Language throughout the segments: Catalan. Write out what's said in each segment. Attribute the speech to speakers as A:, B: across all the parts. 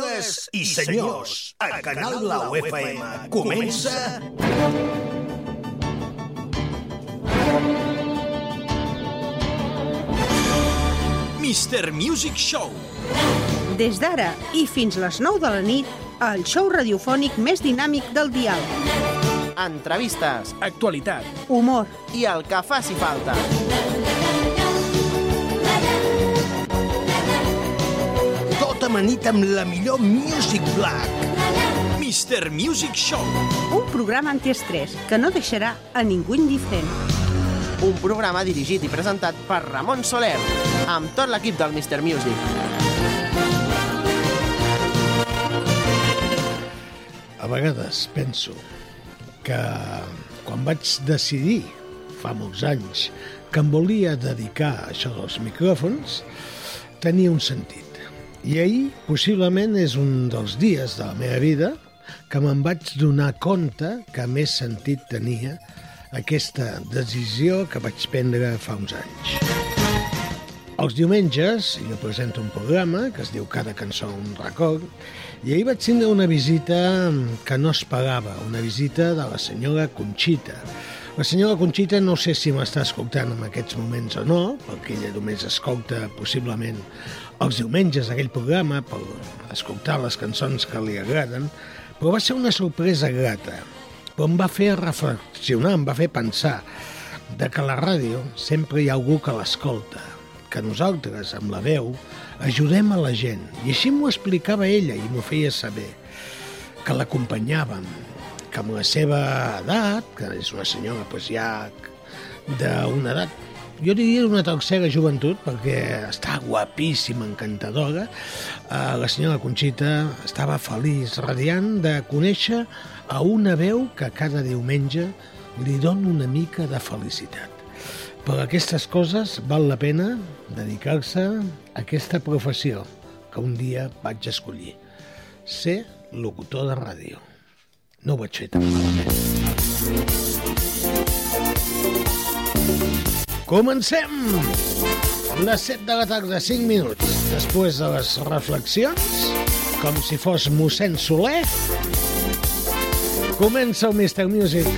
A: Senyores i senyors, a Canal Blau FM comença...
B: Mr. Music Show.
C: Des d'ara i fins les 9 de la nit, el show radiofònic més dinàmic del dial.
D: entrevistes
B: Actualitat.
C: Humor,
D: i el que faci falta.
A: Tot amanit amb la millor Music Black.
B: Mr. Music Show.
C: un programa antiestrès que no deixarà a ningú indiferent.
D: Un programa dirigit i presentat per Ramon Soler, amb tot l'equip del Mr. Music.
E: A vegades penso que quan vaig decidir fa molts anys que em volia dedicar a això dels micròfons, tenia un sentit. I ahir, possiblement, és un dels dies de la meva vida que me'n vaig donar compte que més sentit tenia aquesta decisió que vaig prendre fa uns anys. Els diumenges jo presento un programa que es diu Cada cançó un record i ahir vaig tindre una visita que no esperava, una visita de la senyora Conxita. La senyora Conxita no sé si m'està escoltant en aquests moments o no, perquè ella només escolta possiblement els diumenges aquell programa per escoltar les cançons que li agraden, però va ser una sorpresa grata, però em va fer reflexionar, em va fer pensar de que a la ràdio sempre hi ha algú que l'escolta, que nosaltres, amb la veu, ajudem a la gent. I així m'ho explicava ella i m'ho feia saber, que l'acompanyàvem, que amb la seva edat, que és una senyora pues, ja d'una edat, jo diria d'una tercera joventut, perquè està guapíssima, encantadora, eh, la senyora Conxita estava feliç, radiant de conèixer a una veu que cada diumenge li dona una mica de felicitat. Per aquestes coses val la pena dedicar-se a aquesta professió que un dia vaig escollir. Ser locutor de ràdio. No ho vaig fer tan malament. Comencem! Les 7 de la tarda, 5 minuts. Després de les reflexions, com si fos mossèn Soler, Comença el Mr. Music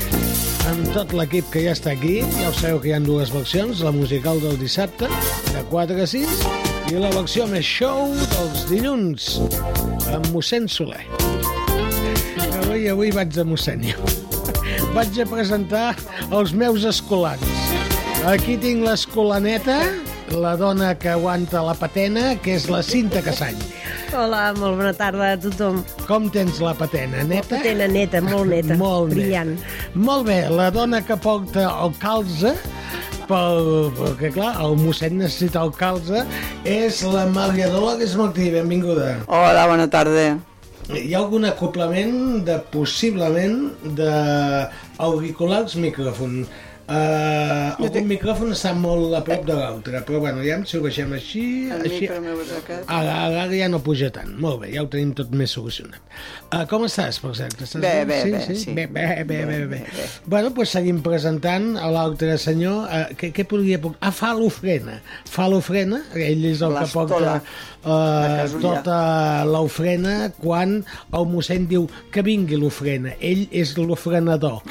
E: amb tot l'equip que ja està aquí. Ja ho sabeu que hi ha dues versions, la musical del dissabte, de 4 a 6, i la versió més show dels dilluns, amb mossèn Soler. Avui, avui vaig de mossèn, jo. Vaig a presentar els meus escolans. Aquí tinc l'escolaneta, la dona que aguanta la patena, que és la Cinta Cassany.
C: Hola, molt bona tarda a tothom.
E: Com tens la patena, neta?
C: Patena neta, molt neta,
E: Molt
C: brillant.
E: Bé. Molt bé, la dona que porta el calze, pel, perquè clar, el mossèn necessita el calze, és la Maria Dolores Martí, benvinguda.
F: Hola, bona tarda.
E: Hi ha algun acoplament de, possiblement, de auriculars micròfon. Uh, algun micròfon està molt a prop de l'altre, però bueno, ja si ho baixem així...
F: El
E: així...
F: micro meu és aquest.
E: Ara, ara, ara ja no puja tant. Molt bé, ja ho tenim tot més solucionat. Uh, com estàs, per cert? Estàs
F: Bé, bé, bé,
E: sí,
F: sí.
E: Bé, bé, bé, bé, bé.
F: bé.
E: Bueno, doncs seguim presentant a l'altre senyor. Uh, què, què podria... portar? Ah, fa l'ofrena. Fa l'ofrena. Ell és el que
F: L'estola.
E: porta
F: La
E: uh,
F: casulla.
E: tota l'ofrena quan el mossèn diu que vingui l'ofrena. Ell és l'ofrenador.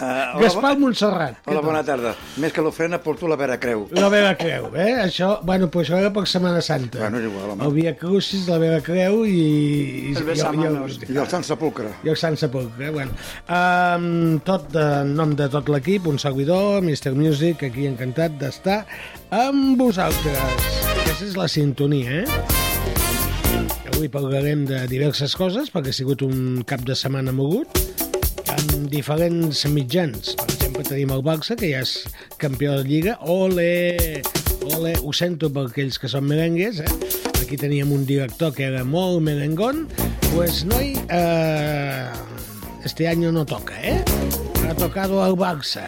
G: Ah, hola,
E: Gaspar Montserrat. què
G: hola,
E: tal?
G: bona tarda. Més que l'ofrena porto la vera creu.
E: La meva creu, eh? Això, bueno, però això era per Setmana Santa.
G: Bueno, és igual, home.
E: El Via Crucis, la meva creu i... i
F: El besamanos.
G: I el Sant Sepulcre.
E: i el Sant Sepulcre, eh? bueno. Um, tot, eh, en nom de tot l'equip, un seguidor, Mr. Music, aquí encantat d'estar amb vosaltres. Aquesta és la sintonia, eh? Avui parlarem de diverses coses, perquè ha sigut un cap de setmana mogut, amb diferents mitjans. Per exemple, tenim el Barça, que ja és campió de Lliga. Ole! Ole! Ho sento per aquells que són merengues, eh? Aquí teníem un director que era molt merengón. Pues, noi, eh, este año no toca, eh? Ha tocado el Barça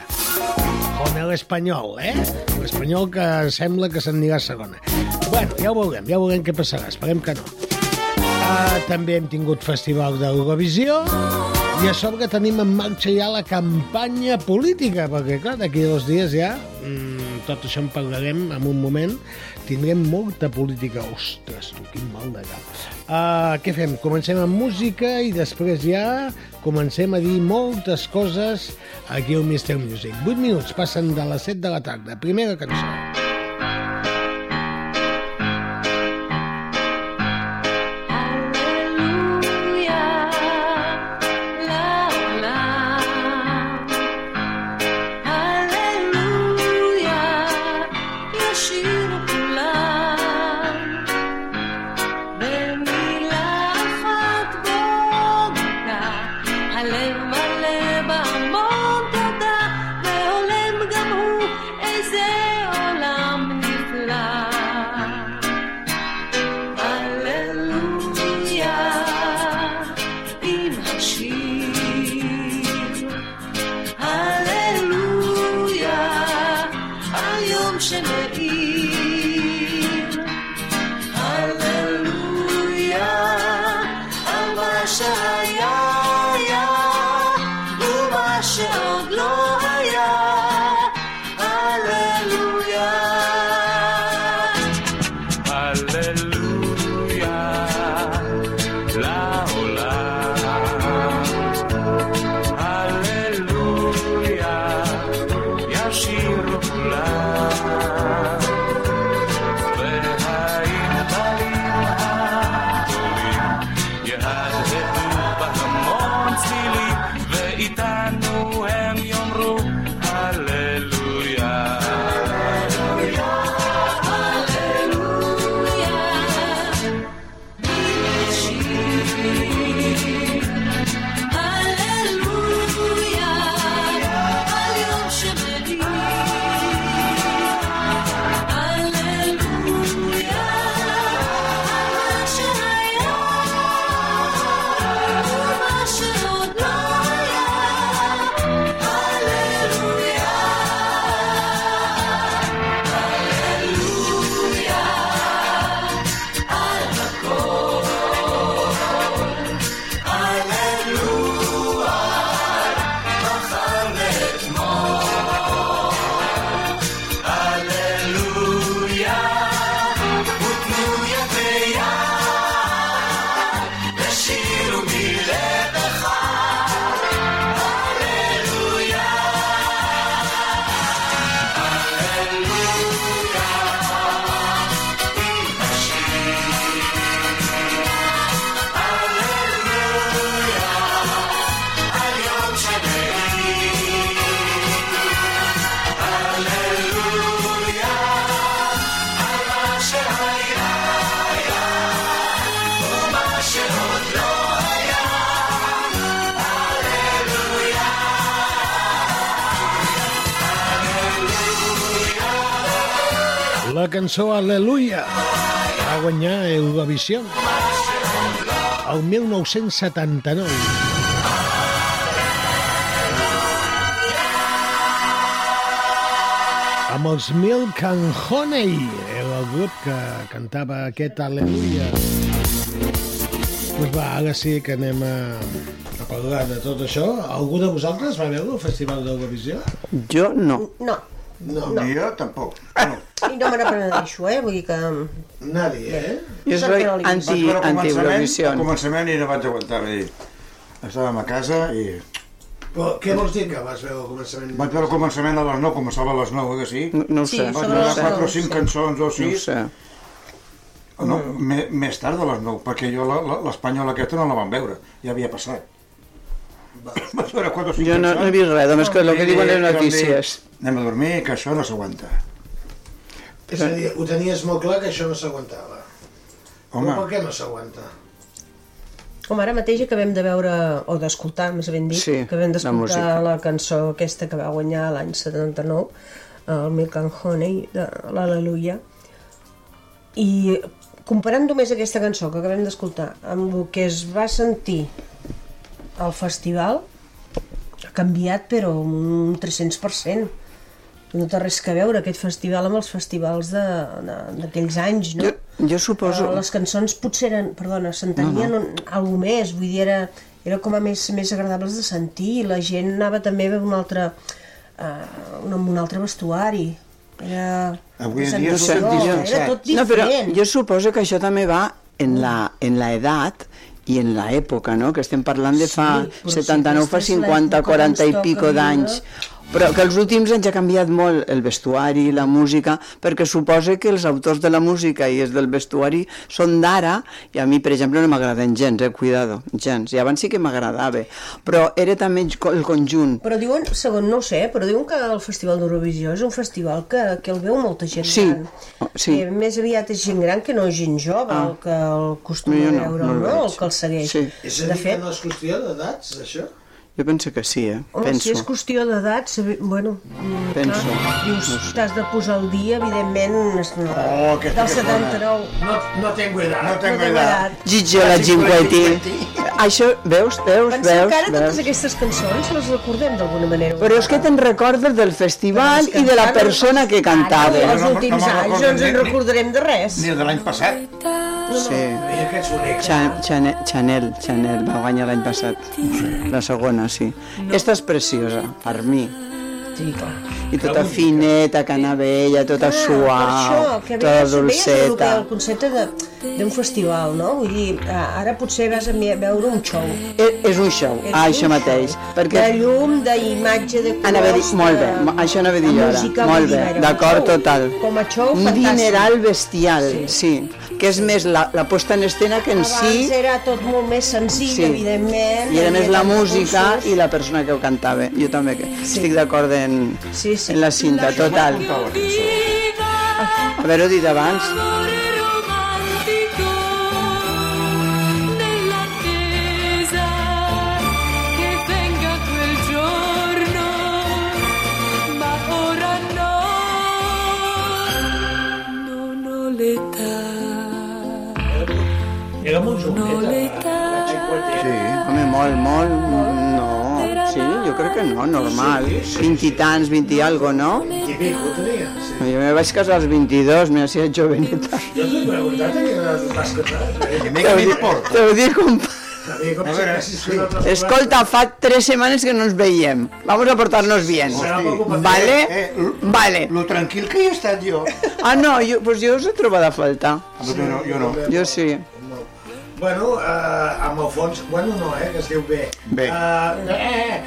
E: com el espanyol, eh? L'espanyol que sembla que s'anirà a segona. Bueno, ja ho veurem, ja veurem què
H: Ah,
E: passarà, esperem que no. Uh, també hem tingut festival d'Eurovisió,
H: I a sobre que tenim en marxa ja la campanya política, perquè, clar, d'aquí a dos dies ja, mm, tot això en parlarem en un moment, tindrem molta política. Ostres, tu, quin mal de cap. Uh, què fem? Comencem amb música i després ja comencem a dir moltes coses aquí al Mister Music. 8 minuts passen de les 7 de la tarda. Primera cançó. La cançó Aleluia va guanyar Eurovisió el 1979. Amb els Milk and Honey era el grup que cantava aquest Aleluia. Doncs va, ara sí que anem a, a parlar de tot això. Algú de vosaltres va veure el Festival d'Eurovisió?
E: Jo no.
I: No,
G: No, no. jo tampoc. No.
I: i no me n'aprenedeixo, eh? Vull dir que...
H: Nadie, eh?
E: Jo
I: Perquè
E: soy
I: no li dic.
G: Vaig veure el
E: anti-Eurovisió.
G: Al començament i no vaig aguantar bé. Estàvem a casa i...
H: Però què vols dir que vas veure al començament?
G: Vaig veure el començament a les 9, començava a les 9, que sí?
E: No, no ho
I: Sí,
E: sé.
I: això
G: Vaig
I: sobre
G: veure
I: les
G: 4 o
I: 9,
G: 5
I: sí.
G: cançons o
E: No ho
G: 6.
E: sé.
G: No, me- més tard de les 9, perquè jo la- la- l'espanyola aquesta no la van veure, ja havia passat. Vaig veure 4 o 5
E: Jo no, no he vist res, només que el que diuen les notícies.
G: Anem a dormir, que això no s'aguanta.
H: És a dir, ho tenies molt clar que això no s'aguantava. Però Per
G: Home,
H: què no s'aguanta?
I: Com ara mateix acabem de veure, o d'escoltar, més ben dit,
E: Sí,
I: acabem
E: la
I: d'escoltar
E: música.
I: la, cançó aquesta que va guanyar l'any 79, el Milk and Honey, de l'Aleluia, i comparant només aquesta cançó que acabem d'escoltar amb el que es va sentir al festival, ha canviat però un 300%. no té res que veure aquest festival amb els festivals de- de- d'aquells anys, no?
F: Jo- jo suposo-
I: Eh, les cançons potser eren, perdona, s'entenien no, no. alguna més, vull dir, era, era com a més, més agradables de sentir, i la gent anava també amb un altre, eh, un- amb un altre vestuari, era...
G: Avui en
I: sensació,
F: és
G: dia
F: tot diferent.
I: era tot
F: No, però
I: diferent.
F: jo suposo que això també va en la, en la edat i en l'època, no? Que estem parlant de fa
I: Sí, però si
F: 79, fa
I: aquesta és
F: 50,
I: l'època
F: 40
I: que
F: i
I: ens
F: pico
I: toca
F: d'anys.
I: viure.
F: Però que els últims anys ha canviat molt el vestuari, la música, perquè suposa que els autors de la música i els del vestuari són d'ara, i a mi, per exemple, no m'agraden gens, eh? Cuidado, gens. I abans sí que m'agradava, però era també el conjunt.
I: Però diuen, segon, no ho sé, però diuen que el Festival d'Eurovisió és un festival que, que el veu molta gent
F: Sí, oh,
I: gran.
F: sí.
I: Que més aviat és gent gran que no gent jove,
F: Ah.
I: el que el costuma
F: Jo no,
I: veure,
F: no el
I: no,
F: veig.
I: el que el segueix.
F: Sí.
A: És a
I: De
A: dir, que
I: fet,
A: no és qüestió d'edats, això?
F: Jo penso que sí, eh?
I: Home,
F: penso.
I: si és qüestió d'edat, saber- bueno, mm,
F: Penso.
I: clar, dius, t'has de posar al dia, evidentment, es-
G: Oh, que-
I: del
G: que
I: 79.
A: No, no tengo edat.
G: No tengo
I: tengo
G: edad.
I: edat.
F: Gigi la Cinquetti. Això, veus, veus,
I: Pensem
F: veus,
I: que ara totes
F: veus.
I: aquestes cançons les recordem d'alguna manera.
F: Però és que te'n recordes del festival i de la persona que
I: Ara,
F: cantava.
I: els
G: No, no, no
I: últims
G: me'n
I: anys
G: recordo eh?
I: no ens en
G: ni-
I: recordarem de res.
G: Ni de l'any passat.
F: Sí.
A: I aquest és un ex.
F: Cha- Chane- Chanel, Chanel, va guanyar l'any passat. La segona, sí. Aquesta és preciosa, per mi.
I: Sí, clar.
F: I tota fineta, que anava ella, tota suau,
I: per això, que
F: tota
I: ve, Ve
F: dolceta.
I: el concepte de- d'un festival, no? Vull dir, ah, ara potser vas a mi- a veure un show.
F: És és un show,
I: És
F: ah,
I: un
F: això
I: show.
F: mateix.
I: De
F: Perquè
I: llum, d'imatge, de colors...
F: Anava a dir, molt bé,
I: de-
F: mo- això anava a dir
I: de
F: jo ara,
I: música,
F: molt
I: vull dir,
F: bé,
I: era un
F: d'acord
I: show.
F: total.
I: Com a show,
F: un
I: fantàstic.
F: dineral bestial, sí, que és més la, la posta en escena que en
I: Abans
F: si,
I: era tot molt més senzill,
F: Sí.
I: evidentment.
F: i era més la música
I: i...
F: i la persona que ho cantava. Jo també que estic d'acord en,
I: Sí, sí.
F: en la cinta, total. Haver-ho dit abans,
A: Era molt joveneta. La Cinquetti.
F: Sí, home, molt, molt, no, sí, jo crec que no, normal. Vint i tants, vint i algo, no?
A: I pico, tenia. Sí.
F: Jo me vaig casar als 22, mira, si ets joveneta.
A: Jo t'ho he preguntat a quina edat vas casar. eh?
G: I a mi que m'hi porta.
F: Te ho dic, compa.
A: A mi com
G: A
A: si
G: veure,
A: haguessis
G: sí.
A: fet altres
F: Escolta, fa tres semanas que nos veiem. Vamos a portarnos bien.
A: Serà poc ocupat.
F: ¿Vale?
G: Eh, l-
F: Vale.
G: Lo tranquil que he estat jo.
F: Ah, no, yo, pues yo os he trobat a faltar.
G: Jo no, jo no.
F: Jo sí.
A: Bueno, eh, amb el fons... Bueno, no, eh, que es diu bé.
G: Bé.
A: Eh, eh,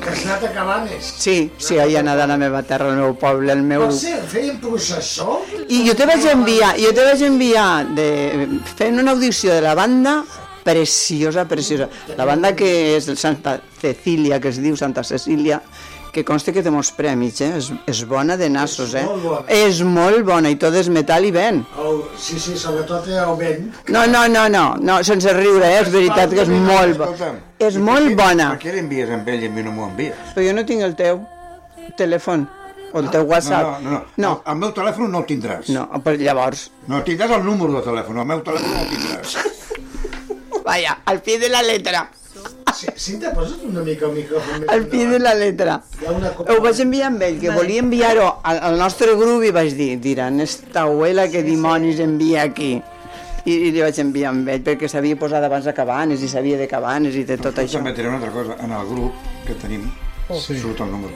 A: que has anat a Cabanes.
F: Sí, sí, ahir he anat a la meva terra, al meu poble, al meu...
A: Per cert, feien processó?
F: I jo te vaig enviar, jo te vaig enviar de, fent una audició de la banda preciosa, preciosa. La banda que és el Santa Cecília, que es diu Santa Cecília, que consta que té molts premis, eh? És, és bona de nassos, eh?
A: molt bona.
F: És molt bona i tot és metal i vent.
A: El, Oh, sí, sí, sobretot era el vent.
F: No, no, no, no, no, sense riure, eh? és veritat que és molt bona.
G: Escolta'm,
F: És
G: i per
F: molt
G: què-
F: bona,
G: Per què l'envies amb ell i a mi no m'ho envies?
F: però jo no tinc el teu telèfon o el teu
G: No,
F: WhatsApp.
G: no, no. no. El, el meu telèfon no el tindràs.
F: no, però llavors,
G: No tindràs el número de telèfon, el meu telèfon no el tindràs.
F: vaya, al pie de la letra.
A: Sí, Cinta, posa't una mica el micròfon més
F: al pie de la letra.
A: Hi ha una cosa-
F: Ho vaig enviar amb ell, que volia enviar-ho al, al nostre grup i vaig dir, diran, esta abuela que dimonis envia aquí. I, I li vaig enviar amb ell, perquè s'havia posat abans de Cabanes i sabia de Cabanes i de tot això.
G: També diré una altra cosa. En el grup que tenim
A: Oh,
G: sí. surt el número.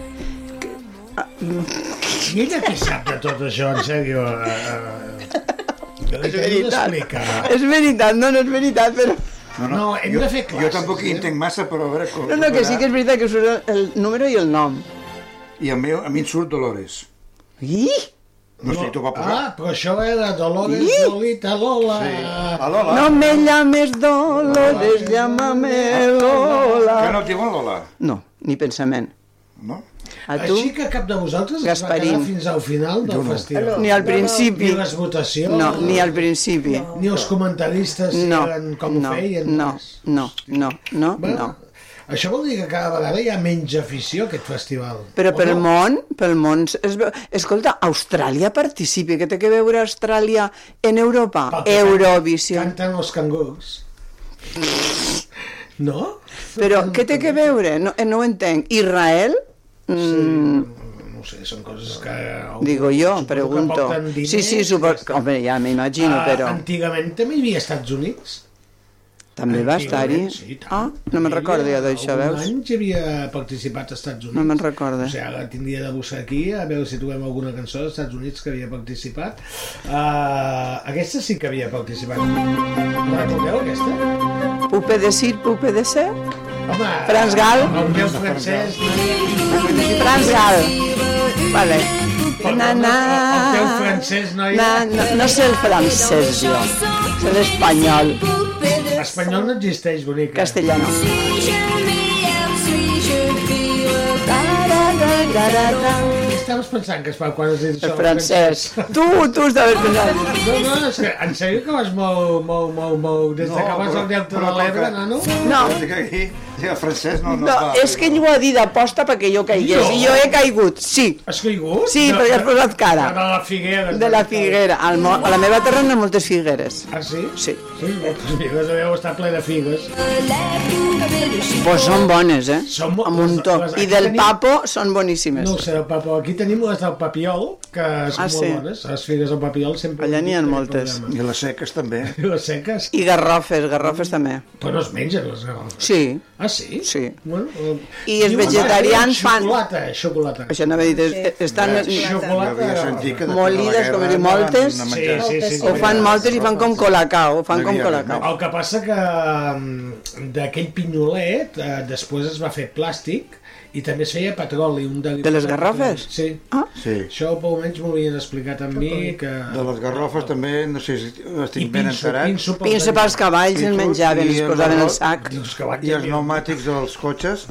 A: I ella què sap de tot això, en sèrio? Eh, eh,
F: És veritat, és veritat, no, no és veritat, però...
A: No, hem
G: jo,
A: de fer classes,
G: Jo tampoc hi
A: eh?
G: entenc massa, però a veure com...
F: No, no, que sí que és veritat que surt el, el número i el nom.
G: I el meu, a mi em surt Dolores.
F: I?
G: No, sé si t'ho va posar.
A: Ah, però això era Dolores
F: Ih!
A: Lolita Lola.
G: A Lola.
F: No me llames Dolores, llámame
G: Que
F: Lola.
G: no et diuen Lola,
F: No, ni pensament.
G: no?
F: A tu,
A: Així que cap de vosaltres es va
F: Gasparín.
A: quedar fins al final del festival.
F: ni al
A: Ni
F: principi.
A: les votacions.
F: No, ni al principi.
A: Ni els comentaristes si
F: no,
A: eren com
F: no,
A: ho feien. doncs.
F: no, no, no, no,
A: Bueno,
F: no.
A: Això vol dir que cada vegada hi ha menys afició a aquest festival.
F: Però
A: O
F: pel
A: no?
F: món, pel món... Es veu... Escolta, Austràlia participa, que té que veure Austràlia en Europa.
A: Pel que
F: Eurovisió.
A: Canten els cangurs. No?
F: Però què té que veure? No, eh, no ho entenc. Israel? Mm,
E: no sé, són coses que...
F: Digo yo,
E: suposo que
F: pregunto.
E: porten diners.
F: Sí, sí, supo... hombre, ya me imagino,
E: Ah,
F: pero
E: Antigament també hi havia Estats Units.
F: també va estar-hi.
E: Antigament, sí, i tant.
F: Ah, no me'n
E: Hi havia
F: recordo jo d'això,
E: algun
F: veus?
E: any que havia participat als Estats Units.
F: No me'n recordo.
E: O sigui, ara tindria de buscar aquí a veure si trobem alguna cançó dels Estats Units que havia participat. Uh, aquesta sí que havia participat. La recordeu, aquesta?
F: Pupe de Sir, Pupe de Ser?
E: Home,
F: Franz Gal?
E: el meu francès...
F: Franz Gal. Vale. Na, na.
E: El teu francès, noi,
F: Na, no, no sé el francès, jo. Sé l'espanyol.
E: espanyol no existeix, bonica.
F: Castellà no.
E: Estaves pensant que es fa quan es diu
F: El francès. Tu, tu has d'haver pensat.
E: No, no, és que en sèrio que vas molt, molt, molt, molt... Des de que vas al Delta de l'Ebre, nano?
F: No,
G: Vol dir que Aquí, el francès no, no,
F: no,
G: va,
F: és que ell ho ha dit aposta perquè jo caigués. I jo he caigut, sí.
E: Has caigut?
F: Sí, perquè has posat cara.
E: De la figuera.
F: De la figuera. Al mo- a la meva terra n'hi ha moltes figueres.
E: Ah, sí?
F: Sí.
E: Sí, moltes figues, deu estar ple de figues.
F: Pues són bones, eh?
E: Són bo-
F: Amb un toc. I del papo són boníssimes.
E: No ho sé, papo, aquí tenim les del papiol, que són
F: Ah,
E: molt
F: sí.
E: bones. Les figues del papiol sempre...
F: Allà n'hi ha
E: Aquest
F: moltes.
E: programa.
G: I les seques també.
E: I les seques,
F: I garrofes, garrofes també.
E: però Mm. es mengen les garrofes.
F: Sí.
E: Ah, sí?
F: Sí.
E: Bueno, eh,
F: I els
E: diuen que
F: vegetarians
E: tenen
F: fan-
E: Xocolata, eh, xocolata.
F: Això anava a dir, es- estan...
G: Jo
E: Xocolata.
G: havia sentit que... tota
F: Molides, com dir, moltes.
E: Sí, sí, sí.
F: Ho fan moltes i fan com colacao, ho fan com colacao.
E: El que passa que mm, d'aquell pinyolet eh, després es va fer plàstic i també es feia petroli. Un derivat
F: De les garrofes?
E: petroli. Sí.
F: Ah,
G: Sí.
E: Això o menys m'ho havien explicat a mi que...
G: De les garrofes també, no sé si
E: I
G: estic ben enterat.
E: pinso pel
F: pinso pels cavalls, en menjaven, es posaven el sac.
E: Dius que vaig
G: I els
E: tenir-
G: pneumàtics dels cotxes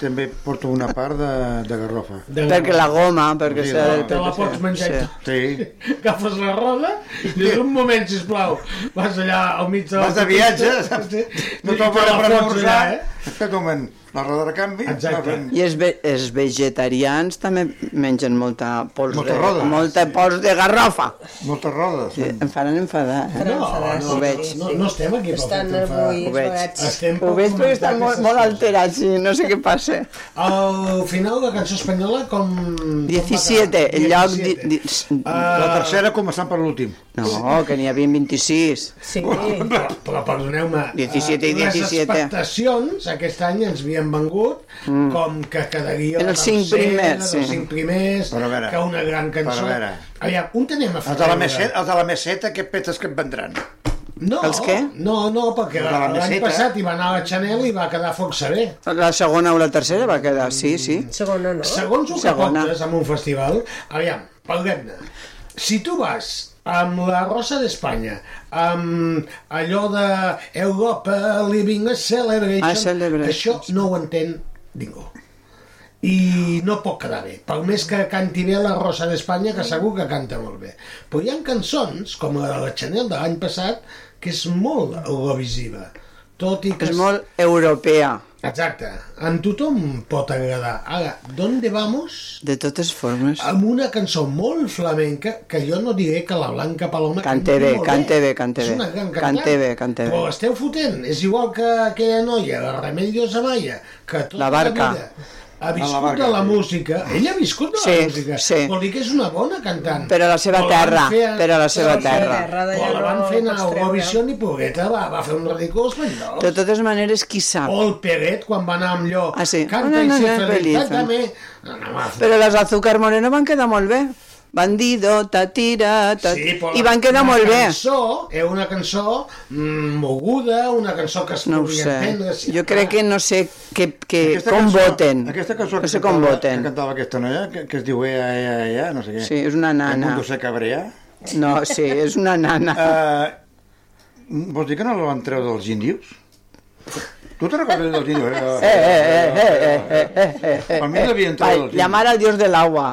G: també porto una part de, de garrofa.
E: de-
F: Perquè la goma, perquè... s'ha de-
E: Te la
F: perquè
E: pots
F: s'ha-
E: menjar i
F: sí.
E: tot.
G: Sí.
E: Agafes la roda i dius, un moment, sisplau, vas allà al mig de... la
G: Vas de
E: autopista,
G: viatge, saps?
E: sí,
G: No
E: i
G: te'l
E: te la
G: poden
E: fots
G: premorzar.
E: allà, eh?
G: Espera un moment, la roda de canvi...
E: Exacte.
G: no,
F: I els, ve els vegetarians també mengen molta pols,
G: Molta roda.
F: de, molta pols de garrofa.
G: Moltes rodes.
F: Sí, em faran enfadar. Eh?
E: No, no,
F: Ho veig.
E: no, no estem aquí per
I: Estan
E: fer-te enfadar.
I: avui
F: Ho veig.
I: esbarats.
E: Estem per
F: Ho veig perquè estan
E: comentar
F: molt,
E: aquestes
F: molt
E: coses.
F: alterats i no sé què passa.
E: Al final de Cançó Espanyola com... com
F: 17,
E: va
F: el
E: quedar?
F: lloc... Di, di,
E: Ah.
G: La tercera començant per l'últim.
F: no, que n'hi havia 26.
I: Sí,
E: Però, però perdoneu-me,
F: 17 i
E: eh, les
F: 17.
E: expectacions aquest any ens havien vengut mm. com que quedaria
F: En els cinc primers,
E: sí. els
F: sí.
E: 5 primers,
G: Però a veure,
E: que una gran cançó.
G: però a veure.
E: Allà, un tenim a
G: Els de la meseta, els de la meseta què petes que et vendran?
E: No,
F: Els què?
E: No, no, perquè
G: Els de la
E: l'any
G: meseta.
E: passat hi va anar a la Chanel i va quedar força bé.
F: La segona o la tercera va quedar, sí, sí.
I: segona no.
E: Mm. Segons el que
F: Segona.
E: portes en un festival, aviam, parlem-ne. Si tu vas amb la Rosa d'Espanya, amb allò de Europa Living a Celebration,
F: A Celebration.
E: això no ho entén ningú. I no pot quedar bé, per més que canti bé la Rosa d'Espanya, que segur que canta molt bé. Però hi ha cançons, com la de la Chanel de l'any passat, que és molt eurovisiva. Tot i que...
F: És molt europea.
E: Exacte. En tothom pot agradar. Ara, ¿dónde vamos?
F: De totes formes.
E: Amb una cançó molt flamenca que jo no diré que la Blanca Paloma
F: Cante
E: canti
F: bé,
E: molt
F: cante bé, cante
E: És
F: bé.
E: una gran
F: Cante
E: cantant.
F: bé, cante bé.
E: Però esteu fotent. És igual que aquella noia, la Remedios Amaya, que tota
F: La Barca.
E: vida em ha viscut
G: La Barca,
E: de la
G: sí.
E: música. Ella ha viscut de la
F: Sí,
E: música.
F: sí.
E: Vol dir que és una bona cantant.
F: Però a la seva
E: Però la van
F: terra,
E: fer a-
F: però a la seva
I: la seva
F: terra.
I: terra. d'allà
E: Però la van
I: no
E: fer anar
I: pots
E: a
I: treure.
E: Eurovision i pobreta eh? va, va fer un ridícul espanyol.
F: De totes maneres, qui sap?
E: O el Peret, quan va anar amb allò.
F: Ah, sí.
E: Canta
F: No, no,
E: i
F: no,
E: ser
F: no,
E: feliç.
F: feliz.
E: Cántame. No, no, va,
F: Però les Azúcar Moreno van quedar molt bé. Bandido, tatira, ta...
E: Sí, però
F: I van quedar
E: una
F: molt bé.
E: Cançó, eh, una cançó mm, moguda, una cançó que es
F: No ho
E: podria
F: sé.
E: entendre. sí.
F: Jo crec que no sé que, que
G: Aquesta
F: com
G: cançó-
F: voten.
G: Aquesta cançó
F: No sé
G: que
F: com
G: cantava-
F: voten.
G: Que cantava aquesta noia, que, que es diu E Ea, Ea, Ea, no sé què.
F: Sí, és una
G: Eh, El
F: nana.
G: mundo se cabrea.
F: No, sí, és una nana.
G: Uh, vols dir que no la van treure dels índios? Tu te'n recordes dels índios?
F: Eh,
G: Eh,
F: eh, eh, eh, eh, eh, eh, eh,
G: Per mi l'havien
F: Ai,
G: treure dels
F: llamar al dios de l'agua.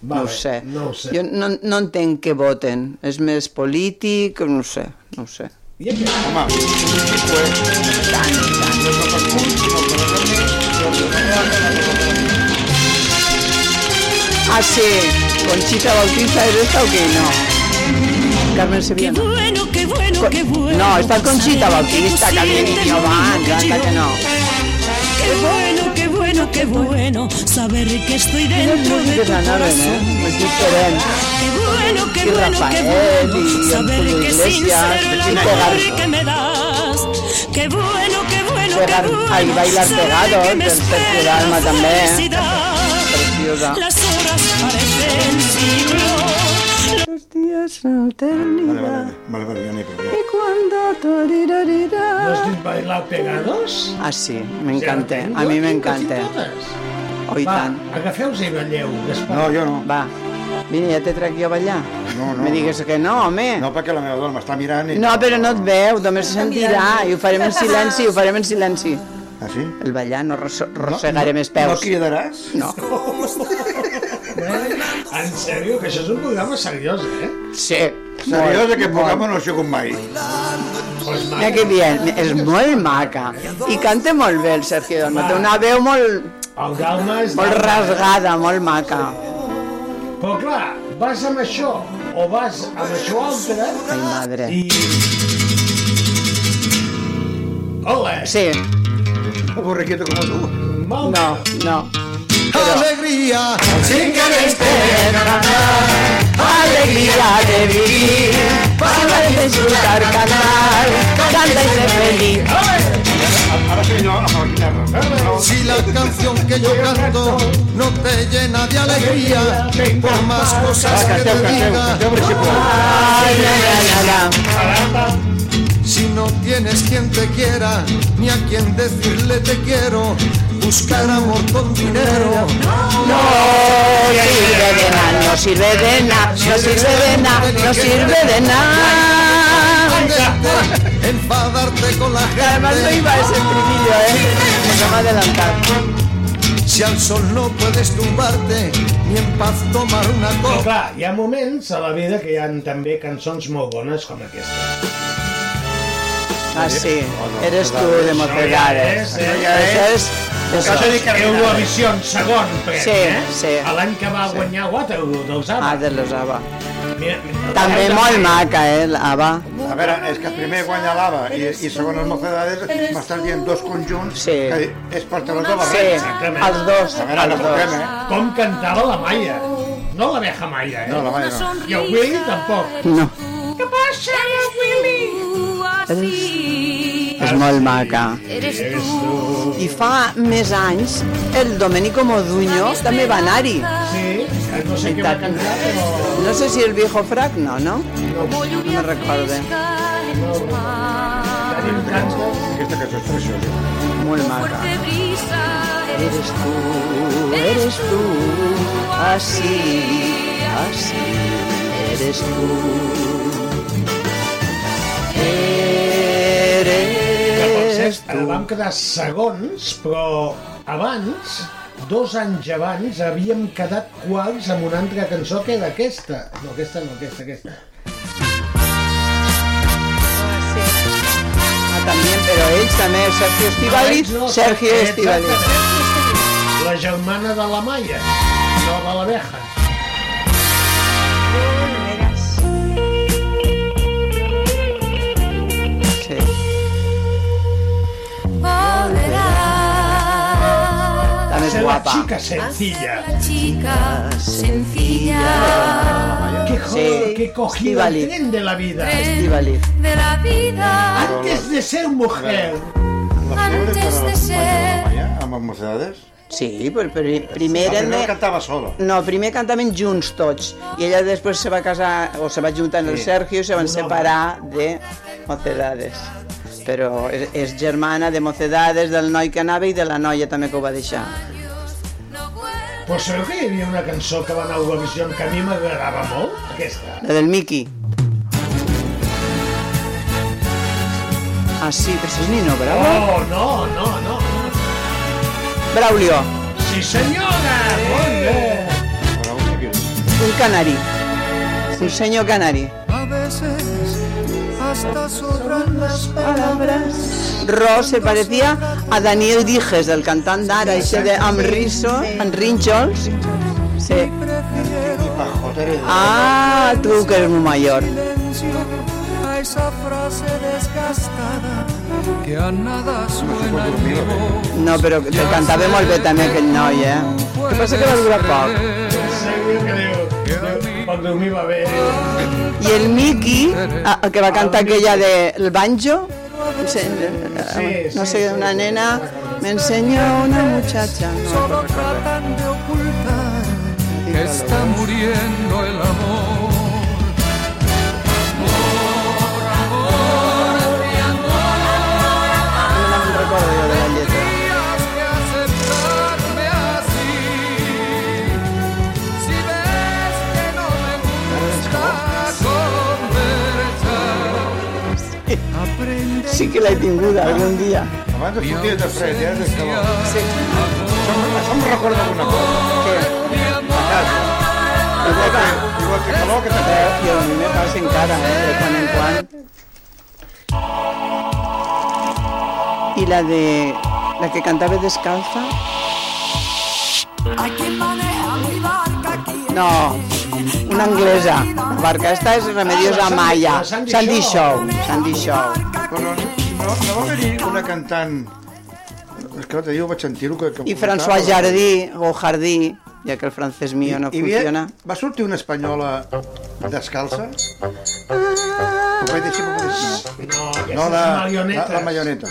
E: Vale,
F: No ho sé.
E: No ho sé.
F: Jo no, no entenc què voten. És més polític, no ho sé, no ho sé.
E: I aquest?
G: Home,
F: Ah, sí, Conchita Bautista és esta o què? No. Carmen Sevilla, no.
J: bueno, qué bueno,
F: Con-
J: qué bueno.
F: No, está Conchita Bautista, Carmen
J: también
F: y Giovanni, anda que no.
J: Qué bueno, qué bueno, qué bueno saber que estoy dentro de tu
F: músiques anaven, eh?
J: corazón.
F: És diferent.
J: Qué bueno, qué
F: Y
J: bueno, qué
F: Rafael,
J: bueno
F: y
J: saber
F: Julio
J: que es
F: Iglesias,
J: sincero el
F: Chico
J: amor
F: Garza.
J: que me das. Qué bueno, qué bueno,
F: Pegar-
J: qué bueno
F: ahí bailar
J: saber
F: pegados,
J: que me
F: del Sergio
J: espera
F: Dalma també, eh?
J: felicidad.
F: Preciosa.
J: Las horas parecen siglos.
F: Los días no
G: Vale,
F: terminan.
G: vale, vale, vale, ja n'hi ha prou.
F: Y cuando torirarira.
E: ¿No has dit bailar pegados?
F: Ah, sí, me encanta. A mi m'encanta. Oh, i
E: Va,
F: tant.
E: agafeu-vos i balleu.
G: ja.
E: Gaspar.
G: No, jo no.
F: Va, vine, ja te trec jo a ballar.
G: No, no.
F: Me digues que no, home.
G: No, perquè la meva dona m'està mirant i...
F: No, però no et veu, només se sentirà i ho farem en silenci, ho farem en silenci.
G: Ah, sí?
F: El ballar no rosso- rossegarem els peus.
G: No cridaràs?
F: No.
E: En sèrio, que això és un programa seriós, eh?
F: Sí.
G: Seriós,
F: molt,
G: aquest
F: molt.
G: programa no ha sigut mai.
F: Mira que bien, és molt maca. I canta molt bé el Sergio Dalma. Té una veu molt,
E: El Dalma és...
F: molt rasgada, molt maca.
E: Però clar, vas amb això o vas amb això altre
F: Ai, madre.
E: i... Hola,
F: Sí,
G: Avorriquito com tu.
E: mal
F: no, no.
A: Alegria,
F: Sin que me esperen alegría de vivir, para disfrutar, cantar, canta y ser feliz.
G: Ara que jo amb la guitarra. No,
A: si la canción que yo canto no te llena de alegría, por más cosas que te diga,
F: Ay, la, la, la, la.
A: si no tienes quien te quiera, ni a quien decirle te quiero, buscar amor con dinero.
F: No sirve de nada, no sirve de nada, no sirve de nada, no sirve de nada.
A: Enfadarte con la
F: Además no
A: gente
F: iba ese estribillo, ¿eh? Nos vamos a adelantar.
A: Si al sol no puedes tumbarte Ni en paz tomar una
E: Però
A: copa
E: clar, hi ha moments a la vida que hi han també cançons molt bones com aquesta.
F: Ah, sí, eres tú de mocedades.
E: Això ja
F: Eso es...
E: Això
F: Eso.
E: és Eurovisió, segon premi,
F: Sí,
E: eh?
F: sí.
E: A L'any que va guanyar Waterloo dels
F: Ah,
E: Abba.
F: de los ABBA.
E: Mira, mira,
F: També
E: l'Abba-
F: molt maca, eh, l'Ava.
G: A veure, és que primer guanya l'Ava i, i segon el Mocedades m'estàs dient dos conjunts
F: Sí.
G: que és pantalons de
F: Sí, els
G: barret.
F: dos,
G: A veure, no
F: els
G: fotem,
F: dos.
G: eh?
E: Com cantava la Maia. No la veja Maia, eh?
G: No, la mare no.
E: I el Willy tampoc.
F: No,
E: Què passa, Willy?
F: és molt maca.
E: Eres tu.
F: I fa més anys, el Domenico Moduño també va anar-hi. Eh,
E: Sí, no sé què va cantar, però...
F: No sé si el viejo frac, no, no? No me recorde.
E: Tenim tantes...
G: Aquesta cançó és preciosa.
F: Molt maca. Eres tu, eres tu, así, así, eres tú.
E: Que, per
F: Eres
E: cert,
F: tu.
E: vam quedar segons, però abans, dos anys abans, havíem quedat quarts amb una altra cançó que era aquesta. No, aquesta no, aquesta, aquesta.
F: Ah, també, però ells també, Sergio Estivaliz,
E: No,
F: Sergio
E: eh,
F: Estivaliz.
E: exactament. La germana de la Maia, no de l'abeja.
F: Sí.
J: Volverás
F: També és
E: Ser la
F: guapa.
E: xica sencilla.
J: la chica sencilla
E: Que, joder, que cogió el
F: Estivaliz.
E: tren de la vida.
F: Estivaliz.
J: de la vida
E: Antes de ser mujer.
G: La Fiore
J: Antes
G: però
J: de ser-
G: Maia, amb el Mocedades.
F: Sí, però, però
G: La
F: primer eren
G: primera
F: de...
G: cantava sola.
F: No, primer cantaven junts tots i ella després se va casar o se va juntar amb el Sergio i se van separar de Mocedades però és, és germana de Mocedades, del noi que anava i de la noia també que ho va deixar
E: Però sabeu que hi havia una cançó que va anar a Eurovisió que a mi m'agradava molt? Aquesta.
F: la del Miki Ah sí, però això és Nino Bravo
E: Oh, no, no, no.
F: Braulio,
E: Sí senyora, molt bé.
G: Però un que
F: un canari un senyor canari
A: A veces hasta sobran las
F: Ross se parecía a Daniel Dijes, el cantant d'ara, això de amb riso, amb rínxols. Sí.
G: pajotere.
F: Ah, tu que eres molt major.
A: silencio a esa frase desgastada
K: que a nada suena en mi voz.
F: No, però que cantava molt bé també aquell noi, eh? El que passa que va durar poc.
E: Quan dormir va bé.
F: I el Miki, a- el que va cantar aquella de El banjo, no sé, eh, no sé, una nena, me enseñó una muchacha. No,
K: Solo tratan de ocultar que está muriendo el amor.
F: no me'n recordo jo de la lletra.
K: Tendrías que aceptarme así. Si ves que no me gusta conversar, aprende
F: Sí que l'he tinguda algun dia.
G: Abans de sortir de fred, ja, des que...
F: Sí,
G: Això, em- això em recorda alguna cosa.
F: que
K: mi amor.
G: Igual que, igual que calor que també.
F: i a mi me passa encara, eh, de quan en quan. I la de... la que cantava descalza?
H: Hay quien maneja mi barca aquí.
F: No, una anglesa. La barca esta és Remedios Amaya. Sandy Show. Sandy Show.
G: Però no, no va haver-hi una cantant... És que l'altre dia ho vaig sentir-ho que, que
F: I
G: comentava.
F: François Jardí, o Jardí, ja que el francès mío no
G: Hi havia-
F: funciona.
G: Va sortir una espanyola descalça?
F: Ah.
G: Ho vaig deixar, ho vaig deixar. No, la, la, la marioneta.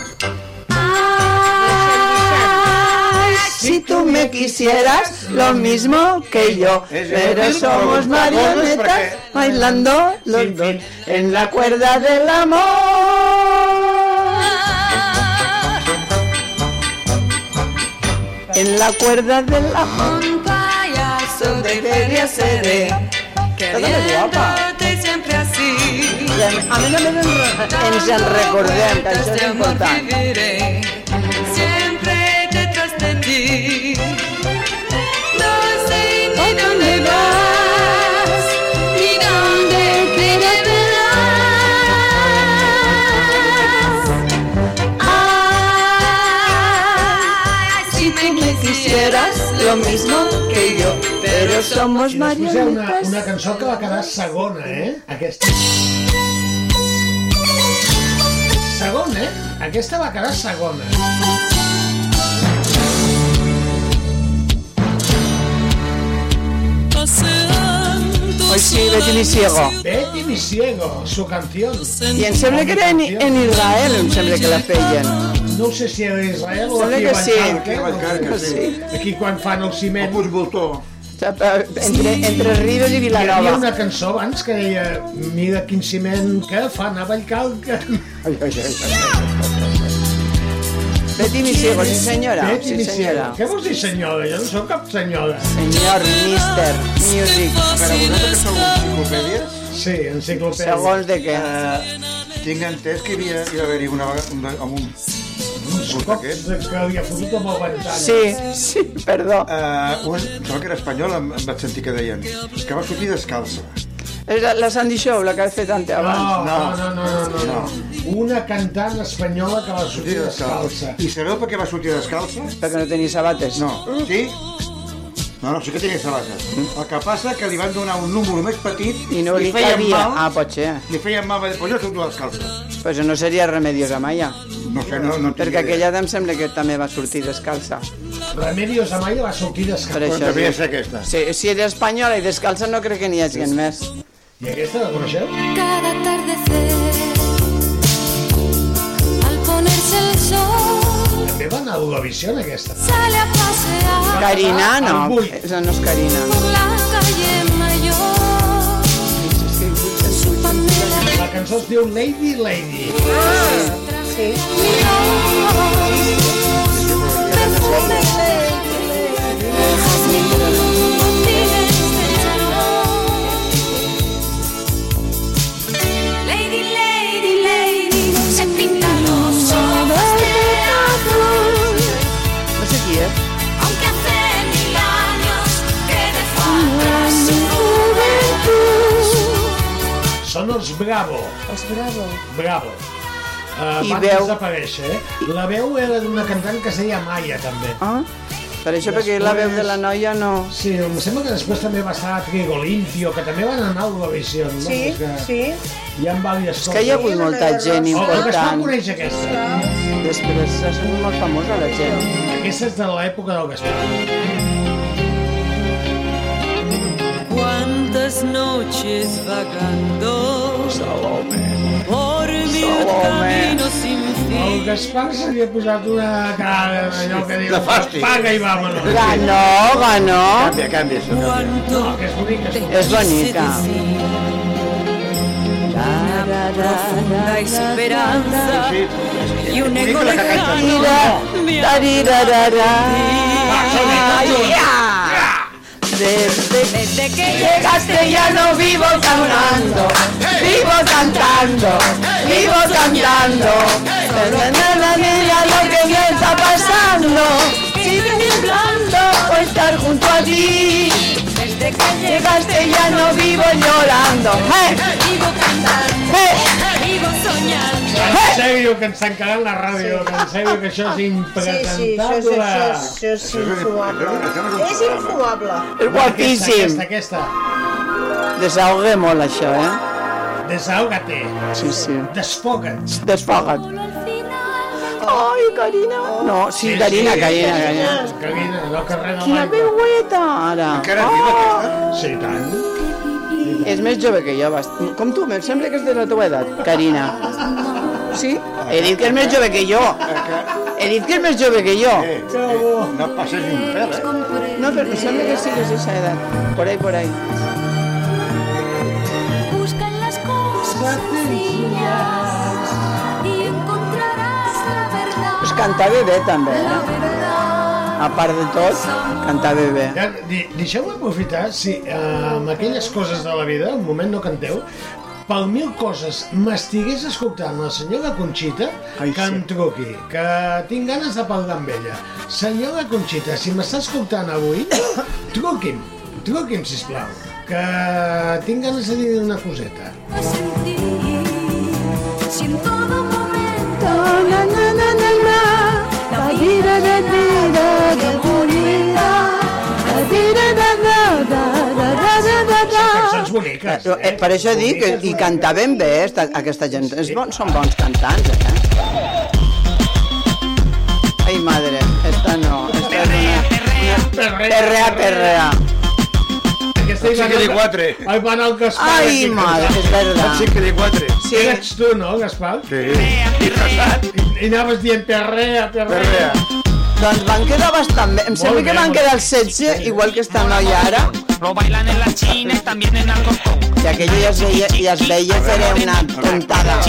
F: Si tú me quisieras, lo mismo que yo,
G: Es
F: pero
G: inútil,
F: somos
G: pero
F: marionetas
G: porque-
F: bailando los dos en la cuerda del amor. En la cuerda del amor.
H: Un payaso
F: de feria seré, queriéndote
H: siempre así.
F: I A a més a més ens re- ens en recordem, que això és important.
H: viviré siempre detrás de ti. No sé ni dónde vas, ni dónde te verás. Ay, si me quisieras lo mismo que yo, pero somos
E: Després hi ha una,
F: marionetas.
E: una cançó que va quedar segona, eh? Aquesta. Segona, eh? Aquesta va quedar segona.
F: Oi, sí, Betty Lee Ciego.
E: Betty mi ciego, su canción.
F: I em sembla que era en, en Israel, em sembla que la feien.
E: No sé si era Israel o
F: Sembla
E: aquí
F: que
E: a
F: sí.
E: Bancarc, eh?
G: Encara que sí.
E: Aquí quan fan el ciment.
G: Puig Voltor.
F: eh, Entre, entre Ribes i
E: Hi havia
F: Vilanova.
E: una cançó abans que deia Mira quin ciment que fan a Vallcalca.
G: Ai, ai, ai.
F: Betty mi ciego, sí senyora.
E: Betty
F: Sí
E: mi
F: senyora.
E: ciego. Què vols dir senyora? Jo no sóc cap senyora.
F: Senyor Mister Music.
G: Però vosaltres sou enciclopèdies?
E: Sí, enciclopèdia.
F: Segons de què.
G: Eh, tinc entès que hi havia, hi va haver-hi una vegada una, amb un,
E: Uns
G: un
E: cops
G: aquest.
E: que havia fotut amb el ventall.
F: Sí, sí, perdó.
G: Eh, un, em sembla que era espanyol, em, em vaig sentir que deien que va sortir descalça.
F: És la, la Sandy Show, la que has fet ante
E: No,
F: abans.
E: no, no, no, no, no. Una cantant espanyola que va
G: Sortir
E: sortir
G: descalça.
E: descalça.
G: I sabeu per què va sortir descalça?
F: Perquè no tenia sabates.
G: No. Sí? No, no, sí que tenia sabates. El que passa que li van donar un número més petit
F: I no li
G: feien
F: cabia.
G: mal.
F: Ah, pot ser.
G: Li feien mal, va dir, pues jo surto descalça.
F: Però això no seria Remedios Amaya.
G: No sé, no, no tinc
F: Perquè aquella
G: idea.
F: em sembla que també va sortir descalça.
E: Remedios Amaya va sortir
F: Per
E: descalça.
G: Però
F: això.
G: devia
F: dic.
G: ser aquesta.
F: Si, si era espanyola i descalça no crec que n'hi hagi més.
E: I aquesta la coneixeu?
H: Cada atardecer, al ponerse el sol,
E: També va anar a Eurovisió en aquesta.
H: sale a pasear
G: Ah,
F: Carina, no.
E: Algú.
F: Esa no és Carina.
H: por la calle mayor. Su panela
E: La cançó es diu Lady Lady.
F: Ah,
H: Lady, lady, lady, se pintan los ojos de azul.
F: No sé qui és.
H: Aunque hace mil años que dejó atrás su juventud.
E: Són els Bravo.
L: Els Bravo.
E: Bravo. Uh,
F: I
E: van eh?
F: veu-
E: desaparèixer, eh? La veu era d'una cantant que es deia Maia, també.
F: Ah? Per això, perquè la veu de la noia no...
E: Sí, em sembla que després també va estar Trigo Limpio, que també van anar a Eurovisió, no?
F: Sí,
E: És que
F: sí.
E: Hi ha diverses
F: És que hi ha hagut molta gent
E: Oh, però que es va
F: important.
E: conèixer aquesta.
F: Després s'ha sigut molt famosa la gent.
E: Aquesta és de l'època del Gaspar.
H: Cuántas noches vagando por mil caminos sin
E: El
H: fin.
E: Gaspar se li ha posat una cara allò que diu...
H: De fàstic.
E: Paga i vámonos.
F: Ganó, ganó. Canvia,
G: canvia, això
H: canvia.
E: No, que és bonica.
F: És bonica.
M: Ah.
H: Una profunda esperanza y un eco lejano. me
F: Ah, Desde,
H: que llegaste ya no vivo
F: cantando, vivo cantando, vivo cantando. Na, na, na, Mira lo que me está pasando, sigue temblando por estar junto a ti. Desde que llegaste ya no vivo llorando, eh,
H: vivo cantando,
F: eh.
H: vivo soñando.
E: En sèrio, que ens tancaran la ràdio, que en sèrio, que això és
I: Sí,
E: impresentable.
I: sí, això és, això és, això és infumable. És infumable.
F: És guapíssim.
E: Aquesta, aquesta.
F: Desahogue molt això, eh?
E: Desahógate.
F: Sí, sí.
E: Desfoga't.
F: Desfoga't. Ai, Carina. No, sí, Carina, Carina, Carina.
E: Carina, no que res
F: Quina veueta, ara.
E: Encara viva aquesta? Sí, tant.
F: És més jove que jo, bast... com tu, em sembla que és de la teva edat, Carina. Sí? He dit que és més jove que jo. He dit que és més jove que jo.
G: No et passes ni un pèl, eh?
F: No, però em sembla que sí que és esa edat. Por ahí, por ahí.
N: Buscan las cosas sencillas y encontrarás la verdad.
F: Pues cantava bé, també.
N: La
F: Eh?
N: verdad.
F: A part de tot, cantava bé.
E: Ja, di- Deixeu-me aprofitar, si eh, amb aquelles coses de la vida, un moment no canteu, pel mil coses m'estigués escoltant la senyora Conxita que em truqui, que tinc ganes de parlar amb ella. Senyora Conxita, si m'està escoltant avui, truqui'm, truqui'm, sisplau, que tinc ganes de dir una coseta.
N: Si en todo momento
F: Na, na, na, na, na. La vida de vida de bonita. La vida de da, da, da, da, da, da, da.
E: Cançons boniques.
F: Però, eh, per això dic que hi cantaven bé, esta, aquesta gent. És bon, són bons cantants, eh? Ai, madre, esta no. Esta és una... Perrea, perrea.
E: Aquesta hi
G: Sí
E: va
G: que
E: anar-
G: di quatre.
E: Ai, va anar el Gaspar.
F: Ai,
E: aquí.
F: mare, és verdad.
G: Sí que di quatre.
F: Sí.
E: Eres tu, no, Gaspar?
G: Sí.
E: I, i anaves dient perrea, perrea. perrea.
F: Doncs van quedar bastant bé. Em
E: Molt
F: sembla
E: bé,
F: que van
E: molt
F: quedar el 16, igual que esta noia ara.
O: Lo bailan en las chinas, también en algo
F: I aquella ja es veia, ja es veia que era una tontada.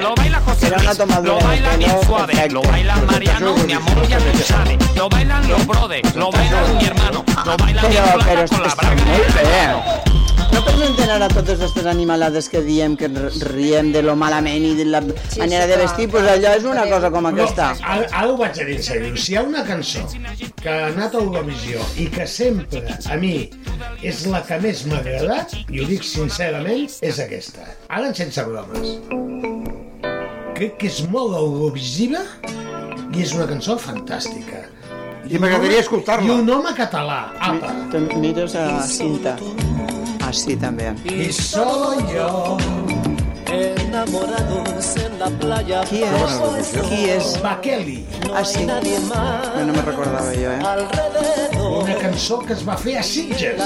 O: Lo baila José
F: Era una tomadura.
O: lo baila bien suave, lo baila Mariano, mi amor ya lo sabe, lo bailan los brothers, lo bailan mi hermano, lo bailan mi
F: Però,
O: hermano.
F: però està molt bé. No presenten ara totes aquestes animalades que diem, que r- riem de lo malament i de la manera de vestir, doncs allò és una cosa com aquesta.
E: Però, ara, ara ho vaig a dir en sèrio. Si hi ha una cançó que ha anat a Eurovisió i que sempre, a mi, és la que més m'ha agradat, i ho dic sincerament, és aquesta. Ara en sense bromes. Crec que és molt eurovisiva i és una cançó fantàstica. I
G: m'agradaria
E: escoltar-la. I un home català, apa.
F: Te'n mires a cinta. Ah, sí, també.
E: I soy yo.
H: Enamorados en la playa.
F: Qui és? Qui és?
E: Bakeli.
F: Ah, sí. No, no me recordava jo, eh?
E: Una cançó que es va fer a Sitges.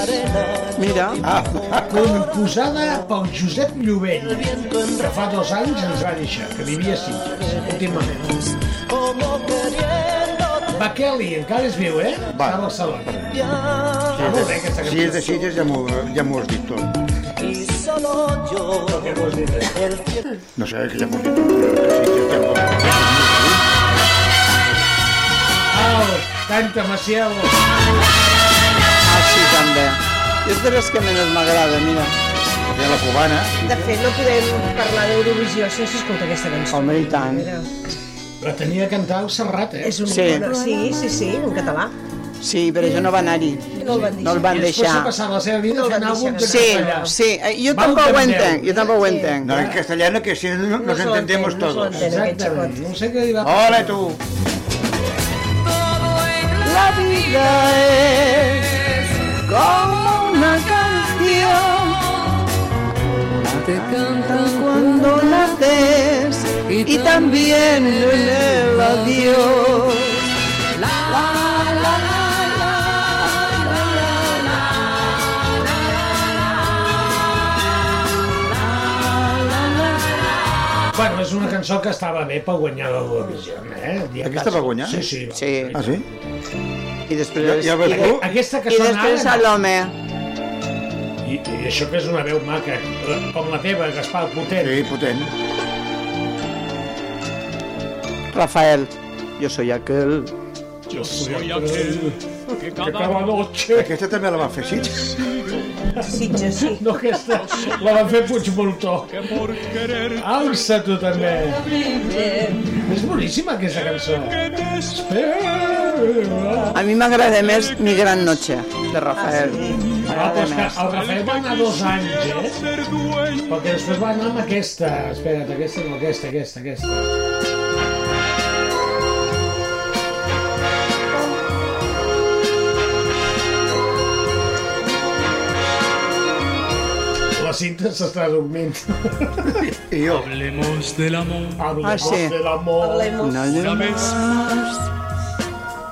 F: Mira.
E: Ah. Composada pel Josep Llobell, que fa dos anys ens va deixar, que vivia a Sitges, últimament. Bakeli, encara és viu, eh? Va. Està a Barcelona. Està molt bé, aquesta
G: Si és de
E: cançó.
G: Sitges ja m'ho ja m'ho has dit tot.
H: Y solo yo. El cielo.
G: No sé, que ja m'ho has dit tot. però que Sitges ja m'ho has dit tot.
E: Au, canta, Maciel.
F: Ah, sí, també. És de les que menys m'agrada, mira.
G: De la cubana.
I: De fet, no podem parlar d'Eurovisió sense escoltar aquesta cançó.
F: Home, i tant.
E: La tenia a cantar el Serrat, eh?
I: És un
F: Sí.
I: sí. sí, sí, sí, en català.
F: Sí, però jo no va anar-hi.
I: No el van
F: No el van
E: I després s'ha
F: deixar.
E: passat la seva vida fent àlbums en
F: Sí,
E: castellà.
F: sí, eh, jo
E: Val
F: tampoc ho
E: que em deu.
F: entenc, jo tampoc ho entenc.
G: No, en castellano que si no, nos entendemos todos.
E: Exactament. No sé què li va
G: Hola, tu.
H: Todo la vida es como una canción. Te cantan cuando naces y también en el adiós. La, la, la, la, la.
E: oh. Bueno, és una cançó que estava bé per guanyar l'Eurovisió, eh? El dia que
G: Aquesta va guanyar?
E: Sí, sí.
F: Sí.
G: Ah, sí?
F: I després...
G: Ja- ja veus
F: i,
G: tu.
E: Aquesta que
F: I
E: sona
F: després
E: ara, no.
F: Salome.
E: I, I això que és una veu maca, eh, com la teva, Gaspar, potent.
G: Sí, potent.
F: Rafael. Yo soy aquel.
E: Yo
G: soy
E: aquel
G: que
E: cada noche...
G: Aquesta també la van fer Sitges.
I: Sitges, sí.
E: No, aquesta la van fer Puigmoltó. Alça tu també. És boníssima aquesta cançó. Eh,
F: A mi m'agrada més Mi gran noche, de Rafael.
E: Ah,
F: M'agrada
E: però és que
F: més.
E: el Rafael va anar dos anys, eh? Perquè després va anar amb aquesta. Espera't, aquesta no, aquesta, aquesta, aquesta. La cinta s'està dormint.
G: I jo.
P: Hablemos del amor.
E: Hablemos
P: Ah, sí.
E: de l'amor.
P: Hablemos. No, no.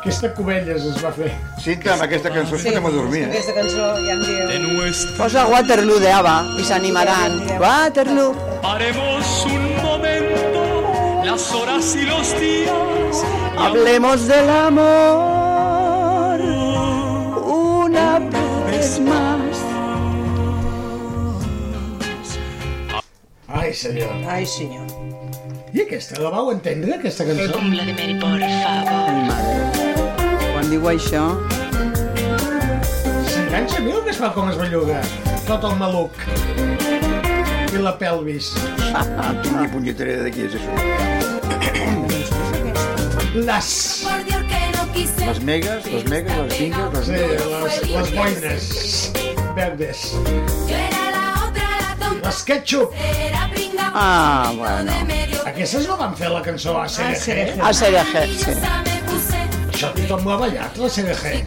E: Aquesta Covelles es va fer.
G: Cinta, amb aquesta cançó sí. podem dormir, eh?
I: Aquesta cançó ja em diu...
F: Posa Waterloo de Ava i s'animaran. Waterloo.
P: Paremos un momento las horas y los días.
F: Hablemos del amor una vez más.
E: Ai, senyor.
I: Ai, senyor.
E: I aquesta, la vau entendre, aquesta cançó?
H: de Mary, por favor.
F: Quan diu això...
E: S'enganxa mil que es fa com es belluga. Tot el maluc. I la pelvis.
G: Quina punyetera de qui és això?
E: Les...
G: Les megas, les megas, les cinques, les...
E: Sí, les, les boines verdes. Les ketchup.
F: Ah, bueno.
E: Aquestes no van fer la cançó a CDG.
P: Ah,
F: A ser sí.
E: Això tothom ho ha ballat, la CDG.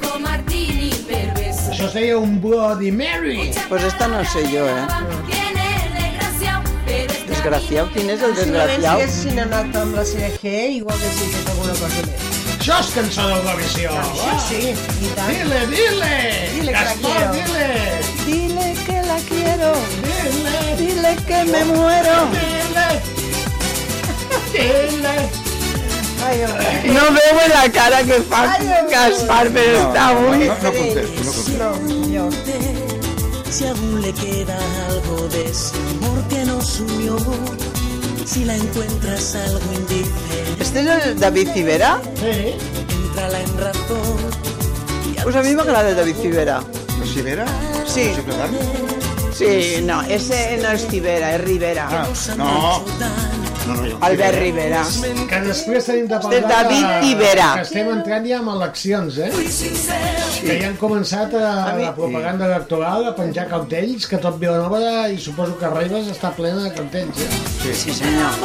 E: Això es deia un Bloody Mary.
F: Pues esta no sé jo, eh? Desgraciat, quin és el
I: Possiblement si
F: desgraciat?
I: haguessin anat amb la CDG, igual que si fet alguna cosa més.
E: Això és cançó d'Eurovisió.
I: Sí, sí, i tant.
E: Dile, dile.
I: Dile que la
E: Gaspar,
I: quiero.
E: dile.
F: Dile que la quiero.
E: Dile.
F: Dile que me muero.
I: Ai, home.
F: No veu la cara que fa Gaspar, però està avui...
Q: no Si aún le queda algo de ese amor que nos unió, si la encuentras algo indiferente,
F: Este és el David Civera?
E: Sí.
Q: entrala en razón.
F: Pues a mi m'agrada el David Civera.
G: La Civera?
F: Sí. Sí, no, ese no és Civera, és Rivera.
G: No. No, no, jo.
F: Albert Rivera.
E: Que després tenim de
F: Este
E: parlar...
F: és David
E: de-
F: Tibera.
E: Que estem entrant ja amb eleccions, eh? Que ja han començat a, la propaganda electoral a penjar cautells, que tot Vilanova i suposo que Ribes està plena de cautells, eh?
G: Sí,
F: sí senyor.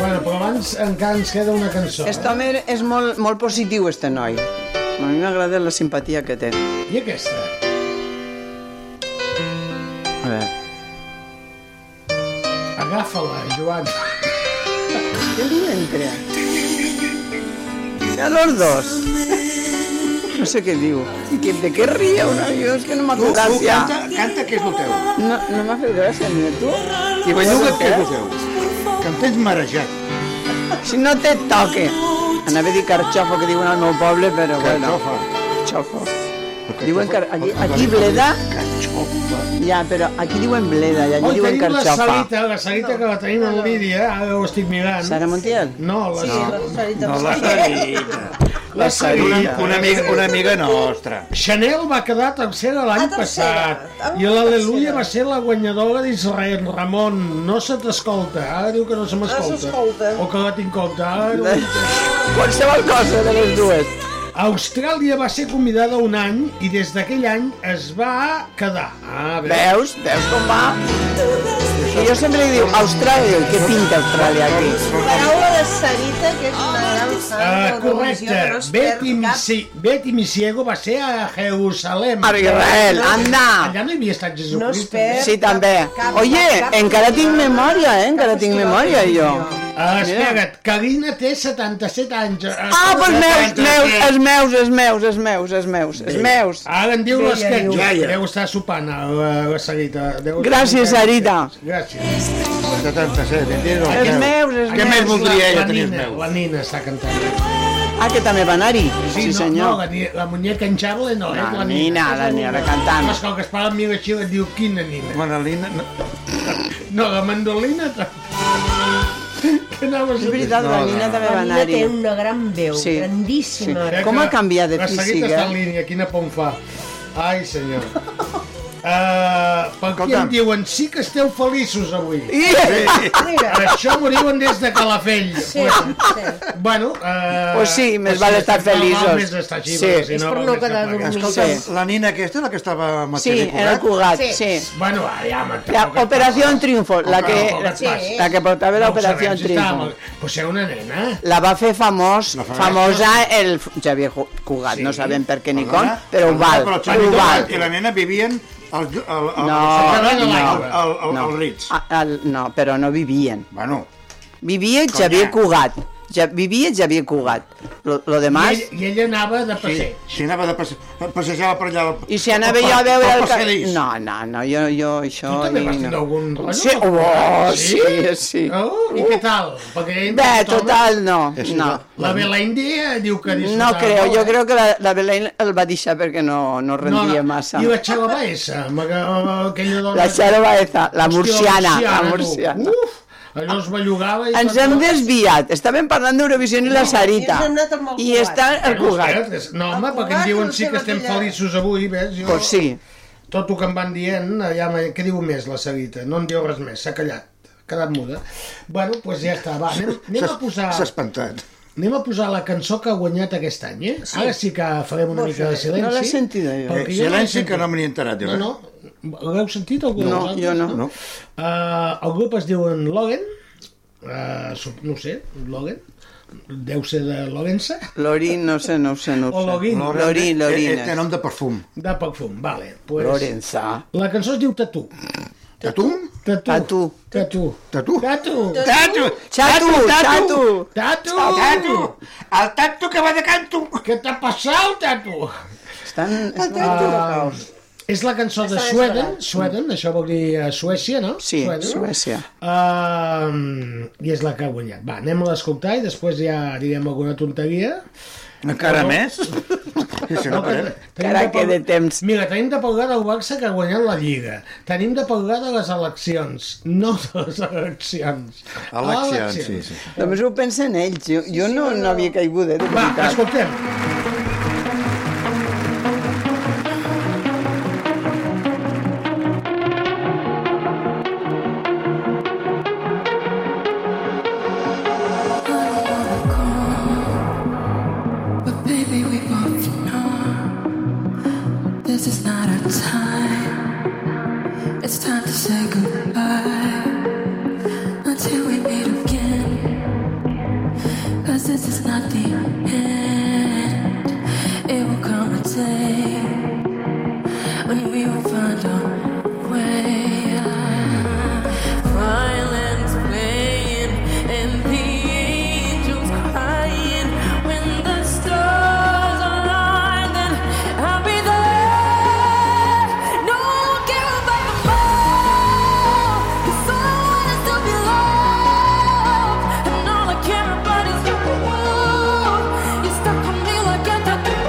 E: Bueno, però abans encara ens queda una cançó.
F: Este home és molt, molt positiu, este noi. A mi m'agrada la simpatia que té.
E: I aquesta?
F: A veure.
E: Agafa-la, Joan.
F: Què li entra? A los dos. No sé què diu. I que, de què ria una? Jo és que no m'ha
G: Tu,
F: fet
G: tu,
F: gràcia.
G: canta, canta que és el teu.
F: No, no m'ha fet gràcia, ni a tu.
G: I belluga que és el
F: Eh?
G: teu. Que em tens marejat.
F: Si no te toque. Anava a dir carxofo, que diuen al meu poble, però bueno.
G: Carxofa.
F: Carxofo. Diuen car... Aquí, aquí bleda... Ja, però aquí diuen bleda, ja, allà
E: Oi,
F: diuen
E: tenim la
F: carxofa.
E: salita, la salita que la tenim en Lídia, ara ho estic mirant.
F: Sara Montiel?
E: No, la...
I: Sí, la Sarita.
G: No, la Sarita. La Sarita. Una, una, amiga, una amiga nostra.
E: Chanel va quedar Ah, tercera Ah, l'any passat i l'Aleluia va ser la guanyadora d'Israel. Ramon, no se t'escolta. Ara diu que no se m'escolta. O que la tinc compte. Ara...
F: Qualsevol cosa de les dues.
E: Austràlia va ser convidada un any i des d'aquell any es va quedar. Ah,
F: Veus? Veus com va? I jo sempre li diu, Austràlia, què pinta Austràlia aquí?
I: Paraula de Sarita, que és una gran fan
E: Ah,
I: d'Eurovisió,
E: correcte.
I: que no es perd
E: Betty,
I: cap.
E: Misi, Betty Misiego va ser a Jerusalem.
F: A Israel, anda!
E: Allà no hi havia estat Jesucrist.
F: Sí, també. Oye, encara tinc memòria, eh? Encara tinc memòria, jo.
E: Ah, espera't, Carina té 77 anys.
F: Ah, doncs meus, meus, els meus, els meus, els meus, els meus, els meus.
E: Ara en diu
F: Sí,
E: les
F: ja
E: que
F: diu. Ja, ja.
E: deu estar sopant a la, la Sarita. Deu
F: Gràcies, Sarita.
E: Gràcies.
G: De 37, entiendo.
F: Els meus, els
G: Què
F: meus.
G: més voldria ella tenir els
E: Nina,
G: meus?
E: la Nina està cantant.
F: Ah, que també va anar-hi. Sí,
E: no,
F: senyor.
E: No, la, ni- la muñeca hinchable no, és
F: La Nina,
E: la Nina.
F: la Nina, la cantant.
E: No, és que el que es parla amb mi la xila et diu, quina Nina?
G: Manolina... No,
E: no la mandolina... ta- Que anaves a dir?
I: La Nina té una gran veu,
E: Sí.
I: grandíssima.
E: Mira que la Sarita està en línia, quina pom fa. Ai, senyor. Uh, per què em
G: Escolta'm.
E: diuen sí que esteu feliços avui?
G: Sí. Mira.
E: Això m'ho diuen des de Calafell.
I: Sí,
E: sí. Bueno, uh,
F: Pues sí, més val estar feliços.
E: Més estar així,
F: Sí.
E: perquè si
F: És per
E: val
F: no
E: més
F: quedar
E: que pagar.
F: dormint.
E: Escolta'm,
F: Sí.
G: La nina aquesta és la que estava amb el
F: Sí,
G: Xavier
F: era el Cugat, sí.
E: Bueno, aviam,
F: La
E: tampoc et
F: Operació
E: passis.
F: Triunfo, la que,
E: Tampoc et passis.
F: la que portava
E: No ho
F: l'Operació
E: sabem, si estava-
F: Triunfo.
E: Pues era una nena.
F: La va fer famós,
E: fa-
F: famosa el F- Xavier Ju- Cugat, no sabem per què ni com,
G: Perdona?
F: però ho val,
G: Però el Xavi
F: ho val.
G: Cugat i la nena vivien al, al, al,
F: No,
G: al, al, al,
F: no,
G: al, al,
F: no.
G: al Ritz.
F: A- al- no, però no vivien.
G: Bueno.
F: Vivia
G: Conya.
F: Xavier Cugat. Ja, vivia Xavier Cugat. Lo, lo demás...
E: I, ell, I ella anava de passeig.
G: Sí, sí anava de passe... passejava per allà.
F: I si anava jo a veure el... ca- No, no, no, jo, jo això...
E: Tu també
F: ni
E: vas
F: no.
E: tindre algun rotllo?
F: Sí, oh, sí,
E: Sí?
F: sí.
E: Oh, I què tal? Perquè ell
F: Bé,
E: no tothom-
F: total, no, no.
E: La Belén Dia diu que
F: No
E: disfrutava.
F: creo,
E: molt,
F: jo
E: eh?
F: creo que la, la Belén el va deixar perquè no, no rendia massa.
E: I la Xela Baeza, ma- eh, aquella dona...
F: La Xela Baeza, la
E: Hòstia,
F: murciana, la
E: tu.
F: murciana.
E: Uf, allò es bellugava i...
F: Ens hem desviat. Estàvem parlant d'Eurovisió i la Sarita. I està el Cugat.
E: No, home, perquè em diuen sí que estem feliços avui, ves? Jo...
F: Pues sí.
E: Tot el que em van dient, allà, me- què diu més la Sarita? No en diu res més, s'ha callat, ha quedat muda. Bueno, doncs pues ja està, va, anem, anem a posar...
G: S'ha espantat.
E: Anem a posar la cançó que ha guanyat aquest any, eh?
G: Sí.
E: Ara sí que farem una
G: No
E: mica
G: sé,
E: de silenci.
G: no l'he sentida, jo.
E: perquè
G: Eh,
E: no l'he
G: silenci,
E: sentit.
G: que no me n'he enterat, jo, eh?
E: No, no. L'heu sentit algú? de
F: No,
E: vosaltres?
F: jo no.
E: Eh, el grup es diu en Logan, eh, sup- no ho sé, Logan, deu ser de Logensa,
F: Lorin, no sé, no ho sé, no ho
E: O
F: sé.
E: Lorin.
F: Lorin, Lorin.
E: Eh, eh, té nom
G: de perfum.
E: de poc fum, vale. Pues,
F: Lorenza.
E: La cançó es diu Tatú.
G: Tatú?
E: Tatú. Tatú.
G: Tatú.
E: Tatú.
G: Tato!
E: Xato,
G: Tato!
E: Tato!
G: Tato! El tato que va de canto!
E: Què t'ha passat, tato?
F: Estan...
E: Ah, és la cançó de
F: Estan
E: Sweden,
F: esperant.
E: Sweden, això vol dir eh, Suècia, no?
F: Sí, Suècia.
E: Uh, I és la que ha guanyat. Va, anem a l'escoltar i després ja direm alguna tonteria.
G: Encara
E: Però-
G: més? Si no, parem.
E: Encara que de temps. Mira, tenim de pel del Barça que ha guanyat la Lliga. Tenim de pel de les eleccions. No de les eleccions.
G: Eleccions, sí, sí.
F: Només ho pensen ells. Jo, jo no, no havia caigut, eh, de
E: Va,
F: veritat.
E: escoltem.
H: But baby, we both know this is not our time. It's time to say goodbye until we meet again. Cause this is not the end. It will come a day when we will find our way. Violence playing and the angels crying. When the stars align, then I'll be there. No one can revive a more. 'Cause I wanna still be loved, and all I care about is you. You stuck on me like a tattoo.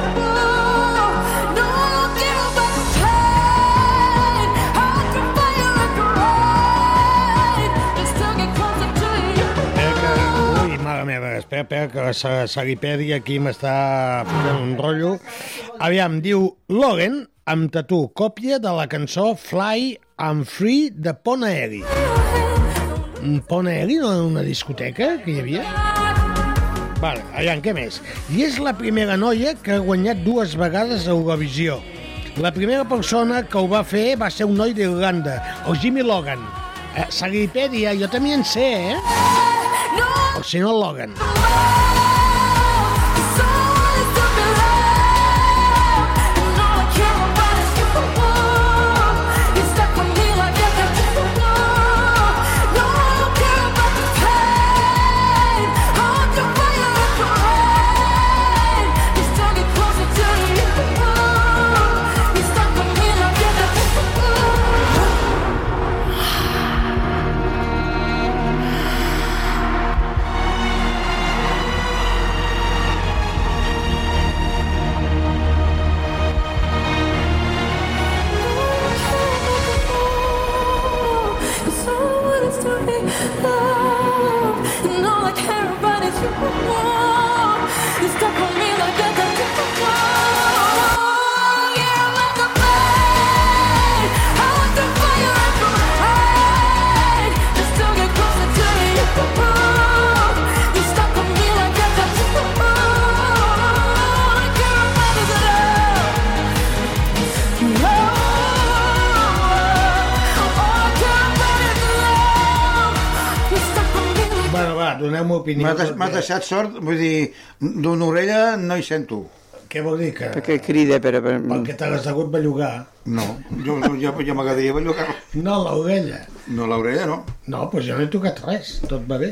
H: No one can revive the pain. I'll come by you like a ride, just to get closer to you.
R: Eh,
E: Ui, mare meva, espera, espera, que la Sa- Saripèdia aquí m'està fotent un rotllo. Aviam, diu Logan, amb tatu, còpia de la cançó Fly and Free de Ponaeri.
R: Mm,
E: Ponaeri no era una discoteca que hi havia?
R: Vale, aviam, què més? I és la primera noia que ha guanyat dues vegades a Eurovisió. La primera persona que ho va fer va ser un noi d'Irlanda, el Jimmy Logan. Eh, Sagipèdia, jo també en sé, eh? El senyor Logan.
E: Bueno, va, donem opinió.
G: M'has de- m'has deixat sort, vull dir, d'una orella no hi sento.
E: Què vol dir? Que...
F: Que cride, però... per-
E: Que te l'has hagut bellugar.
G: No, jo, jo, jo, jo m'agradaria bellugar.
E: No, l'orella.
G: No, l'orella no.
E: No, doncs jo no he tocat res, tot va bé.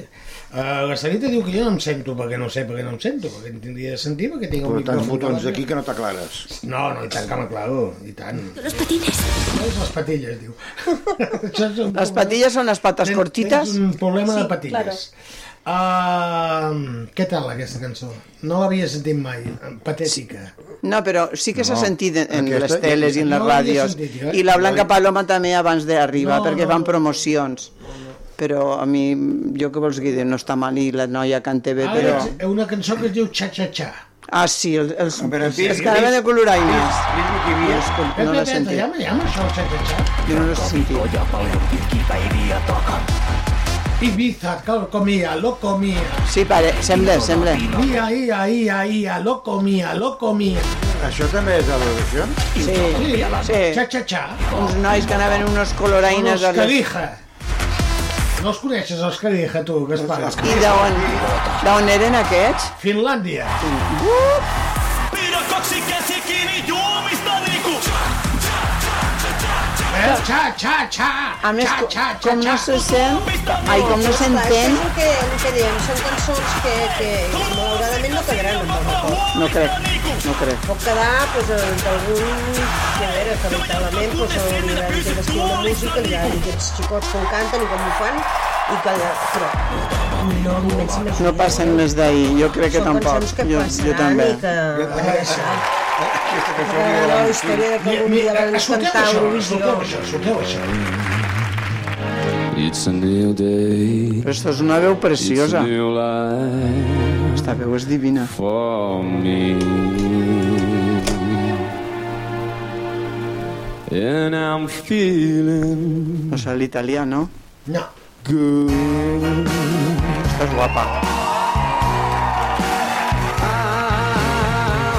E: Uh, la Sarita diu que jo no em sento, perquè no sé per què no em sento, perquè em tindria de sentir, perquè tinc
G: Però
E: un
G: tants
E: micròfon
G: botons
E: davant.
G: aquí que no t'aclares.
E: No, no, i tant que m'aclaro, i tant. Les patines. Les patilles, diu.
F: Les patilles són les pates cortites.
E: Tens un problema de patilles. Ah, què tal aquesta cançó? No l'havia sentit mai, patètica.
F: No, però sí que s'ha
E: No,
F: sentit en, en
E: aquesta-
F: les teles i en les
E: No l'havia
F: ràdios.
E: sentit jo, eh?
F: I la
E: No.
F: Blanca Paloma també abans d'arribar,
E: No,
F: perquè
E: no.
F: fan promocions. Però a mi, jo que vols que dir, no està mal i la noia canta bé,
E: Ara
F: però...
E: és una cançó que Ah, es diu Cha-Cha-Cha.
F: Ah, sí, els, els,
E: en fi,
F: els caraven de coloraines. No, és com-
E: Espera,
F: no l'he
E: espera,
F: sentit.
E: llama, llama això el Cha-Cha-Cha.
F: Jo no l'he sentit.
E: Ibiza, cal- comia, loco mia.
F: Sí, pare, sembla, sembla.
E: Ia, ia, ia, ia, loco mia, loco mia.
G: Això també és de l'Eurovisió?
F: Sí, sí.
E: Cha-Cha-Cha.
F: Uns nois que anaven unos coloraines... a
E: Los
F: les-
E: Calija. No els coneixes, els Calija, tu, Gaspar?
F: I d'on d'on eren aquests?
E: Finlàndia.
K: Pidä kaksi käsi kiinni juomista niinku.
E: Eh? Cha, cha, cha.
F: A més, com no se sent... Ai, com no s'entén...
I: És el que, el que diem, són cançons que, que, que malauradament no quedaran en el record.
F: No crec, no crec.
I: Pot quedar, doncs, en algun... que a veure, que lamentablement, doncs, el nivell que d'estil de música, ja, aquests xicots com canten i com ho fan, i que... Però no m'immensi més.
F: No passen més d'ahir, jo crec que
I: Són
F: tampoc.
I: cançons que
F: Jo,
E: eh?
F: jo
I: passaran
F: també.
I: i que...
G: Aquesta
I: que la història de que algun dia
E: eh,
I: van cantar a Eurovisió.
H: It's a new day.
F: Però esto és una veu preciosa.
H: It's a new life
F: Esta veu és divina.
H: For me. And I'm feeling.
F: No sé l'italià, no?
E: No.
H: Good.
F: Estàs guapa.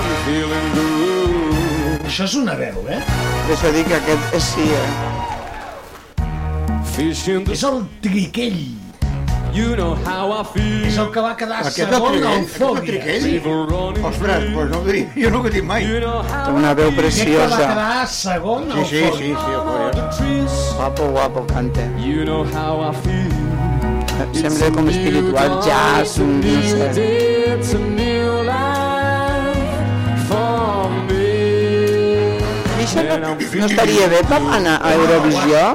H: I'm feeling good.
E: Això és una veu, eh?
F: Per això dic que aquest és sí, eh?
H: Fish in the...
E: És el triquell.
H: You know how I feel.
E: És el que va quedar
G: Aquest és el
E: segon
G: triquell?
E: al
G: Aquest és el
E: Fòbia.
G: triquell? Ostres, doncs no ho diria, jo no ho he dit mai.
F: Té una veu
E: Aquest que va
F: preciosa.
E: quedar segon
G: Sí,
E: al
G: sí, sí,
E: Fòbia.
G: sí, ho faré.
F: Guapo, guapo, canta.
H: You know how I feel.
F: Sembla com espiritual, jazz, un- no sé.
H: It's a new life for me.
F: I això no, no estaria bé per anar a Eurovisió?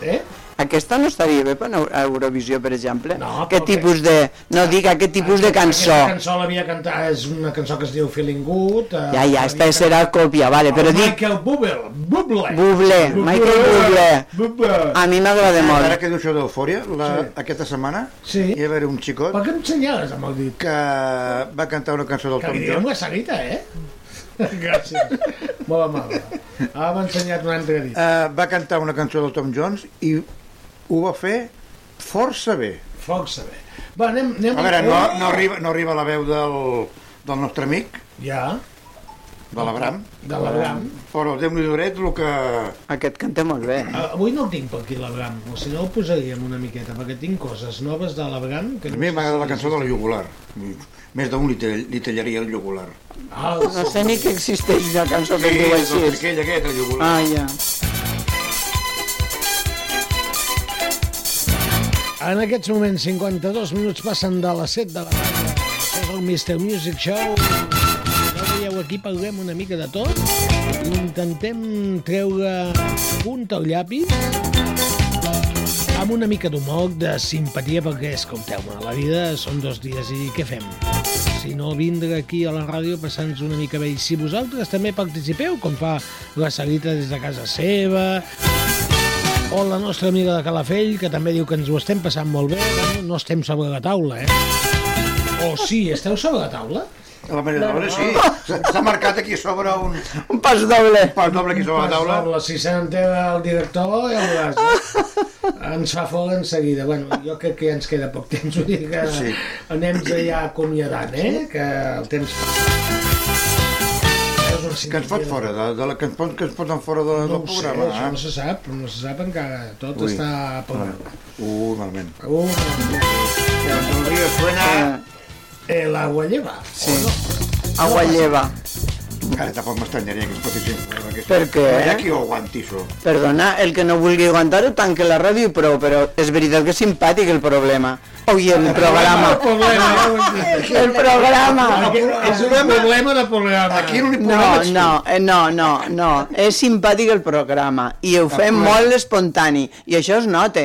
E: Eh?
F: Aquesta no estaria bé per anar a Eurovisió, per exemple?
E: No,
F: Aquest
E: però
F: tipus de... No, dic, aquest tipus de cançó.
E: Aquesta cançó l'havia cantat, és una cançó que es diu Feeling Good. eh,
F: Ja, ja, esta serà còpia, vale, però dic...
E: Michael Bublé, Bublé.
F: Bublé, Michael Bublé. A mi m'agrada
G: Ara
F: molt.
G: que diu això d'Eufòria, la,
E: Sí.
G: aquesta setmana
E: Sí.
G: hi va haver un xicot
E: Per què em senyales amb el dit?
G: que va cantar una cançó del
E: Que
G: Tom
E: li diem
G: Jones.
E: la Sarita, eh? Gràcies. Molt amable. Ara m'ha ensenyat un altre dit.
G: Eh, va cantar una cançó del Tom Jones i ho va fer força bé.
E: Foc saber. Va, anem, anem
G: A veure, no, no, arriba, no arriba la veu del, del nostre amic,
E: Ja.
G: de l'Abram.
E: De l'Abram.
G: Però déu-n'hi donet el que...
F: Aquest canta molt bé.
E: Ah, Avui no el tinc per aquí, l'Abram, o si no el posaríem una miqueta, perquè tinc coses noves de l'Abram que
G: A
E: no...
G: mi m'agrada la cançó de la llogular. Més d'un li, tall- li tallaria el llogular.
E: Ah,
F: No sé ni que existeix una cançó que es diu
G: Sí,
F: així.
G: doncs aquell, aquest, el llogular.
F: Ah, ja.
E: En aquests moments, 52 minuts passen de les 7 de la tarda. Això és el Mr. Music Show. Ja veieu, aquí parlem una mica de tot. Intentem treure punt al llapis amb una mica d'humor, de simpatia, perquè, escolteu-me, la vida són dos dies i què fem? Si no, vindre aquí a la ràdio passant una mica bé. I si vosaltres també participeu, com fa la Sarita des de casa seva, o la nostra amiga de Calafell, que també diu que ens ho estem passant molt bé, bueno, no estem sobre la taula, eh? O sí, esteu sobre la taula?
G: A la manera de veure, sí. S'ha- S'ha marcat aquí sobre un...
F: Un pas doble.
G: Un pas doble aquí sobre la taula.
E: Taula, si se n'entera el director, ja veuràs. eh? Ens fa fora en seguida. Bueno, jo crec que ja ens queda poc temps, vull dir que
G: Sí.
E: sí. anem ja acomiadant, eh? Que el temps... Que
G: ens fot fora, de, de la, que, ens pon, que ens posen fora de,
E: No
G: del
E: ho sé,
G: programa.
E: això no
G: eh?
E: se sap, no se sap encara. Tot
G: Ui.
E: està programat.
G: Uh, malament.
E: Uh,
G: el río suena...
E: Eh, la gualleva. Sí.
F: Agua lleva.
G: Ara tampoc m'estranyaria que es pot dir això.
F: Per què?
G: No hi ha qui ho aguanti, això.
F: Perdona, el que no vulgui aguantar-ho tanque la ràdio, però, però és veritat que és simpàtic el problema. Oi, el programa. Ah, El programa.
E: És un problema de programa.
G: Aquí no li
F: No, no, eh, no, no, no. És simpàtic el programa i ho fem molt espontani i això es nota.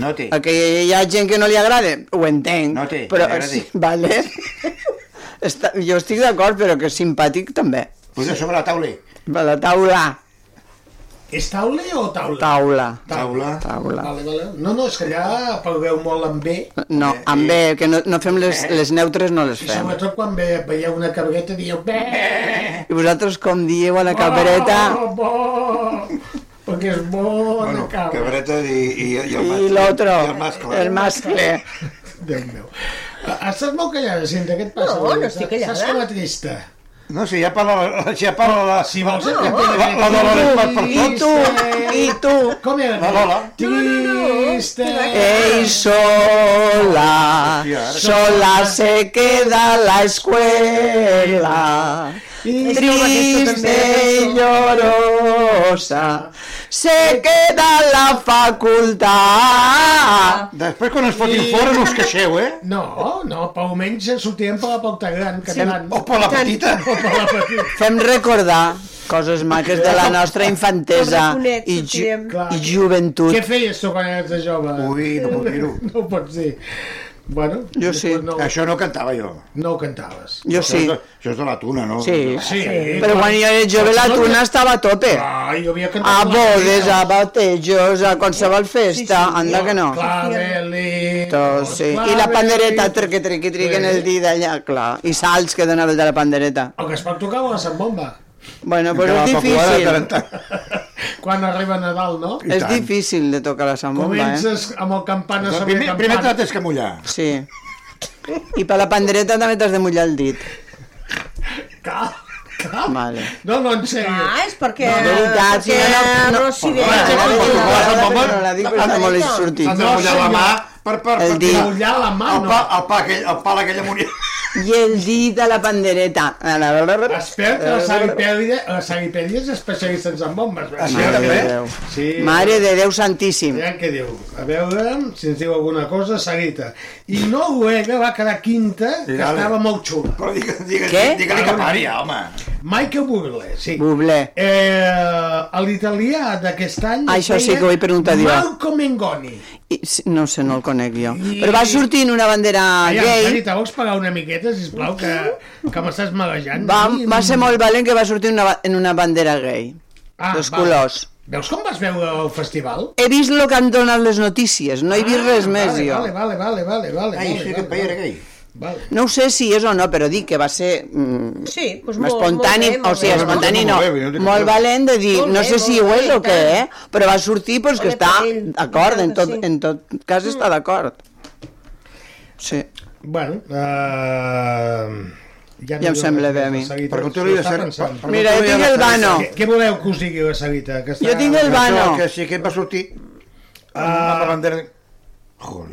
G: No té.
F: El Que hi ha gent que no li agrada, ho entenc.
G: No té,
F: però,
G: li
F: sí,
G: agradi.
F: vale. Està, jo estic d'acord, però que és simpàtic també.
G: Posa sobre la taula.
F: A la taula.
E: És taula o taula?
F: Taula.
G: Taula.
F: Taula.
E: Vale, vale. No, no, és que allà parleu molt amb B
F: No,
G: Eh,
F: amb bé, que no, no fem les, les neutres, no les
E: i
F: fem.
E: sobretot quan ve, veieu una cabreta dieu bé,
F: I vosaltres com dieu a la cabreta
E: oh, bo, perquè és bona bueno, cabra.
G: Cabreta i, i, i el
F: i
G: mascle.
F: l'altre,
G: I el mascle. eh?
F: el mascle.
E: Déu meu. Ah, Estàs molt callada, Cinta, què et passa?
G: No, no
E: Estàs-
G: estic callada.
E: Estàs com a trista.
G: No sé, ja parla, la- ja parla la... Si
E: vols,
G: la, la, Ah, la Lola l'Espat per
F: I tu, i tu.
E: Com era?
G: La Lola.
E: Trista.
F: Ey, sola, sola se queda la escuela. Triste y llorosa, se queda la facultad.
G: Després quan ens fotin fora no us queixeu, eh?
E: No, no, per almenys sortirem per la porta gran, que sí. tant.
G: O per la petita.
E: O per la petita.
F: Fem recordar coses maques de la nostra infantesa i, ju i joventut.
E: Què feies tu quan eres de jove?
G: Ui, no puc dir-ho.
E: No ho pots dir. Bueno,
F: Jo sí.
E: No,
G: Això no cantava jo.
E: no ho cantaves.
F: Jo
G: Això és
F: sí.
G: de- Això és de la tuna, no? eh.
F: Sí.
E: Sí.
F: Però quan jo era jove la tuna estava a tope.
E: Ah, jo havia cantat...
F: A
E: la
F: bodes,
E: tuna.
F: a batejos, a qualsevol festa, anda que no.
E: Claveli...
F: Tot, sí. I la pandereta, trequi, trequi, trequi, en el dit allà, clar. I salts que donaves de la pandereta.
E: El que es pot tocar amb la sambomba.
F: Bueno, però
G: Encara
F: és
G: la popular de tant en
F: difícil.
G: tant.
E: Quan arriba Nadal, no?
G: I
F: És
G: tant.
F: difícil de tocar la sambomba, eh?
E: Comences amb el campana
G: Però
E: sobre
G: Primer,
E: campana.
G: primer te la tens que mullar.
F: Sí. I per la pandereta també t'has de mullar el dit.
E: Cal, cal.
F: Vale.
E: No, no, en sèrio.
I: Ah, és perquè...
F: De veritat, si no, no, no.
I: Rossi ve...
F: Perdona, ara dic la
G: Ara, quan tu vas amb
F: paraula,
G: bomba,
F: però la dic perquè no l'he sortit.
G: Has de mullar la mà per, per,
F: El
G: per
F: dit.
G: tirar
E: Mullar la mà,
G: el
E: no.
G: pa, el pa, aquell, el pal aquell amunt. i-
F: I el dit a la pandereta.
G: Eh,
E: Espero que Eh, la Sari Pèlia, la Sari Pèlia és especialista en zambombes.
F: Mare
G: Això
F: de
G: Ah, també.
F: Déu.
E: Sí.
F: Mare de Déu santíssim.
E: Ja què diu? A veure si ens diu alguna cosa, Sarita. I Noruega va quedar quinta, que
G: dale.
E: estava molt xula.
G: Però digue, digue,
F: Què?
G: digue-li que pari, home.
E: Michael Bublé, sí.
F: Bublé.
E: Eh, L'italià d'aquest any... es
F: Ah, Això sí
E: deia
F: que ho he preguntat jo.
E: Marco Mengoni.
F: I, sí, no sé, no el conec jo. Però va sortint una bandera
E: Allà,
F: gay.
E: Sarita, vols pagar una miqueta, sisplau, que, que m'estàs maguejant?
F: Va,
E: Sí, mm.
F: va ser molt valent que va sortir una, ba- en una bandera gay.
E: Ah,
F: Dos
E: va.
F: colors.
E: Veus com vas veure el festival?
F: He vist el que han donat les notícies, no he vist res més
E: Ah, vale,
F: jo.
E: Vale, vale, vale, vale, vale.
G: Ai,
E: vale,
G: sí, que
E: vale,
G: paia era
E: vale.
G: gai.
E: Vale.
F: No ho sé si és o no, però dic que va ser mm,
I: Sí, doncs molt,
F: espontani,
I: molt bé, molt
F: o sigui,
I: bé.
F: espontani no,
G: Molt bé, molt bé.
F: molt valent de dir,
I: Molt bé,
F: no sé si ho
I: molt bé,
F: és o
I: i
F: què,
I: tant.
F: eh? però va sortir doncs, que
I: Ole eh,
F: està
I: per ell,
F: d'acord, en,
I: clar que
F: tot,
I: sí.
F: en tot cas està d'acord. Sí.
E: Bueno, uh, ja,
F: Ja em sembla bé a mi.
E: eh,
G: Pregunteu-li a Serra-
E: Serra.
G: Mira, jo tinc el Vano.
E: Què, què voleu que us digui la Sarita? Que està...
G: Jo tinc el Vano. No, que sí, que et va sortir
E: Ah,
G: amb la bandera...
F: Jo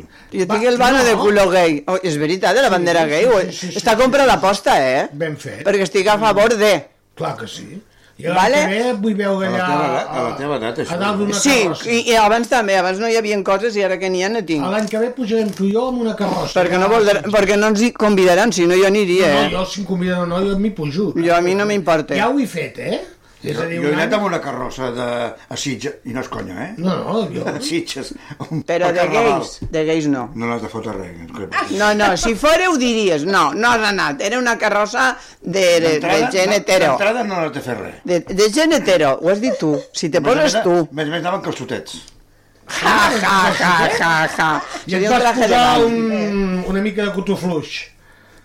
F: tinc el vano de culo gay. Oh, és veritat, de la bandera gay? o- Està comprada aposta, eh?
E: Ben fet.
F: Perquè estic a favor de...
E: Clar que sí. Jo
F: Vale?
E: vale. vull veure allà...
G: teva edat,
E: a dalt d'una
F: Sí,
E: carrossa.
F: i, i abans també, abans no hi havia coses i ara que n'hi ha no tinc.
E: L'any que ve pujarem tu i jo amb una carrossa.
F: Perquè no, voldrà, perquè no ens hi convidaran, si no jo aniria,
E: no,
F: eh?
E: no, jo si em conviden o no, jo m'hi pujo.
F: Jo a mi no m'importa.
E: Ja ho he fet, eh? És
G: Jo,
E: a dir,
G: jo he
E: un
G: anat
E: any-
G: amb una carrossa de, a Sitges, i no és conya, eh?
E: No, no, jo...
G: A Sitges.
F: Però de gais, de gais no.
G: No n'has de fotre res.
F: Ah, No, no, si fora ho diries. No, no has anat. Era una carrossa de, de, de gent hetero.
G: D'entrada no n'has de fer res.
F: De, de gent hetero, ho has dit tu. Si te
G: Més a
F: poses
G: més,
F: tu.
G: Més a més anaven calçotets.
F: Ja, Ah, ja, ja, ja, ja.
E: I et
F: Seria un
E: vas
F: traje de
E: posar
F: bany.
E: un, una mica de cotó fluix.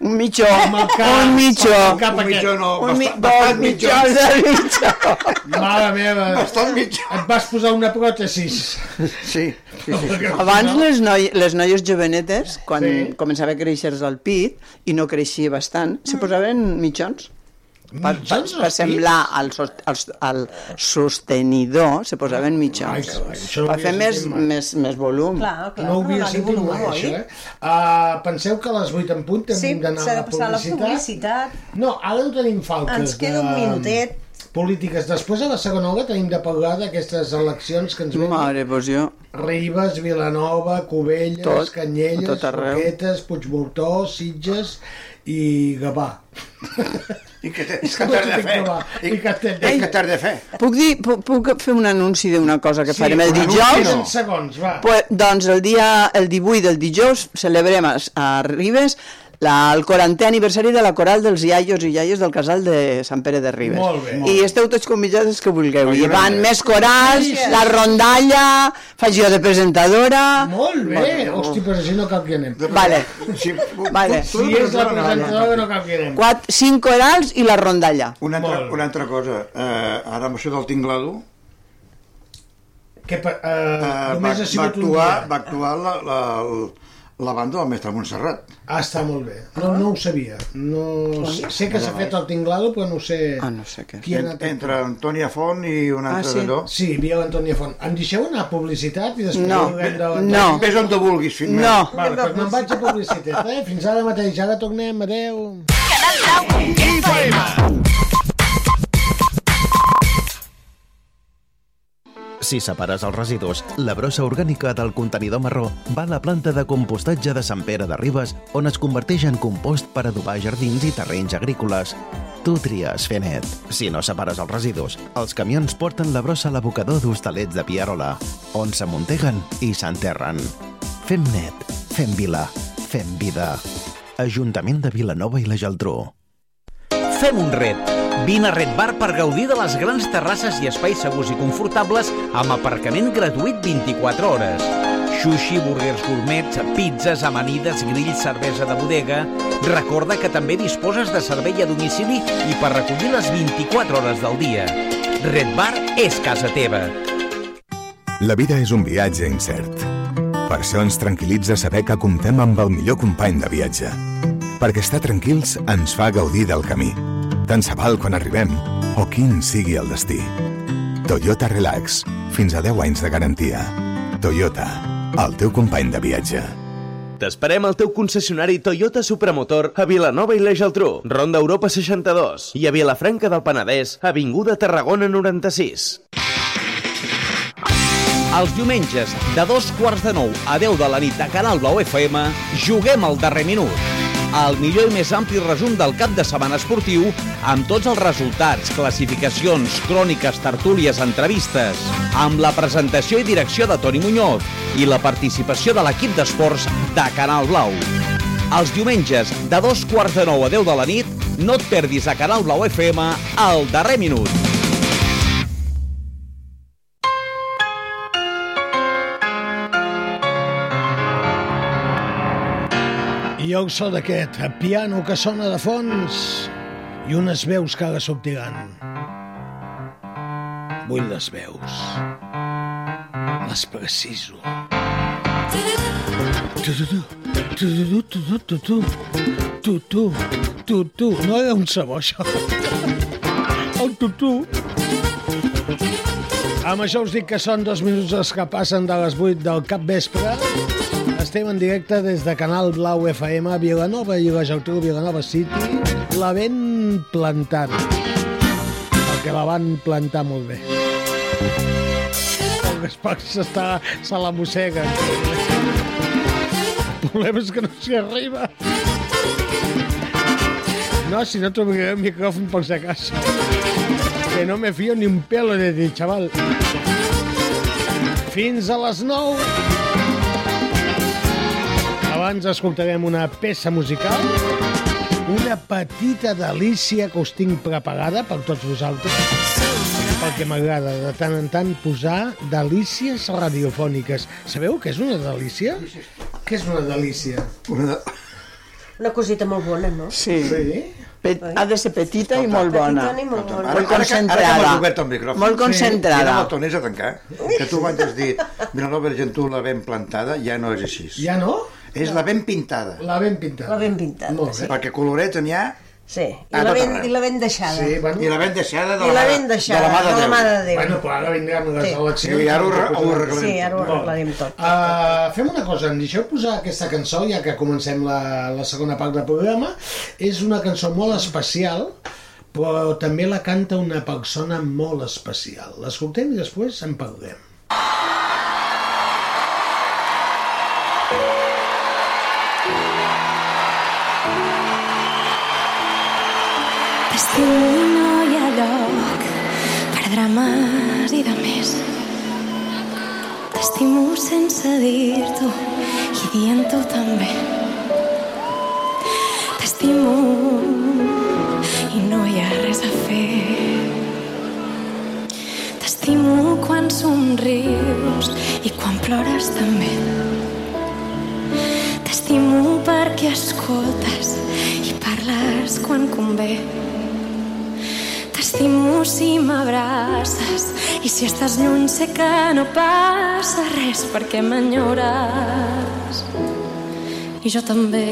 F: Un mitjó.
E: Amb el cap-
F: Un mitjó.
E: el cap
G: Un
E: aquest.
G: mitjó no,
F: Un mi-
G: bastant,
F: dos
G: bastant
F: mitjons de mitjó.
E: Mare meva.
G: Bastant mitjó.
E: Et vas posar una pròtesis.
G: Sí. sí, sí.
F: Abans les, noi, les noies jovenetes, quan
E: Sí.
F: sí. començava a créixer el pit, i no creixia bastant, se posaven mitjons. Per, per,
E: Mm. Mitjons
F: per
E: als
F: semblar al, sos- al, al sostenidor se posaven mitjons
E: això no
F: per
E: havia
F: fer més,
E: sentit mai.
F: més, més volum
I: Clar, clar,
E: No ho
I: no
E: havia
I: donar-li
E: sentit
I: volum,
E: mai,
I: oi?
E: això, eh? Uh, penseu que a les 8 en punt hem
I: Sí,
E: d'anar
I: s'ha
E: a
I: de
E: la
I: passar a la
E: publicitat.
I: publicitat.
E: No, ara no tenim faltes.
I: Ens queda un
E: de-
I: minutet.
E: Polítiques. Després, a la segona hora, tenim de parlar d'aquestes eleccions que ens venen.
F: mare, doncs jo
E: Ribes, Vilanova, Cubelles,
F: Tot,
E: Canyelles,
F: a tot arreu.
E: Roquetes, Puigmortó, Sitges i Gavà.
G: I que, és que t'has de fer. I,
E: I Castell.
G: i que t'has de fer.
F: puc, dir, puc, puc fer un anunci d'una cosa que
E: Sí,
F: farem el
E: un anunci
F: dijous
E: en segons, va.
F: Pues, doncs el dia el 18 del dijous celebrem a, a Ribes la, el 40è aniversari de la coral dels iaios i iaies del casal de Sant Pere de Ribes.
E: Molt bé.
F: I esteu tots convidats els que vulgueu.
E: Ai,
F: I
E: jo no
F: van
E: hi
F: més corals,
E: Gràcies.
F: la rondalla, faig jo de presentadora...
E: Molt bé! Hosti, però així no cap que anem.
F: Vale.
G: Sí,
F: Vale.
E: Si és la presentadora, no cap que anem.
F: Quatre, cinc corals i la rondalla.
G: Una altra, una altra cosa, eh, ara amb això del tinglado,
E: Que, eh,
G: eh, va,
E: només ha
G: va
E: sigut un
G: actuar,
E: dia.
G: va actuar la, la, la banda del mestre Montserrat.
E: Ah, està molt bé. No, no ho sabia. No... Sé que s'ha fet el tinglado, però no sé...
F: Ah, no sé què. Ah,
E: Qui ha
G: En,
E: anat a-
G: entre Antònia Font i un altre d'allò.
E: Sí, hi havia l'Antònia Font. Em deixeu anar a publicitat i després
F: No,
E: parlem de
F: no.
E: l'Antònia?
G: Vés on te vulguis, fill meu.
F: No.
E: Vale, doncs me'n vaig a publicitat, eh? Fins ara mateix, ara tornem, adeu.
S: Si separes els residus, la brossa orgànica del contenidor marró va a la planta de compostatge de Sant Pere de Ribes, on es converteix en compost per adobar jardins i terrenys agrícoles. Tu tries fer net. Si no separes els residus, els camions porten la brossa a l'abocador d'hostalets de Piarola, on s'amunteguen i s'enterren. Fem net, fem vila, fem vida. Ajuntament de Vilanova i la Geltrú.
T: Fem un ret. Vine a Red Bar per gaudir de les grans terrasses i espais segurs i confortables amb aparcament gratuït 24 hores. Sushi, burgers gourmets, pizzas, amanides, grills, cervesa de bodega... Recorda que també disposes de servei a domicili i per recollir les 24 hores del dia. Red Bar és casa teva.
U: La vida és un viatge incert. Per això ens tranquil·litza saber que comptem amb el millor company de viatge. Perquè estar tranquils ens fa gaudir del camí. Tant se val quan arribem o quin sigui el destí. Toyota Relax. Fins a 10 anys de garantia. Toyota. El teu company de viatge.
V: T'esperem al teu concessionari Toyota Supramotor a Vilanova i la Geltrú, Ronda Europa 62 i a Vilafranca del Penedès, Avinguda Tarragona 96.
T: Els diumenges, de dos quarts de nou a 10 de la nit a Canal Blau FM, juguem al darrer minut. El millor i més ampli resum del cap de setmana esportiu amb tots els resultats, classificacions, cròniques, tertúlies, entrevistes, amb la presentació i direcció de Toni Muñoz i la participació de l'equip d'esports de Canal Blau. Els diumenges, de dos quarts de nou a 10 de la nit, no et perdis a Canal Blau FM al darrer minut.
E: I el so d'aquest piano que sona de fons i unes veus que ara sortiran. Vull les veus. Les preciso. Tu, tu, tu. Tu, tu, tu, tu, tu, tu, tu, tu, tu, no era un sabó, això. El tutú. Amb això us dic que són dos minuts els que passen de les 8 del cap vespre. Estem en directe des de Canal Blau FM, Vilanova i la Geltrú, Vilanova City. La ben plantant. Perquè la van plantar molt bé. El Gaspar s'està... se la mossega. El problema és que no s'hi arriba. No, si no trobaré el micròfon per si acaso. Que no me fio ni un pelo de ti, xaval. Fins a les 9. Abans escoltarem una peça musical, una petita delícia que us tinc preparada per tots vosaltres, perquè m'agrada de tant en tant posar delícies radiofòniques. Sabeu què és una delícia? Què és una delícia? Una de...
I: Una cosita molt bona, no?
F: Sí. Pe ha de ser petita i molt bona.
I: Petitona i molt bona.
F: Molt
G: Ara que
F: concentrada.
G: m'has obert el micròfon.
F: Molt
G: I ara
F: concentrada.
G: me'l tornis a tancar. Que tu abans has dit, mira, la Vergentula ben plantada, ja no és així.
E: Ja no?
G: És la ben pintada.
E: La ben pintada.
I: La ben pintada, Molt sí.
G: Perquè colorets n'hi ha
I: Sí, i
G: A
I: la,
G: tot
I: ben,
G: arreu.
I: i la ben deixada.
G: I la ben deixada
I: I
G: de la,
I: la
G: mà-
I: ben deixada,
G: de la mà de,
I: de la mà de Déu.
E: Bueno, però ara vindran les
I: Sí.
E: eleccions.
G: Sí, ara ho re- ho arreglarem
I: Sí, ara ho arreglarem tot.
E: Uh, fem una cosa, em deixeu posar aquesta cançó, ja que comencem la, la segona part del programa. És una cançó molt especial, però també la canta una persona molt especial. L'escoltem i després en parlem.
M: L'estiu no hi ha lloc per drames i de més. T'estimo sense dir-t'ho i dient-ho també. T'estimo i no hi ha res a fer. T'estimo quan somrius i quan plores també. T'estimo perquè escoltes i parles quan convé. T'estimo si m'abraces i si estàs lluny sé que no passa res perquè m'enyores i jo també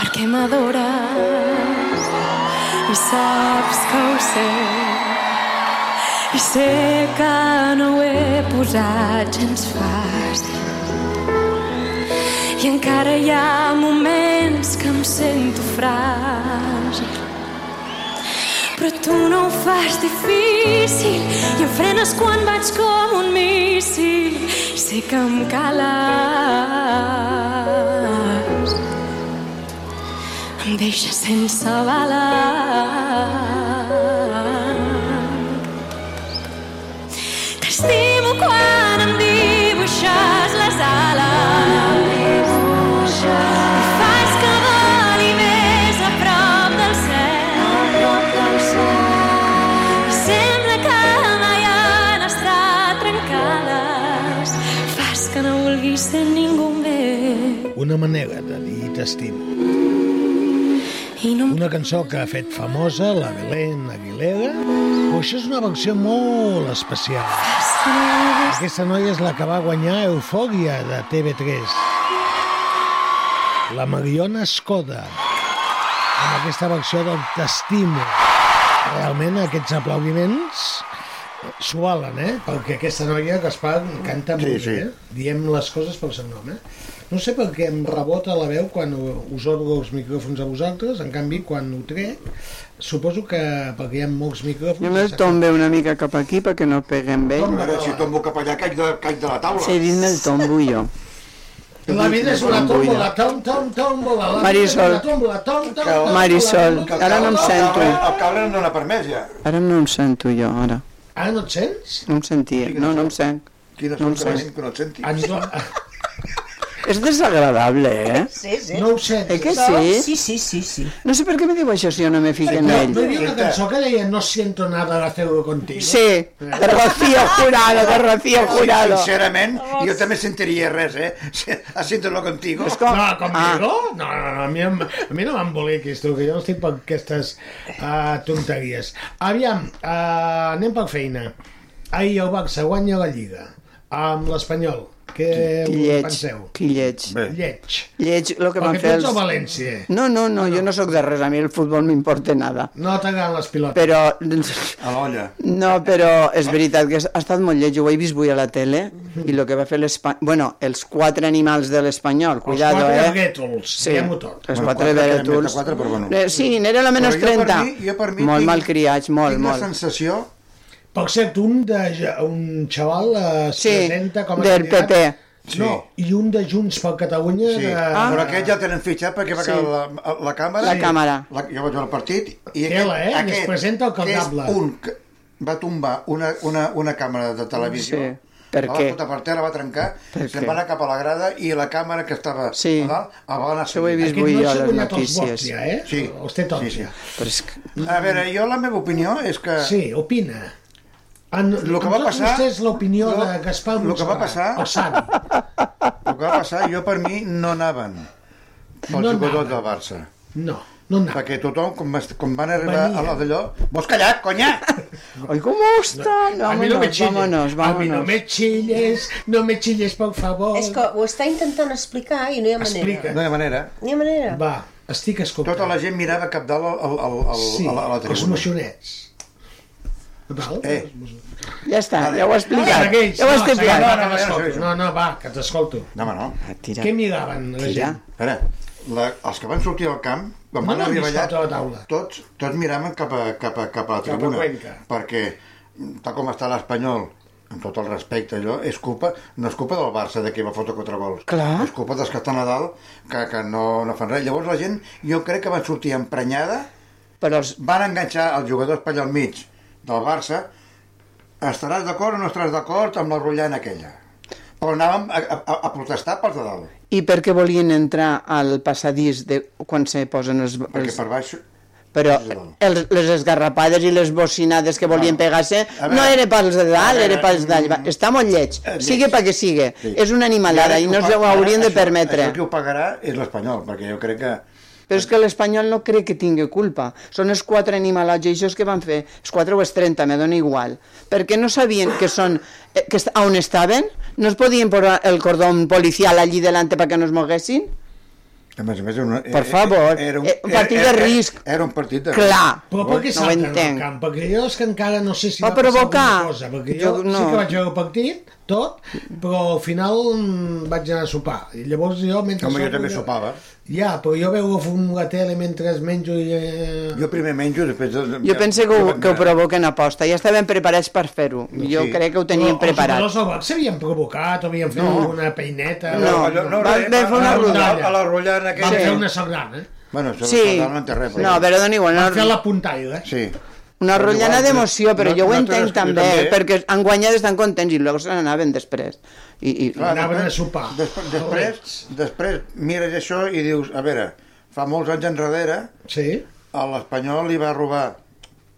M: perquè m'adores i saps que ho sé i sé que no ho he posat gens fàcil i encara hi ha moments que em sento fràgil però tu no ho fas difícil i em frenes quan vaig com un míssil i sé que em cales em deixes sense balanç t'estimo quan em dibuixes les ales i fas que voli més a prop del cel Sembla que mai han estat trencades. Fas que no vulguis ser ningú més.
E: Una manera de dir t'estimo. Una cançó que ha fet famosa la Belén Aguilera, però això és una versió molt especial. Aquesta noia és la que va guanyar Eufòria de TV3. La Mariona Escoda, amb aquesta versió del T'estimo. Realment, aquests aplaudiments s'ho valen, eh? Perquè aquesta noia, Gaspar, canta molt sí, sí. bé. eh? Diem les coses pel seu nom, eh? No sé per què em rebota la veu quan us obro els micròfons a vosaltres, en canvi, quan ho trec, suposo que perquè hi ha molts micròfons...
F: Jo me'l tombe una mica cap aquí perquè no peguen bé.
G: Tomba, que si tombo cap allà, caic de, caic de la taula.
F: Sí, dit me'l tombo jo.
E: La vida és una tómbola, tom, tom, tómbola, la vida és
F: Marisol.
E: una tómbola, tom, tom, tom,
F: Marisol, ara no em sento.
G: El cabre no n'ha permès, ja.
F: Ara no em sento jo, ara.
E: Ara no et sents?
F: No em sentia. No, no em sent.
G: Quina
F: No em
G: sort que la
F: sent.
G: gent que no et senti.
E: Ens,
F: És desagradable, eh?
I: Sí, sí.
E: No ho sé.
F: Eh que sí?
I: Sí, sí, sí, sí.
F: No sé per què me diu això si jo no me fico en
E: No,
F: ell.
E: no hi havia una cançó que deia No siento nada de hacerlo contigo.
F: Sí, de Rocío Jurado, de Rocío Jurado.
G: Sincerament, jo també sentiria res, eh? Siento-lo contigo.
E: No, conmigo? Ah. No, no, no, a mi, em- a mi no m'emboliquis, tu, que jo no estic per aquestes uh, tonteries. Aviam, eh, uh, anem per feina. Ahir el Barça guanya la Lliga amb l'Espanyol. Què
F: Qui lleig,
E: penseu?
F: qui lleig.
E: Lleig.
F: Lleig, el que
E: Perquè
F: van
E: tu
F: fer
E: ets
F: els...
E: el València.
F: No, no, no, jo no sóc de res, a mi el futbol m'importa nada.
E: No t'agraden les pilotes.
F: Però,
G: A l'olla.
F: no, però és veritat que ha estat molt lleig, ho he vist avui a la tele, i el que va fer l'Espanyol... Bueno, els quatre animals de l'Espanyol, cuidado,
E: quatre
F: eh?
E: guètols,
F: Sí,
E: diguem-ho
F: els
E: tot.
F: quatre
E: Bueno, quatre,
G: més de
F: guètols.
G: quatre, però bueno.
F: Eh, Sí, n'era la menys
G: Però jo per
F: 30.
G: mi- jo per mi
F: Molt
G: tinc-
F: malcriats, molt,
G: tinc la
F: molt.
G: sensació...
E: Poc cert, un, de, ja- un xaval es
F: Sí,
E: presenta com a
F: del
E: candidat.
F: PP.
E: No, i un de Junts per Catalunya...
G: Sí.
E: De...
G: Ah. Però aquest ja tenen fitxat perquè va
E: Sí.
G: sí. quedar la, la càmera.
E: La càmera.
G: La, jo vaig veure el partit. I
E: Tela, eh? I es presenta el
G: que
E: caldable.
G: és un que va tombar una, una, una càmera de televisió.
F: Sí. Per
G: la
F: què?
G: Va fotre per terra, va trencar,
F: Per
G: se'n
F: què?
G: va anar cap a la grada i la càmera que estava sí. a dalt el va anar
F: Això ho he vist
G: seguint.
F: avui jo a les notícies.
G: Sí.
E: eh? Els té tots.
G: Sí,
F: Però és que...
G: A veure, jo la meva opinió és que...
E: Sí, opina. Ah, En,
G: Lo que va
E: en
G: passar-
E: Vostè és l'opinió
G: lo-
E: de Gaspar
G: lo que va
E: Montserrat,
G: passar-
E: El sant.
G: El que va passar, jo per mi, no anaven pels
E: No
G: jugadors del Barça.
E: No, no anava.
G: Perquè tothom, com, es- com van arribar
E: Venia.
G: a la d'allò... Vols callar, conya?
F: Oi, com estan?
E: A mi no me
F: Vámonos,
E: chilles.
F: vámonos,
E: A mi no
F: vámonos.
E: me chilles, no me chilles, por favor.
I: És que ho està intentant explicar i no hi ha manera.
E: Explica.
G: No hi ha manera.
I: No hi ha manera.
E: Va, estic escoltant.
G: Tota la gent mirava cap dalt al, al, al,
E: Sí,
G: a, la, a la
E: els
G: tribuna.
E: moixonets. Val?
G: Eh.
F: Ja està, ja ho he explicat.
E: Segueix,
F: ja ho he
E: no, segueix,
F: explicat.
E: no, no, m'escolto. no, no, va, que t'escolto.
G: No, home, no.
F: Ah, Tira.
E: Què miraven, la Tira. gent?
G: A veure, la, els que van sortir al camp, quan
E: No
G: van
E: l'han
G: arribar
E: vist
G: allà,
E: tota la taula.
G: tots, tots miraven cap a, cap a, cap a la
E: Cap a
G: tribuna.
E: Cuenca.
G: perquè, mm, tal com està l'Espanyol, amb tot el respecte, allò, és culpa, no és culpa del Barça de qui va fotre quatre gols. Clar. És culpa dels que estan a dalt, que, que no, no fan res. Llavors la gent, jo crec que van sortir emprenyada,
F: Però els...
G: van enganxar el jugador espanyol al mig del Barça, estaràs d'acord o no estaràs d'acord amb la rotllana aquella. Però anàvem a, a, a protestar pels de dalt.
F: I per què volien entrar al passadís de quan se posen els...
G: Perquè
F: els...
G: per baix...
F: Però els, les esgarrapades i les bocinades que volien pegar-se
G: A veure.
F: no era pels de
G: A
F: dalt,
G: veure, mm, eh,
F: era pels d'all. Va, Està molt lleig,
G: lleig.
F: sigui pel que sigui.
G: Sí.
F: És una animalada i no ens ho haurien de permetre.
G: El que ho pagarà és l'Espanyol, perquè jo crec que...
F: Però és que l'Espanyol no crec que tingui culpa. Són els quatre animalats, i això és que van fer, els quatre o els 30, me dona igual. Perquè no sabien que són, eh, que est- on estaven? No es podien posar el cordón policial allí delante perquè no es moguessin?
G: Eh, A més a més, una,
F: Per favor, eh, un partit de risc.
G: Era, un partit de
F: Clar.
E: Però per què
F: no ho
E: salten al
F: entenc.
E: camp? Perquè jo és que encara no sé si
F: Va
E: va, passar
F: provocar.
E: alguna cosa, perquè jo,
F: Oh, Jo
E: no.
F: no.
E: sí que vaig veure el partit, tot, però al final mm, vaig anar a sopar. I llavors jo, mentre...
G: Home, jo
E: sopo,
G: també sopava.
E: Ja, però jo veu a fum la tele mentre menjo i... Eh...
G: Jo primer menjo, després...
F: Jo penso que ho, que ho provoquen a posta. Ja estaven preparats per fer-ho. Jo
E: Sí.
F: crec que ho tenien
E: Però Els
F: preparat.
E: jugadors del Barça havien provocat, o havien fet
F: No.
E: alguna peineta...
F: No, no, no, van- van fer una rotllana.
G: A la rotllana
E: Van
G: aquella.
E: fer una sardana.
G: Bueno, això
F: Sí.
G: sí. no en té res.
F: No, però dona igual,
E: Van
F: no-
E: fer la puntaire.
G: Sí.
F: Una
E: Però
F: rotllana
E: igual,
F: d'emoció, però
E: no-
F: jo ho
E: no te
F: entenc
E: l'escriu
F: també,
E: també.
F: perquè han guanyat estan contents i llavors se n'anaven després. I, i...
G: Clar, després- Després, després, després mires això i dius, a veure, fa molts anys enrere,
E: sí.
G: a l'Espanyol li va robar,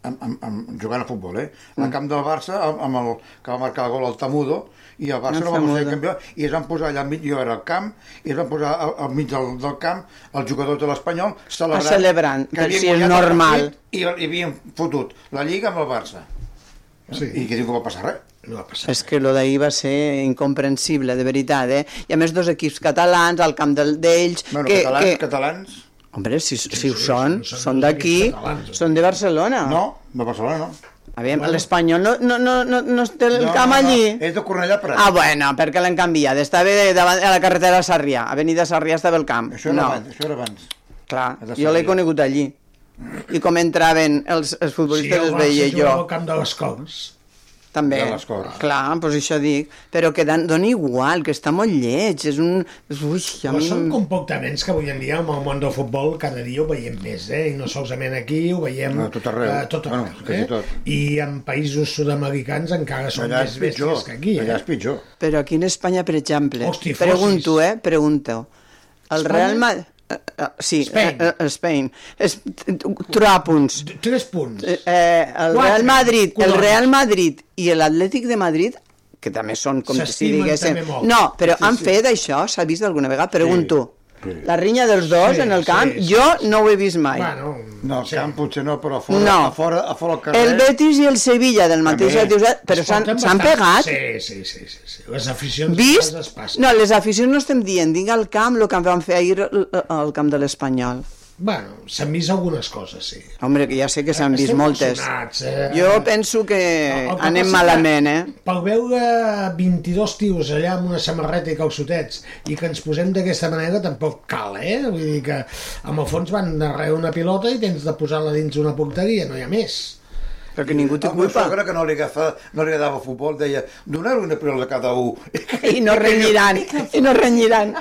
G: amb, amb, amb, jugant a futbol, eh?
F: Mm.
G: al camp del Barça, amb, amb el, que va marcar el gol al Tamudo, i el Barça
F: El
G: no va aconseguir
F: Tamudo.
G: campió, i es van posar allà al mig, jo era al camp, i es van posar al, al mig del, del camp els jugadors de l'Espanyol celebrant,
F: A Ah, celebrant,
G: que
F: que
G: havien
F: si és
G: guanyat el
F: normal.
G: partit I, i havien fotut la Lliga amb el Barça. Sí. I que diu que va passar res.
E: No va passar
F: És que lo d'ahir va ser incomprensible, de veritat, eh? I a més dos equips catalans, al camp del- d'ells...
G: Bueno,
F: que,
G: catalans,
F: que...
G: catalans...
F: Hombre, si, si ho són, són d'aquí, són de Barcelona.
G: No, de Barcelona no.
F: Aviam, l'Espanyol no, no, no, no, no té el
G: No,
F: camp
G: no, no,
F: allí.
G: és de Cornellà Prat.
F: Ah, bueno, perquè l'han canviat. Estava davant a la carretera de Sarrià. Avenida Sarrià estava el camp.
G: Això era
F: no,
G: abans, això era abans.
F: clar,
G: de
F: jo l'he
G: Sarrià.
F: conegut allí. I com entraven els, els futbolistes els veia jo.
E: al camp de les Coves.
F: També,
E: de les Coves.
F: clar, doncs això dic. Però que dan, dona igual, que està molt lleig. És un... Ui, a
E: Però
F: mi...
E: són comportaments que avui en dia amb el món del futbol cada dia ho veiem més, eh? I no solament aquí, ho veiem
G: A tot arreu.
E: eh, tot arreu
G: Bueno, quasi
E: eh?
G: tot.
E: I en països sud-americans encara són
G: Allà és
E: més bèsties
G: pitjor,
E: que aquí. Eh?
G: allà és pitjor.
F: Però aquí en Espanya, per exemple,
E: Hosti, fosis.
F: pregunto, eh, pregunto, el
E: Espanya?
F: Real Madrid... sí,
E: Spain.
F: eh, eh, Spain. Es, tres punts.
E: Tres punts.
F: Eh, el
E: Quatre.
F: Real Madrid, el
E: Colons.
F: Real Madrid i l'Atlètic de Madrid que també són com si
E: S'estimen
F: diguéssim...
E: també molt.
F: No, però
E: Sí,
F: han
E: sí.
F: fet això? S'ha vist alguna vegada? Pregunto. La rinya dels dos
G: Sí,
F: en el
G: sí,
F: camp,
G: sí,
F: jo no ho he vist mai.
G: No, al camp potser no, però a fora,
F: No.
G: a fora, a fora al carrer...
F: el Betis i el Sevilla del mateix
G: També.
F: Atiusat, però
G: Es
F: s'han
G: porten
F: s'han
G: bastant.
F: pegat.
E: Sí, sí, sí, sí, sí. Les aficions
F: Vist?
E: es passen.
F: No, les aficions no estem dient, dins al camp el que van fer ahir al- al camp de l'Espanyol.
E: Bueno, s'han vist algunes coses, sí.
F: Hombre, que ja sé que s'han vist
E: Estem
F: moltes.
E: emocionats, eh?
F: Jo penso que
E: El que
F: anem
E: passa
F: malament, eh?
E: que Pel veure 22 tios allà amb una samarreta i calçotets i que ens posem d'aquesta manera tampoc cal, eh? Vull dir que amb el fons van darrere una pilota i tens de posar-la dins una porteria, no hi ha més.
F: Però que ningú
G: té culpa. El meu sogre, que no li, agafa, no li agradava el futbol, deia, donar-ho una pilota a cada un.
F: I no renyiran, i no renyiran.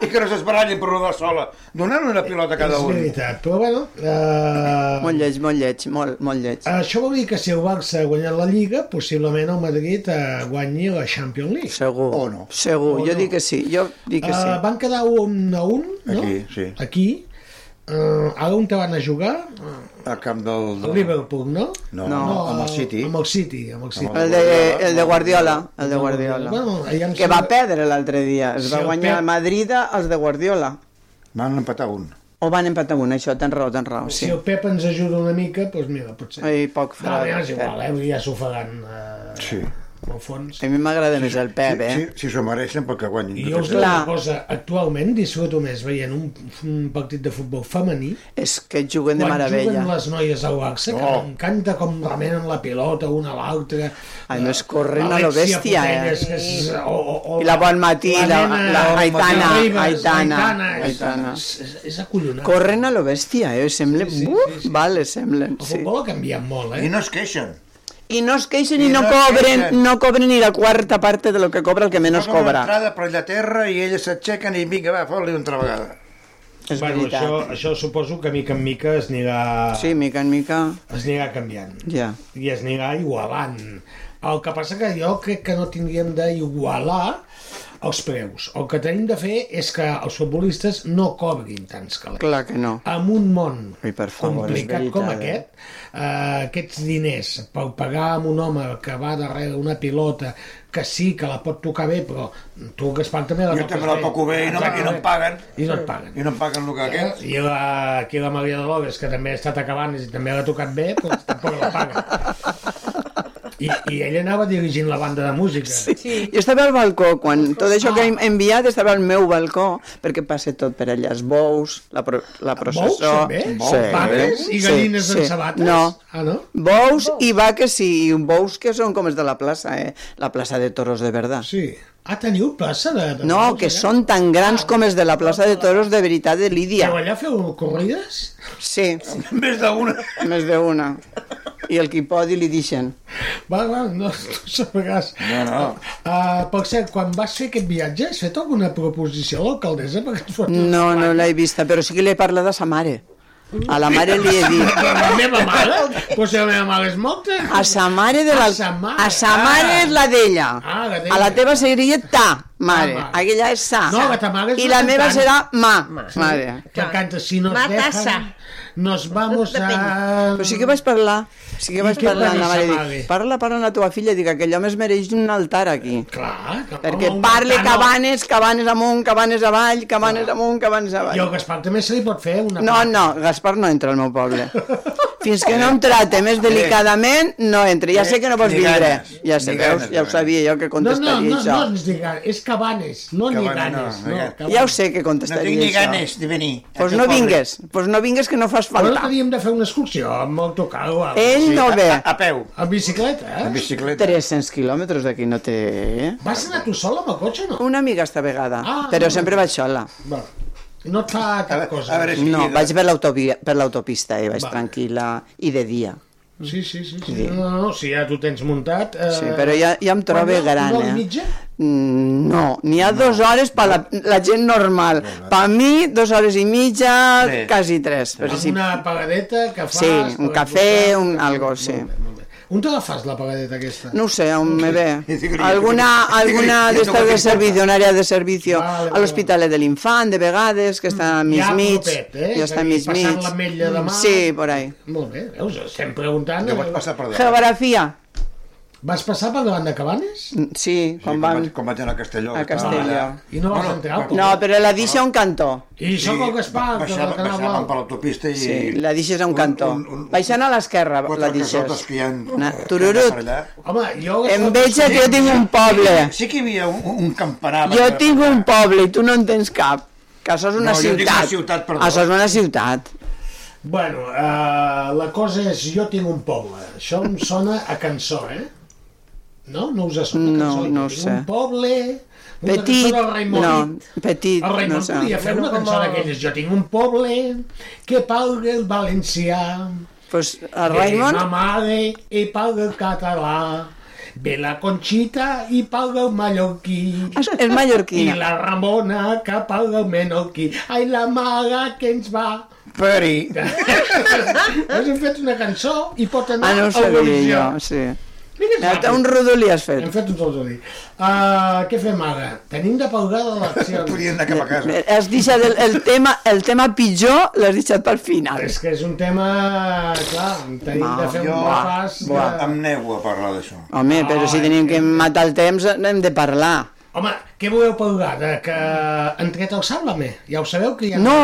G: I que no s'esbarallin per rodar sola. Donar-ho una pilota a cada
E: És
G: un.
E: veritat, però bueno... Eh... Ah,
F: Molt lleig, molt lleig, molt, molt lleig.
E: Això vol dir que si el Barça ha guanyat la Lliga, possiblement el Madrid eh, guanyi la Champions League.
F: Segur.
E: O no.
F: Segur, jo dic que sí, jo dic que sí.
E: Eh, van quedar un a un, no?
G: Aquí, sí.
E: Aquí. Uh, ara on te van a jugar?
G: Al camp del...
E: El Liverpool, no?
G: No, no, amb el City.
E: Amb el City, amb el City.
F: El de, Eh, el de Guardiola, el de Guardiola.
E: Bueno, allà em
F: que
E: sembla-
F: va perdre l'altre dia. Es
E: Sí,
F: va
E: el
F: guanyar
E: Pep.
F: el Madrid els de Guardiola.
G: Van empatar un.
F: O van empatar un, això, tens raó, tens raó,
E: Si
F: sí.
E: el Pep ens ajuda una mica, doncs mira, potser...
F: Ai, poc
E: No,
F: fred.
E: ja és igual, eh? Vull dir, Ja s'ofegant eh,
G: Sí.
E: al fons.
F: A mi m'agrada més el Pep, eh?
G: Si, si s'ho mereixen, perquè guanyin.
E: I jo us dic una cosa, actualment disfruto més veient un, un partit de futbol femení
F: És que juguen de
E: quan
F: meravella.
E: juguen les noies al Barça, que
F: Oh.
E: m'encanta com remenen la pilota una a l'altra.
F: Ai, no és corrent a lo
E: Alexia
F: bèstia, eh?
E: Putellas, que és- o- o- o
F: I la Bon Matí, la,
E: nena-
F: la
E: Bon Matí
F: Aitana,
E: Ribas,
F: Aitana,
E: és-
F: Aitana.
E: És, és acollonant.
F: Corren a lo bèstia, eh? Semblen, sí, sí, sí, sí. vale, semblen.
E: El futbol ha canviat molt, eh?
G: I no es queixen.
F: I no es queixen i,
G: I
F: no,
G: no es
F: cobren,
G: queixen.
F: no cobren ni la quarta part de lo que cobra el que menys
G: Posen una
F: cobra.
G: entrada per allà a terra i elles s'aixequen i vinga, va, fot-li una altra vegada.
F: És
E: bueno,
F: veritat.
E: Això, això suposo que mica en mica es anirà...
F: Sí, mica en mica...
E: Es anirà canviant.
F: Ja.
E: I es anirà igualant. El que passa que jo crec que no tindríem d'igualar els preus. El que tenim de fer és que els futbolistes no cobrin tants calés.
F: Clar que no.
E: Amb un món
F: Ai, per favor, és
E: complicat
F: veritat.
E: com
F: eh?
E: aquest, eh, aquests diners per pagar a un home que va darrere una pilota que sí, que la pot tocar bé, però tu, Gaspar, també la
G: Jo
E: toques
G: també la toco bé i no, i no em paguen.
E: I no et paguen.
G: I no em paguen el que aquest.
E: I la, aquí la Maria Dolores, que també ha estat acabant i també l'ha tocat bé, doncs tampoc la paga. I, I ella anava dirigint la banda de música. Sí.
F: Jo estava al balcó, quan tot això que hem enviat estava al meu balcó, perquè passa tot per allà, els bous, la, pro, la
E: Ah, Bous,
F: processó...
E: també? Vaques i gallines en sabates?
F: No,
E: Ah, no?
F: bous i vaques sí, i bous que són com els de la plaça, eh? la plaça de toros de verdad.
E: Sí. Ah, teniu plaça de... de Ah.
F: No, que són tan grans com els de la plaça de toros de veritat de Lídia.
E: Però allà feu corrides?
F: Sí.
G: Més d'una.
F: Més d'una. I el qui pot i li deixen.
E: Va, va, no, no sabràs.
G: No, no.
E: Uh, per cert, quan vas fer aquest viatge, has fet alguna proposició a l'alcaldessa? perquè et fos-
F: No, no l'he vista, però sí que l'he parlat a sa mare. A la mare li he dit...
E: Però la meva mare? Però si la meva mare és morta?
F: A sa mare de la...
E: A sa mare.
F: A sa mare
E: Ah.
F: és la d'ella.
E: Ah, la d'ella.
F: a la teva seria ta, mare.
E: Ah, mare.
F: Aquella és sa.
E: No, la ta mare és
F: I
E: una
F: la meva
E: cantant.
F: serà ma,
E: Sí.
F: mare.
E: Que canta, si nos
F: Matassa.
E: dejan, nos vamos a...
F: Però sí que vaig parlar. Sí que vaig
E: què va
F: parlar.
E: dir
F: La
E: sa
F: mare dic,
E: mare?
F: parla, parla amb la teva filla. Dic, aquell home es mereix un altar aquí.
E: Clar.
F: Perquè
E: home, un
F: parle
E: altar no.
F: cabanes, cabanes amunt, cabanes avall, cabanes amunt, cabanes
E: I al
F: avall.
E: Gaspar també se li pot fer una...
F: No, no, Gaspar no entra al meu poble. Fins que no em trate més delicadament, no entra. Ja sé que no pots
E: Ni
F: vindre.
E: ganes,
F: Ja sé,
E: ni
F: veus?
E: ganes,
F: Ja ho sabia jo que
E: No, no, no,
F: contestaria
E: no,
F: això.
E: ens digues, és cabanes, no
F: Cabanes,
E: niganes.
F: no,
E: No,
F: no,
E: cabanes.
F: Ja ho sé que contestaria
G: No tinc ni
F: això.
G: ganes de venir.
F: Pues no vingues, pues no vingues que no fas
E: Però no
F: falta.
E: havíem de fer una excursió amb autocar o alguna
F: Ell no ve.
G: peu.
E: Amb bicicleta, eh?
G: Amb bicicleta.
F: 300 quilòmetres d'aquí no té... Eh?
E: Vas anar tu sola amb el cotxe, no?
F: Una amiga esta vegada,
E: Ah,
F: però
E: no.
F: sempre vaig sola.
E: Va. eh? No et fa cap cosa.
F: No, vaig per l'autovia- per l'autopista i vaig
E: Va.
F: tranquil·la i de dia.
E: Sí, sí, sí. sí. No, no, no, si ja tu tens muntat... Eh...
F: Sí, però ja- ja em trobo
E: Quan hi ha
F: gran,
E: una hora i
F: eh?
E: mitja?
F: Mm, No, n'hi ha dues hores per la, la gent normal. Per mi, dues hores i mitja,
E: Tres.
F: quasi tres. Però
E: Amb
F: sí,
E: una pagadeta que fas...
F: sí, un
E: per
F: cafè, un algo, sí.
E: On te la fas, la pagadeta aquesta?
F: No ho sé, on me ve.
E: digo,
F: Alguna,
E: digo, digo,
F: alguna
E: digo,
F: de estas
E: digo,
F: de
E: digo,
F: servicio, un àrea de servicio
E: Vale, Mm,
F: a l'Hospitalet de l'Infant, de vegades, que està mig
E: Ja
F: mig.
E: propet, eh?
F: Ja
E: És
F: està
E: a dir,
F: mig mig.
E: passant l'ametlla de mà.
F: Sí, por ahí.
E: eh? Molt bé, veus? Estem preguntant... Que pots
G: passar per
F: Geografia. Mm,
E: Vas passar per davant de Cabanes?
F: Sí, quan van...
G: Vaig, quan vaig anar a Castelló.
F: A
G: estava
F: Castelló.
G: allà.
E: I no vas entrar,
G: va-
F: No, però la
E: Ah.
F: deixa a un cantó.
E: I això com que es paga, que
G: Baixava,
E: la Canal
G: baixàvem
E: Blau.
G: per l'autopista i...
F: Sí, la deixes a un cantó. Baixant a l'esquerra la
G: casotes
F: deixes.
G: que hi ha...
F: Na, tururut.
E: Home, jo...
F: Em veig que jo tinc un poble.
G: Sí que hi havia un, un campanar.
F: Jo tinc un poble i tu no en tens cap. Que això és una
G: No, jo tinc
F: ciutat.
G: una ciutat, perdó.
F: Això és una ciutat.
E: Bueno, uh, la cosa és, jo tinc un poble. Això em sona a cançó, eh? No? No us sona a
F: No,
E: cançó?
F: no ho
E: tinc
F: sé.
E: Un poble... Una
F: Petit,
E: cançó del Raimon.
F: no, petit,
E: El Raimon
F: no
E: no
F: sé.
E: podia fer una cançó d'aquelles. Jo tinc un poble que paga el valencià.
F: Pues el Raimon...
E: Ve ma mare i paga el català. Ve la Conxita i paga el mallorquí.
F: És mallorquina.
E: I la Ramona que paga el menorquí. Ai, la maga que ens va...
G: Peri.
E: Has fet una cançó i pot anar
F: Ah, no ho
E: a
F: sabia
E: Eurovisió.
F: jo, sí.
E: Mira, que ràpid.
F: Un rodolí has fet.
E: Hem fet un rodolí. Uh, què fem ara? Tenim de pagar de l'acció.
G: Podríem anar cap a casa.
F: Has deixat el, el, tema, el tema pitjor l'has deixat pel final.
E: És que és un tema... Clar, tenim de fer un repàs...
G: Jo
E: De...
G: em nego a parlar d'això.
F: Home, però si tenim que matar el temps, hem de parlar.
E: Home, què voleu pagar? De que han tret el Sálvame? Ja ho sabeu que ja...
F: No,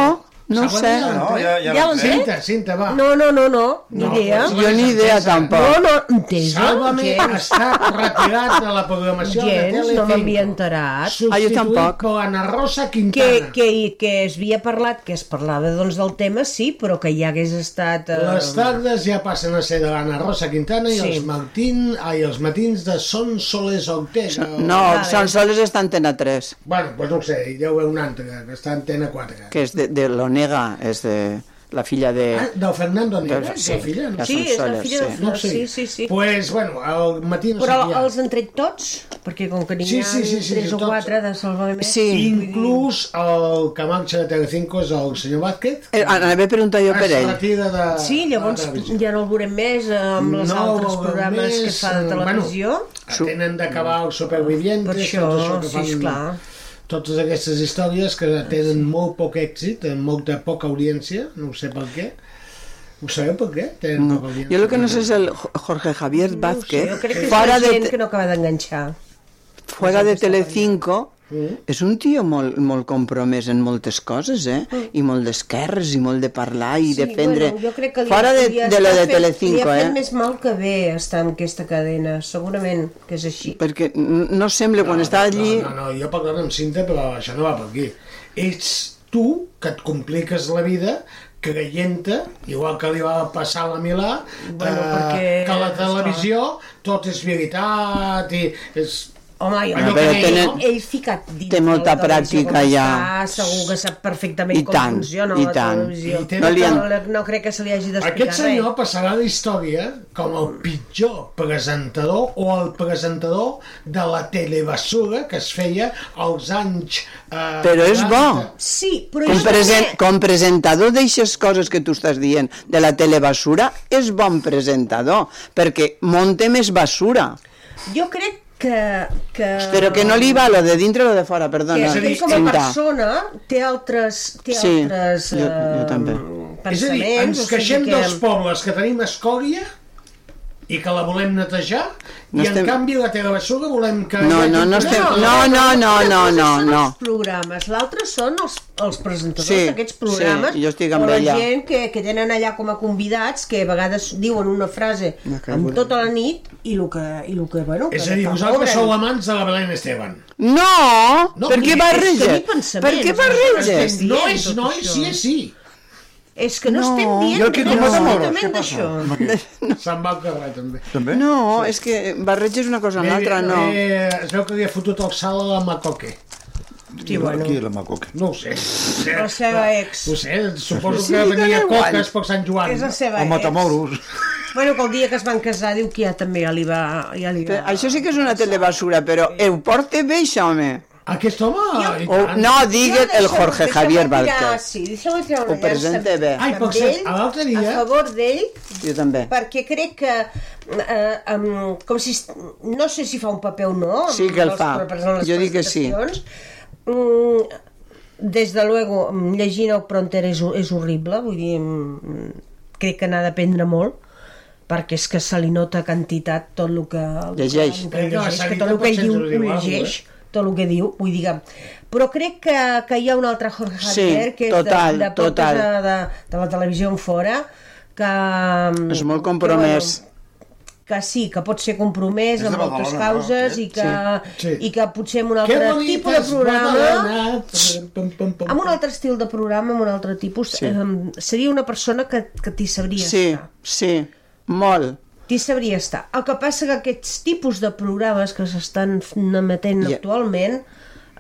F: no
E: Sálvame
F: sé.
E: ja l'han
F: No,
E: tret?
F: ja- ja Ja l'han l'han tret?
E: eh? Cinta, Cinta, va.
I: No, no, no, no, ni
E: No,
I: idea.
E: jo ni idea tampoc.
I: No, no, entesa.
E: Sálvame
I: Gens.
E: està retirat de la programació de
I: Gens,
E: Telecinco.
I: no m'havia enterat.
E: Ah, jo tampoc. per Ana Rosa
I: Quintana. Que, que, que es havia parlat, que es parlava doncs, del tema, sí, però que ja hagués estat... Eh...
E: Les tardes ja passen a ser de l'Anna Rosa Quintana i
I: Sí.
E: els, matin, ai, els matins de Son Soles Ortega.
F: No,
G: Ah,
F: són soles està en Antena 3,
E: Bueno, doncs no ho sé, hi deu haver un altre, que està en Antena 4.
F: que és de, de l'Onega, és de la filla de...
E: Ah, del Fernando Negre,
F: Del-
E: sí. la filla, no?
F: la Sí, és la Sonsoles, filla del sí.
E: No ho sé.
I: sí, sí, Doncs sí.
E: Pues, bueno, al matí no
I: Però
E: sabia.
I: els han tret tots? Perquè com que n'hi
E: Sí,
I: ha
E: sí, sí, sí,
I: tres
E: sí,
I: o
E: tots.
I: quatre de salvament...
E: Inclús el que marxa de Telecinco és el senyor Vázquez.
F: Eh, anava a preguntar jo per ell.
E: Es retira de...
I: Sí, llavors
E: de la televisió.
I: ja no el veurem més eh, amb els
E: No el
I: altres
E: veurem
I: programes
E: més,
I: que fa
E: eh,
I: de televisió.
E: Tenen d'acabar els supervivients.
I: Per això, sí, esclar.
E: Totes aquestes històries que tenen molt poc èxit, amb molta poca audiència, no ho sé per què. Ho sabeu per què? Tenen
F: No.
E: poca audiència.
F: Jo el que no sé és
I: Ah.
F: el Jo- Jorge Javier Vázquez,
I: Jo crec que és
F: fora
I: la
F: de,
I: gent que no acaba d'enganxar.
F: fuera de Telecinco, És un tio molt, molt compromès en moltes coses, eh? I molt d'esquerres, i molt de parlar, i
I: Ah. Sí,
F: defendre...
I: bueno, jo crec que li-
F: Fora de,
I: li ha-
F: de lo
I: li ha
F: de
I: fet- Li
F: Telecinco,
I: ha fet
F: eh?
I: més mal que bé estar en aquesta cadena, segurament que és així.
F: Perquè n- no sembla, quan està allí...
E: No, no, jo parlava amb Cinta, però això no va per aquí. Ets tu que et compliques la vida creient-te, igual que li va passar a la Milà,
I: Bueno,
E: eh,
I: perquè-
E: que a la televisió tot és veritat i és...
I: Home, jo
E: Allò
F: Però
E: que deia,
F: tenen-
I: Ell ficat dins
F: Té
I: de la
F: molta
I: televisió com
F: pràctica ja.
I: Està, segur que sap perfectament
F: I
I: com
F: tant,
I: funciona
F: i
I: la
F: tant.
I: televisió.
F: I té- No li han-
I: no, no crec que se li hagi d'explicar
E: Aquest senyor passarà a la història com el pitjor presentador o el presentador de la telebasura que es feia als anys... Eh,
F: Però és bo.
I: Sí, però
F: Com, present, com presentador d'aixes coses que tu estàs dient de la telebasura, és bon presentador, perquè monte més basura,
I: res. Jo crec que... que...
F: però que no li va lo de dintre o lo de fora,
I: Ah. que
F: perdona.
I: ell com a
F: Cinta.
I: persona té altres, té
F: Sí,
I: altres
F: jo, jo
I: eh,
F: també.
E: És a dir,
I: pensaments,
E: ens
I: o sigui
E: queixem
I: que-
E: dels pobles que tenim escòria i que la volem netejar
F: No
E: i
F: estem-
E: en canvi la telebasura volem que...
F: No, no, no estem... No, no, no, no, no, no.
I: els programes, l'altre són els, els presentadors
F: Sí,
I: d'aquests programes
F: sí, jo estic amb
I: o la
F: ella.
I: gent que, que tenen allà com a convidats que a vegades diuen una frase
F: No, que
I: amb
F: avorrit.
I: tota la nit i el que, i el que bueno,
E: És
I: que
E: a dir,
I: fa
E: vosaltres
I: cobren.
E: sou amants de la Belén Esteban.
F: No!
E: No,
F: per què
E: és
F: barreges?
E: tenir pensaments,
F: Per què
E: és
F: barreges?
E: estem dient No és tot no, això. sí, sí.
I: És que no,
F: No.
I: estem dient
F: Jo el que
I: res
F: comento molt,
I: absolutament
F: què passa?
I: d'això.
E: Se'n va al carrer, també.
G: També?
F: No, és que barreges una cosa amb l'altra, no.
E: Eh, es veu que li ha fotut el sal a la Macoque.
G: Qui, bueno. qui la Macoque?
E: No ho sé.
I: La seva ex.
E: Ho sé, suposo
I: Sí,
E: que
I: que
E: venia
I: no guany.
E: coques per Sant Joan.
I: És la seva ex. Bueno, que el dia que es van casar diu que ja també ja li va... Ja li va...
F: Això sí que és una telebasura, però ho porta bé, això, home.
E: Aquest home...
F: O, no, digues el Jorge Javier
I: Tirar,
F: Vázquez.
I: sí, deixeu-me tirar una
F: Ho presenta bé. Ai,
I: amb
F: per cert,
I: ell,
F: a l'altre dia-
I: A favor d'ell,
F: Jo també.
I: perquè crec que... Eh, em- com si... est- No sé si fa un paper o no.
F: Sí que el
I: amb les
F: fa.
I: pre- les
F: Jo dic que sí.
I: presentacions. Mm, des de luego, mm, llegint el Pronter és, ho- és horrible, vull dir, mm, crec que n'ha d'aprendre molt, perquè és que se li nota quantitat tot el que el que-
F: Llegeix.
I: el que,
F: No,
I: llegeix,
F: se li
I: que tot el
F: nota
I: que
F: potser
I: diu
F: ens ho diu eh?
I: ho
F: algú,
I: llegeix, tot el que diu, vull dir que... Però crec que, que hi ha un altre Jorge
F: Sí,
I: Javier, que és
F: total,
I: de, de, portes
F: total.
I: De, de, de la televisió en fora, que... mm,
F: És molt compromès.
I: Que sí, que pot ser compromès
F: És de
I: amb moltes
F: Badalona,
I: causes
F: no?
I: i que,
E: Sí.
I: i que potser amb un
E: Que
I: altre tipus de
E: boniques,
I: programa
E: Badalona. Pum, pum, pum.
I: amb un altre estil de programa, amb un altre tipus, sí.
F: Sí.
I: eh, seria una persona que, que t'hi sabria
F: Sí,
I: estar.
F: sí, molt.
I: T'hi sabria estar. El que passa que aquests tipus de programes que s'estan f- emetent
F: Ja.
I: actualment...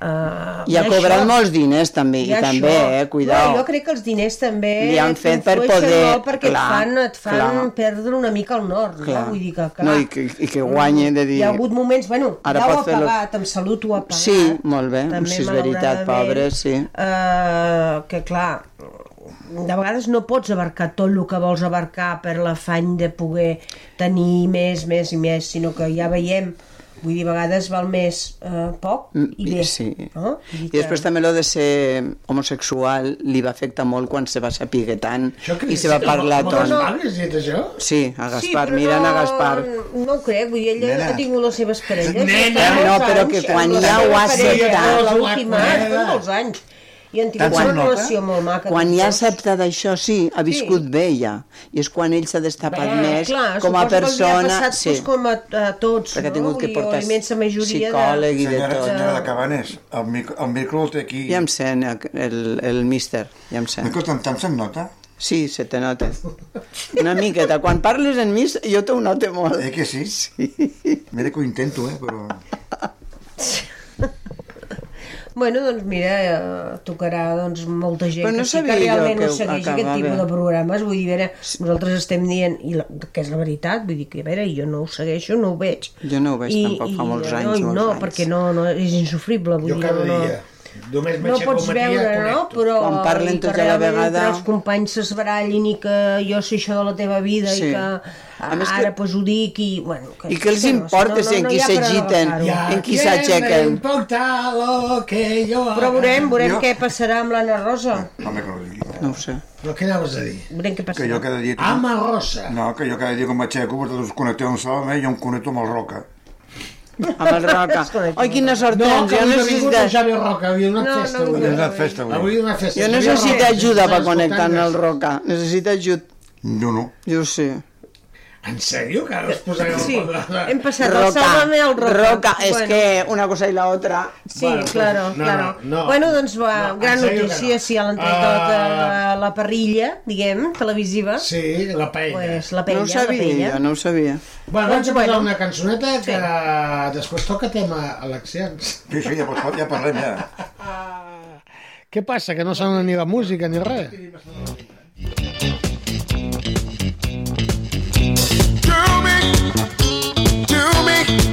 I: Eh,
F: I ha cobrat molts diners també,
I: i
F: i també, eh, cuidao.
I: No, jo crec que els diners també
F: Li han fet per
I: t'influeixen
F: poder-
I: molt perquè
F: clar,
I: et fan, et fan
F: clar.
I: perdre una mica el nord,
F: Clar.
I: no? Vull dir que, clar,
F: No, i que, i que guanyen de dir...
I: hi ha hagut moments, bueno,
F: Ara
I: ja ho ha
F: pot fer-lo.
I: pagat, amb salut ho ha Eh, pagat,
F: Sí, molt bé,
I: També,
F: si és veritat,
I: malauradament,
F: pobre, sí.
I: eh, que clar de vegades no pots abarcar tot el que vols abarcar per l'afany de poder tenir més, més i més, sinó que ja veiem, vull dir, a vegades val més eh, poc i bé.
F: Mm, Sí.
I: No? Vull dir
F: I després
I: que-
F: també lo de ser homosexual li va afectar molt quan se va saber tant i se va
E: Sí,
F: parlar
E: moltes
F: tot.
E: vegades he dit això?
F: Sí, a
I: Sí,
F: Gaspar,
I: però
F: mirant a Gaspar.
I: No, no ho crec, vull dir, ella
F: Nena.
I: ha tingut les seves parelles.
F: Nena.
I: ja fa
F: Eh, no,
I: molts
F: però
I: anys,
F: que quan
I: amb
F: ja
I: la
F: ho
I: seva
F: ha
I: parella,
F: acceptat.
I: amb L'última,
F: Nena.
I: fa molts anys. I han tingut
F: Quan-
I: una relació molt maca.
F: Quan
I: tots
F: ja
I: dos.
F: ha acceptat això, sí, ha viscut
I: Sí.
F: bé ja. I és quan ell s'ha destapat
I: Bé,
F: més
I: clar,
F: com a
I: suposo Que li
F: persona.
I: ha passat,
F: sí.
I: doncs, com a, a tots,
F: Perquè ha
I: no?
F: tingut que
I: Vull dir, o
F: portar
I: la immensa majoria
F: psicòleg i de
G: senyora,
F: tot.
G: Senyora de Cabanes, el micro, el micro el té aquí.
F: Ja em sent eh, el, el míster, ja em sent.
G: Escolta, em se'n nota?
F: Sí, se te nota. Una miqueta. Quan parles en mi, jo t'ho note Ah, molt.
G: Eh que sí? Mira que ho intento, eh, però...
I: de... Bueno, doncs mira, eh, tocarà doncs, molta gent
F: Però no
I: que, sí que
F: sabia jo
I: realment
F: que
I: no segueix
F: acabava.
I: aquest tipus de programes. Vull dir, a veure, nosaltres estem dient, i la, que és la veritat, vull dir que, a veure, jo no ho segueixo, no ho veig.
F: Jo no ho veig tampoc fa molts
I: no,
F: anys,
I: i
F: molts
I: no,
F: anys.
I: perquè no, no, és insufrible. Vull
E: Jo
I: dir,
E: cada
I: no,
E: dia. Només
I: No
E: m'aixeco
I: pots
E: al matí i
I: veure, no?
E: connecto.
I: Però
F: Quan parlen
I: i que
F: tots a la
I: realment
F: vegada-
I: entre els companys s'esbarallin i que jo sé això de la teva vida
F: Sí.
I: i que
F: A més que-
I: ara pues, ho dic i... Bueno,
F: I què els
I: que no,
F: importa si en qui
I: hi ha per
F: s'agiten,
I: agafar-ho.
F: en qui s'aixequen?
E: Importa lo que yo
I: Però veurem, veurem
G: Jo-
I: què passarà amb l'Anna Rosa.
G: No me conocí.
F: No ho sé.
E: Però què anaves a dir?
I: Veurem què
G: Que
I: passarà.
G: jo cada dia...
E: Ama rosa.
G: No, que jo cada dia com m'aixeco, vosaltres us connecteu amb Salome i jo em connecto amb el Roca.
F: Amb el Roca. Oi, quina sort
E: No,
F: tens.
E: que
F: Jo
E: avui no ha vingut el
F: necessito...
E: Javi Roca, havia una
G: eh? No,
E: festa
G: no ha
E: avui.
G: vingut. Havia una festa avui.
E: Avui una festa.
F: Jo
E: Javi
F: necessito
E: Roca,
F: ajuda
E: estàs
F: per connectar amb el
E: escoltant-nos.
F: Roca. Necessito ajut.
G: No, no.
F: Jo ho sé.
E: En sèrio, que ara us posareu...
I: Sí, hem passat del
F: Roca,
I: Sálvame al Roca.
F: Roca, és
I: Bueno.
F: que una cosa i la otra.
I: Sí, claro,
E: doncs, no,
I: claro.
E: no, no.
I: bueno, doncs va,
E: No,
I: gran
E: en sèrio que
I: notícia,
E: no.
I: sí, a l'entrecot
E: Ah.
I: uh... la, la parrilla, diguem, televisiva.
E: Sí, la paella.
I: Pues, la
F: No
I: paella,
F: ho
I: la paella.
F: sabia, jo, no ho sabia.
E: Bueno,
I: Doncs,
E: vaig a posar
I: bueno.
E: una cançoneta que després toca tema eleccions.
G: Sí, sí, ja, pots- ja parlem, ja.
E: Què passa, que no sona ni la música ni res?
H: Do me, do me,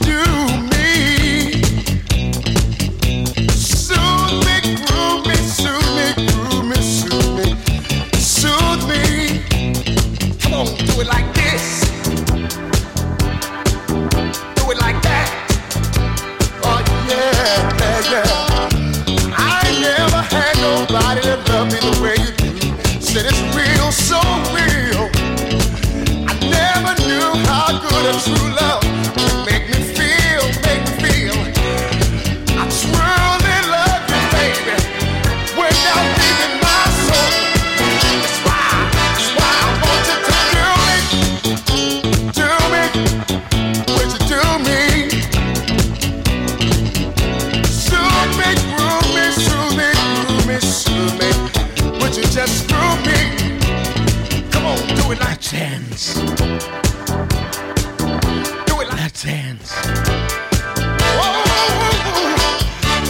H: do me. Soothe me, groove me, soothe me, groove me, soothe me, soothe me. Come on, do it like this. Do it like that. Oh yeah, yeah, yeah. I never had nobody that loved me the way you do. Said it's real, so real. I never knew how good a true love could make me feel, make me feel. I truly love you, baby, without leaving my soul. That's why, that's why I want you to do me, do me, would you do me? Soothe me, groove me, soothe me, groove me, soothe me. Would you just groove me? Come on, do it like
E: Chance.
H: Do it like
E: that. Chance.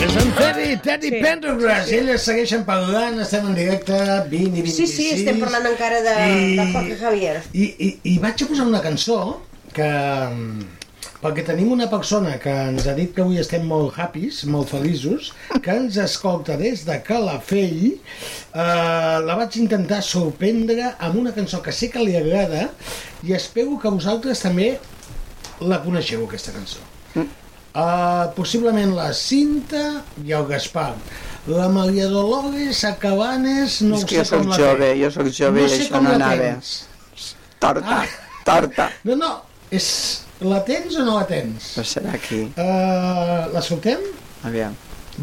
H: És
E: És en Teddy, Teddy sí. Pendergrass. Sí. Elles segueixen parlant, estem en directe 20 i 26.
I: Sí, sí, estem parlant encara de, I... eh, de Jorge Javier.
E: I, i, I vaig a posar una cançó que... mm, Perquè tenim una persona que ens ha dit que avui estem molt happys, molt feliços, que ens escolta des de Calafell. Eh, la vaig intentar sorprendre amb una cançó que sé que li agrada i espero que vosaltres també la coneixeu, aquesta cançó.
F: Mm.
E: Uh, possiblement la Cinta i el Gaspar. La Maria Dolores, a Cabanes, no
F: És
E: ho
F: que jo
E: sé
F: sóc
E: com la
F: jove,
E: tens.
F: jo sóc jove i
E: sé
F: això
E: com
F: no
E: la
F: anava.
E: tens.
F: Torta, torta.
E: No, no, és... La tens o no la tens?
F: Però serà aquí.
E: Uh, la soltem?
F: Aviam.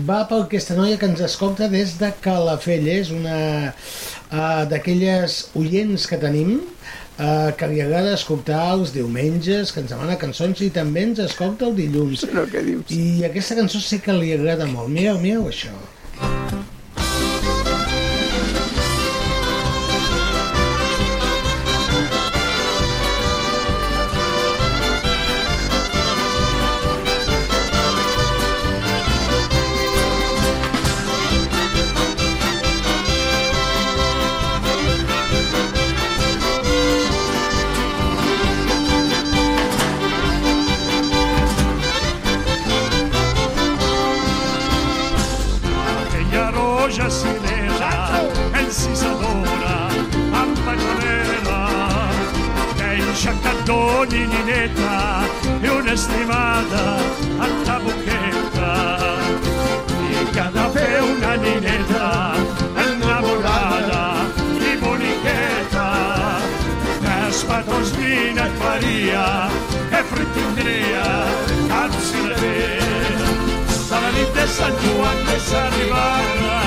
E: Va per aquesta noia que ens escolta des de Calafell, és una uh, d'aquelles oients que tenim uh, que li agrada escoltar els diumenges, que ens demana cançons i també ens escolta el dilluns.
F: Però què dius?
E: I aquesta cançó sé que li agrada molt. Mireu, mireu això.
K: aquella roja cirera encisadora, empanonera, deixa que et doni nineta i una estimada a ta boqueta. I que ha de fer una nineta enamorada i boniqueta, que els petons vina et faria, que frit tindria, cap si la ve. La nit de Sant Joan és arribada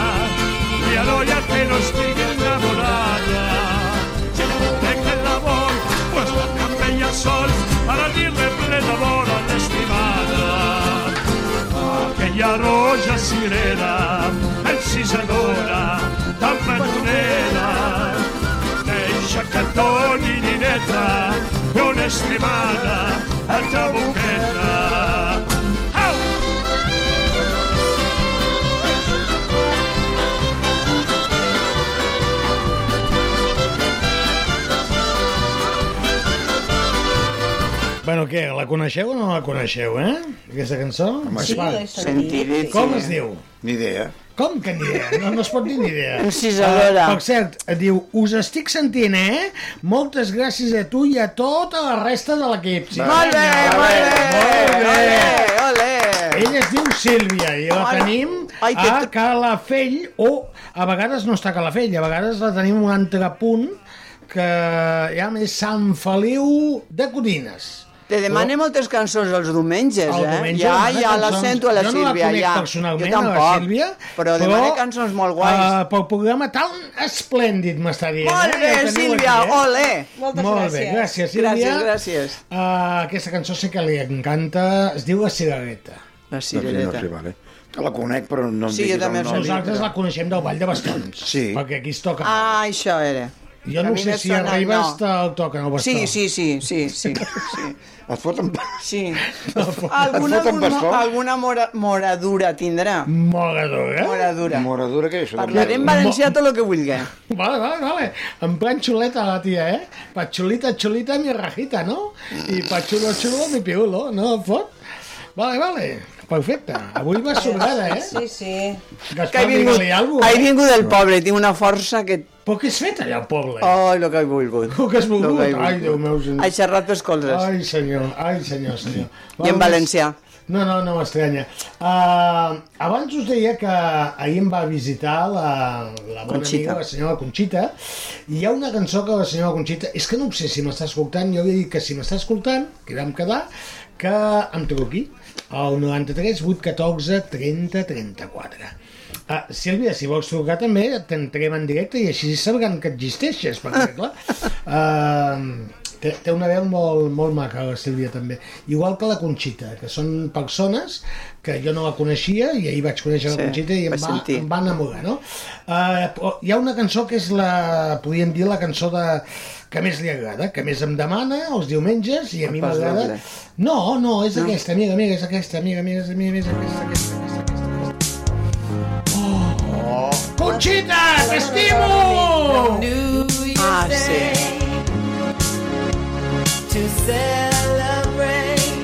K: i a l'olla que no estigui enamorada. Si no té que l'amor, pues la capella sol, a la nit reple d'amor a l'estimada. Aquella roja cirera, encisadora, tan petonera, deixa que et doni nineta i una estimada a ta boqueta.
E: Bueno, què, la coneixeu o no la coneixeu, eh? Aquesta cançó?
G: Home, sí,
E: Va.
G: l'he sentit. Sentiré, sí.
E: Com es diu?
G: Ni idea.
E: Com que ni idea? No, no es pot dir ni idea.
G: Encisadora.
E: Ah, per cert, et diu, us estic sentint, eh? Moltes gràcies a tu i a tota la resta de l'equip. Sí,
F: Molt bé, molt bé,
E: molt bé. Ella es diu Sílvia i la
F: Ai,
E: tenim
F: ai, que
E: a
F: tu-
E: Calafell o a vegades no està a Calafell, a vegades la tenim a un altre punt que ja és Sant Feliu de Codines.
F: Te
E: Oh,
F: demane moltes cançons els diumenges,
E: El
F: eh?
E: diumenge
F: ja,
E: demana
F: ja la
E: cançons.
F: sento a la
E: Jo no la
F: Sílvia,
E: conec
F: ja. jo
E: personalment, a la
F: tampoc,
E: Sílvia,
F: però
E: però,
F: demana cançons molt guais.
E: Uh, pel programa tan esplèndid m'està dient. eh?
F: Molt bé,
E: Ja ho teniu
F: Sílvia,
E: aquí,
F: ole!
E: Moltes Molt gràcies. bé, gràcies, Sílvia.
F: Gràcies, gràcies.
E: Uh, aquesta cançó sé que li encanta, es diu La Cirereta.
F: La
G: Doncs No, sí, no, sí, vale. Que la conec, però no em
E: Sí,
G: diguis
E: jo també
G: el
E: la
G: nom.
E: sabia, Nosaltres però- la coneixem del Vall de Bastons. Sí. Perquè aquí es toca.
F: Ah, això era.
E: Jo
F: A
E: no
F: mi
E: sé
F: me
E: si
F: sona,
E: arriba
F: no.
E: hasta el toc en el bastó.
F: Sí, sí, sí, sí, sí. sí.
G: Et foten...
F: Sí.
G: Et
F: Alguna,
G: foten bastó?
F: alguna, alguna mora, moradura tindrà.
E: Moradura?
F: Moradura.
G: Moradura, què és? això?
F: Parlaré en valencià tot el que vulgui.
E: Vale, vale, vale. En plan xuleta la tia, eh? Pachulita, chulita, mi rajita, no? I pachulo, chulo, mi piulo, no em fot? Vale, vale. Perfecte. Avui va sobrada, eh?
I: Sí, sí.
E: Gaspar, digue-li alguna
F: he
E: cosa.
F: vingut del poble, tinc una força que...
E: Però què has fet allà al poble?
F: Oh, el que he volgut.
E: El que has volgut? Ai, Déu meu senyor.
F: He xerrat pels colzes.
E: Ai, senyor, ai, senyor, senyor.
F: I en valencià.
E: No, no, no m'estranya. Uh, abans us deia que ahir em va visitar la, la bona
F: Conxita.
E: amiga, la senyora Conxita, i hi ha una cançó que la senyora Conxita... És que no sé si m'està escoltant, jo li dic que si m'està escoltant, que vam quedar, que em truqui al 93 814 30 34. Ah, Sílvia, si vols trucar també, t'entrem en directe i així sabran que existeixes, perquè clar... Uh, té, té una veu molt, molt maca, la Sílvia també. Igual que la Conxita, que són persones que jo no la coneixia i ahir vaig conèixer la
F: Sí,
E: Conxita i em
F: vaig
E: va,
F: sentir.
E: em va enamorar, no? Uh, hi ha una cançó que és la, podríem dir, la cançó de, que més li agrada, que més em demana els diumenges i a mi
F: pas
E: m'agrada...
F: doble.
E: No, no, és
F: No?
E: aquesta, amiga, amiga, és aquesta, amiga, amiga, és amiga, amiga, és aquesta, aquesta, aquesta, aquesta. Oh. Conxita, t'estimo!
F: Ah, sí.
H: to celebrate.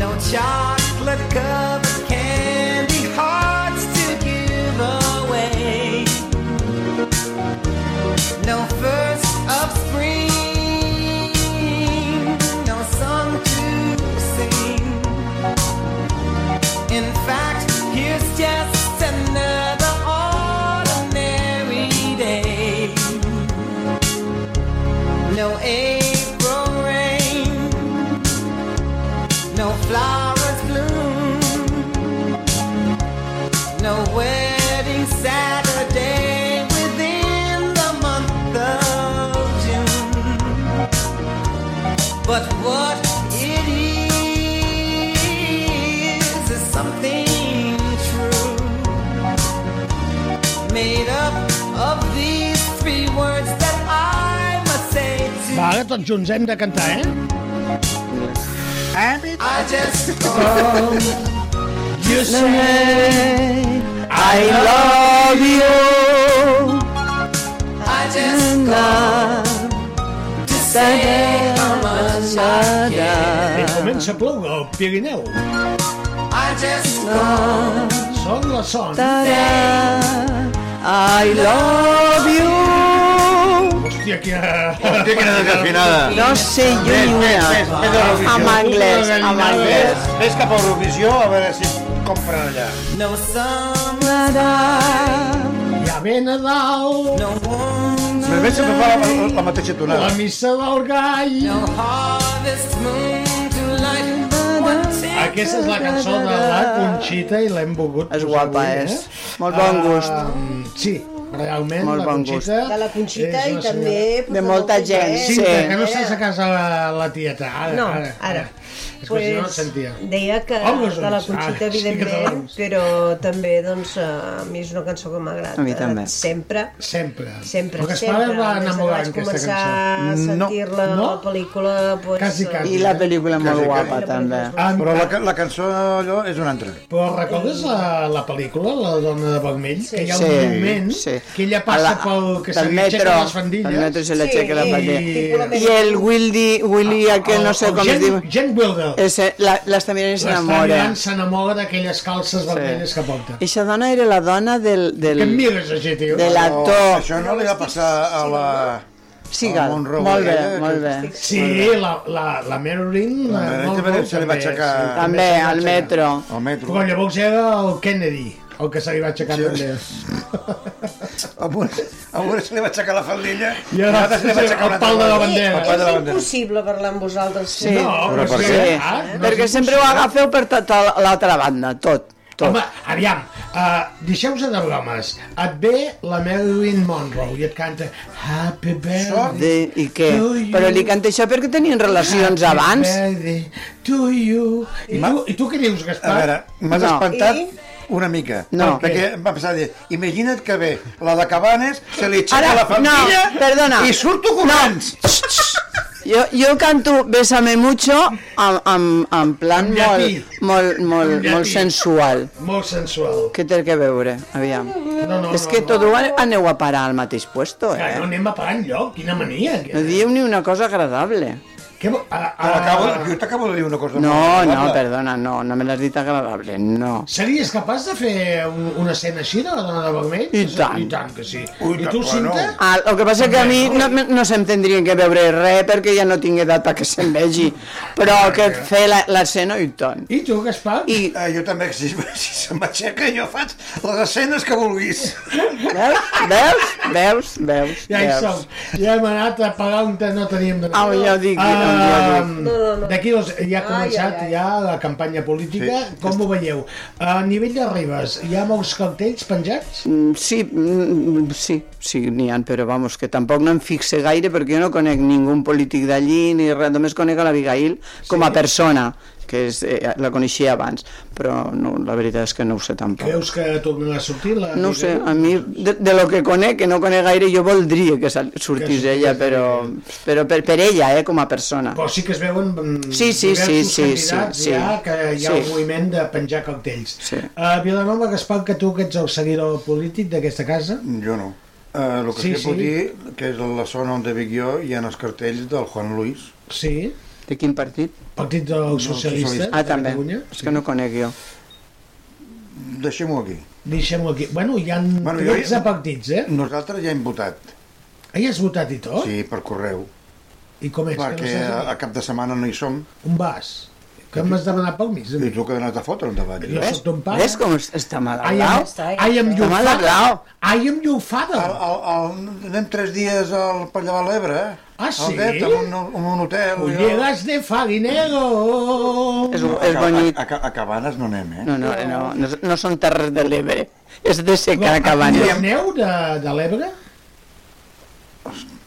H: No chocolate covered candy hearts to give away. No first of spring, no song to sing. In fact, here's just another ordinary day.
E: Ara tots junts hem de cantar, eh?
H: I just called you say
J: I love
H: you. I just called to say how much I
E: I
H: care.
E: Eh, comença a ploure al Pirineu.
H: I just called
E: Són la son.
J: I love you.
E: Hòstia, quina...
G: Hòstia, quina desafinada.
F: No sé jo
G: Més,
F: ni
G: més,
F: una.
G: més, més d'Eurovisió.
F: Amb anglès, amb anglès.
G: Ves cap a Eurovisió a veure si compra allà.
H: No song that I
E: Ja ve Nadal.
H: no one
G: Més bé sempre fa la, la, la mateixa tonada.
E: La missa del gall.
H: no harvest moon to light one single
E: Aquesta és la cançó de la Conxita i l'hem volgut És guapa, avui, és. Eh?
F: Molt bon gust.
E: Uh, sí, realment,
F: Molt
E: la
F: bon
E: Conxita...
F: gust.
I: De la Conxita
E: és
I: i
E: una
I: també...
E: senyora-
I: pues, el eh? Conxet.
E: Sí, que no estàs a casa la, la tieta. Ara,
I: No,
E: ara.
I: ara.
E: És que si no et sentia.
I: Deia que
E: Amb les
I: de la
E: ulls.
I: Conxita,
E: Ah, sí,
I: evidentment,
E: catalans.
I: però també, doncs, eh, a mi és una cançó que m'agrada.
E: A mi també.
I: Sempre.
E: Sempre.
I: Sempre,
E: Però que es
I: sempre.
E: pare
I: Des
E: va
I: de que
E: enamorant,
I: vaig
E: aquesta
I: començar a
E: cançó. No.
I: sentir-la a la pel·lícula... Doncs,
E: Quasi, quasi.
F: I la pel·lícula molt
G: Quasi,
F: guapa,
G: quasi.
F: també.
G: Però la, la cançó allò és una altra.
E: Però recordes la, la pel·lícula, La dona de vermell? Sí. Que hi ha un
F: Sí,
E: moment
F: sí.
E: que ella passa
F: A la-
E: pel... que se
F: del
E: li aixequen
F: metro,
E: les fandilles.
F: del metro se li aixequen les fandilles.
E: I...
F: I el Willy, Willy aquell, no sé com es diu.
E: Ah, oh, Jen Wilder.
F: Ese, la, l'està mirant i
E: L'està
F: s'enamora.
E: mirant, s'enamora d'aquelles calces vermelles que porta.
F: Eixa dona era la dona del... del...
E: Què em mires així, tio?
F: De
G: Però
F: l'actor.
G: Això no li va passar a la...
F: Sigal.
G: al Monroe eh?
F: Molt bé,
G: aquella,
F: molt
G: que-
F: bé.
E: Sí, la, la, la Marilyn... La,
G: Marilyn
E: molt
G: també
E: molt
G: se li va
E: també,
G: aixecar-
E: sí,
F: També,
E: se li va
F: al
E: aixecar.
F: metro.
G: Al metro.
E: Però llavors era el Kennedy, el que se li va aixecar sí. també.
G: A una, a una se li va aixecar la faldilla
E: I a l'altra se li va aixecar el pal de la bandera.
G: El pal de la
I: És
G: bandera.
I: impossible parlar amb vosaltres.
F: Sí.
G: però per què?
E: és que-
F: Ah,
E: és
F: perquè sempre ho
E: impossible.
F: agafeu per tota l'altra banda, tot. tot.
E: Home, aviam, uh, deixeu-se de bromes. Et ve la Marilyn Monroe i et canta Happy Birthday
F: de, I què?
E: to you.
F: Però li canta això perquè tenien relacions
E: Happy
F: abans.
E: Birthday to you. I, tu, I tu què dius,
G: A
E: Gaspar?
G: veure, m'has
F: No.
G: espantat
E: I?
G: una mica.
F: No.
G: Perquè em va passar a dir, imagina't que ve la de Cabanes, se li aixeca
F: Ara,
G: la família
F: no, perdona.
G: i surto corrents.
F: Jo, jo canto Bésame mucho amb, amb, en plan
E: Amb llatí.
F: molt, molt, molt,
E: Amb
F: molt
E: llatí.
F: sensual.
E: Molt sensual.
F: Què té que veure? Aviam.
E: No, no,
F: És
E: no,
F: que
E: no.
F: tot ho aneu a parar al mateix puesto,
E: Que no
F: eh?
E: anem a parar enlloc, quina mania.
F: No dieu ni una cosa agradable.
E: Què, vo- a, a,
G: Però acabo,
E: Ah.
G: jo t'acabo de dir una cosa.
F: No,
G: molt
F: no,
G: agradable.
F: perdona, no, no me l'has dit agradable, no.
E: Series capaç de fer un, una escena així de la dona de vermell? Doncs,
F: I tant.
E: I tant que sí.
G: Ui,
E: I tu,
G: que-
E: Cinta?
G: bueno.
F: Ah, el que passa que a mi no, no se'm tindrien que veure res perquè ja no tinc edat perquè se'm vegi, però que fer la- l'escena i tant.
E: I tu, Gaspar?
F: I,
G: Eh, jo també, si, si se m'aixeca, jo faig les escenes que vulguis.
F: veus, veus, veus, veus,
E: Ja hi som.
F: veus.
E: Ja hem anat a pagar on te- no teníem de...
F: Ah, ja ho dic, ja ho dic.
E: no, no, no. D'aquí dos, ja ha començat
I: ai, ai.
E: ja la campanya política. Com ho veieu? A nivell de Ribes, hi ha molts cartells penjats?
F: Mm, Sí, mm, sí, sí, n'hi ha, però vamos, que tampoc no em fixe gaire perquè jo no conec ningú polític d'allí ni res, només conec a la Abigail com a persona, que és, eh, la coneixia abans, però no, la veritat és que no ho sé tampoc.
E: Creus que tornarà a sortir? La
F: No ho sé, a mi, de, de lo que conec, que no conec gaire, jo voldria que sal- sortís ella, però, però per, per ella, eh, com a persona.
E: Però sí que es veuen mm,
F: Sí, sí, sí,
E: diversos
F: sí,
E: candidats
F: sí, sí.
E: ja que hi ha
F: Sí.
E: un moviment de penjar cartells.
F: Sí.
E: Uh, Vilanova, Gaspar, que tu que ets el seguidor polític d'aquesta casa,
G: Jo no. Eh, el que
E: Sí,
G: sí, sí. puc
E: sí.
G: dir, que és la zona on vic jo, hi ha els cartells del Juan Luis.
E: sí,
F: De quin partit?
E: Partit dels Socialistes
F: Ah,
E: de
F: també.
E: Catalunya.
F: És que no conec jo.
G: Deixem-ho aquí.
E: Deixem-ho aquí. Bueno, hi ha bueno,
G: Bueno, jo-
E: 13 partits, eh?
G: Nosaltres ja hem votat,
E: Ahir has votat i tot?
G: sí, per correu,
E: I com és?
G: perquè
E: Que no
G: a,
E: saps?
G: a cap de setmana no hi som,
E: On vas? Que m'has demanat pel mig?
G: i tu que has anat a fotre endavant.
E: Jo
G: Al,
E: soc ton pare.
F: Ves com es- està
E: Ai, am,
F: malalt?
G: eh?
E: ai, am
F: Està
E: llufada.
F: malalt.
E: Ai, am llufada.
G: al, al, anem tres dies al Pallà de l'Ebre, eh?
E: Ah, sí?
G: Al Dret, en un, en un hotel. jo-
E: Llegas de Faguinero.
F: És,
G: No,
F: és
G: a,
F: bonic.
G: a, a, a Cabanes no anem, eh?
F: No, no, no, no, no són terres de l'Ebre. És de seca,
E: Anirem
F: cabanya.
E: neu de, de l'Ebre?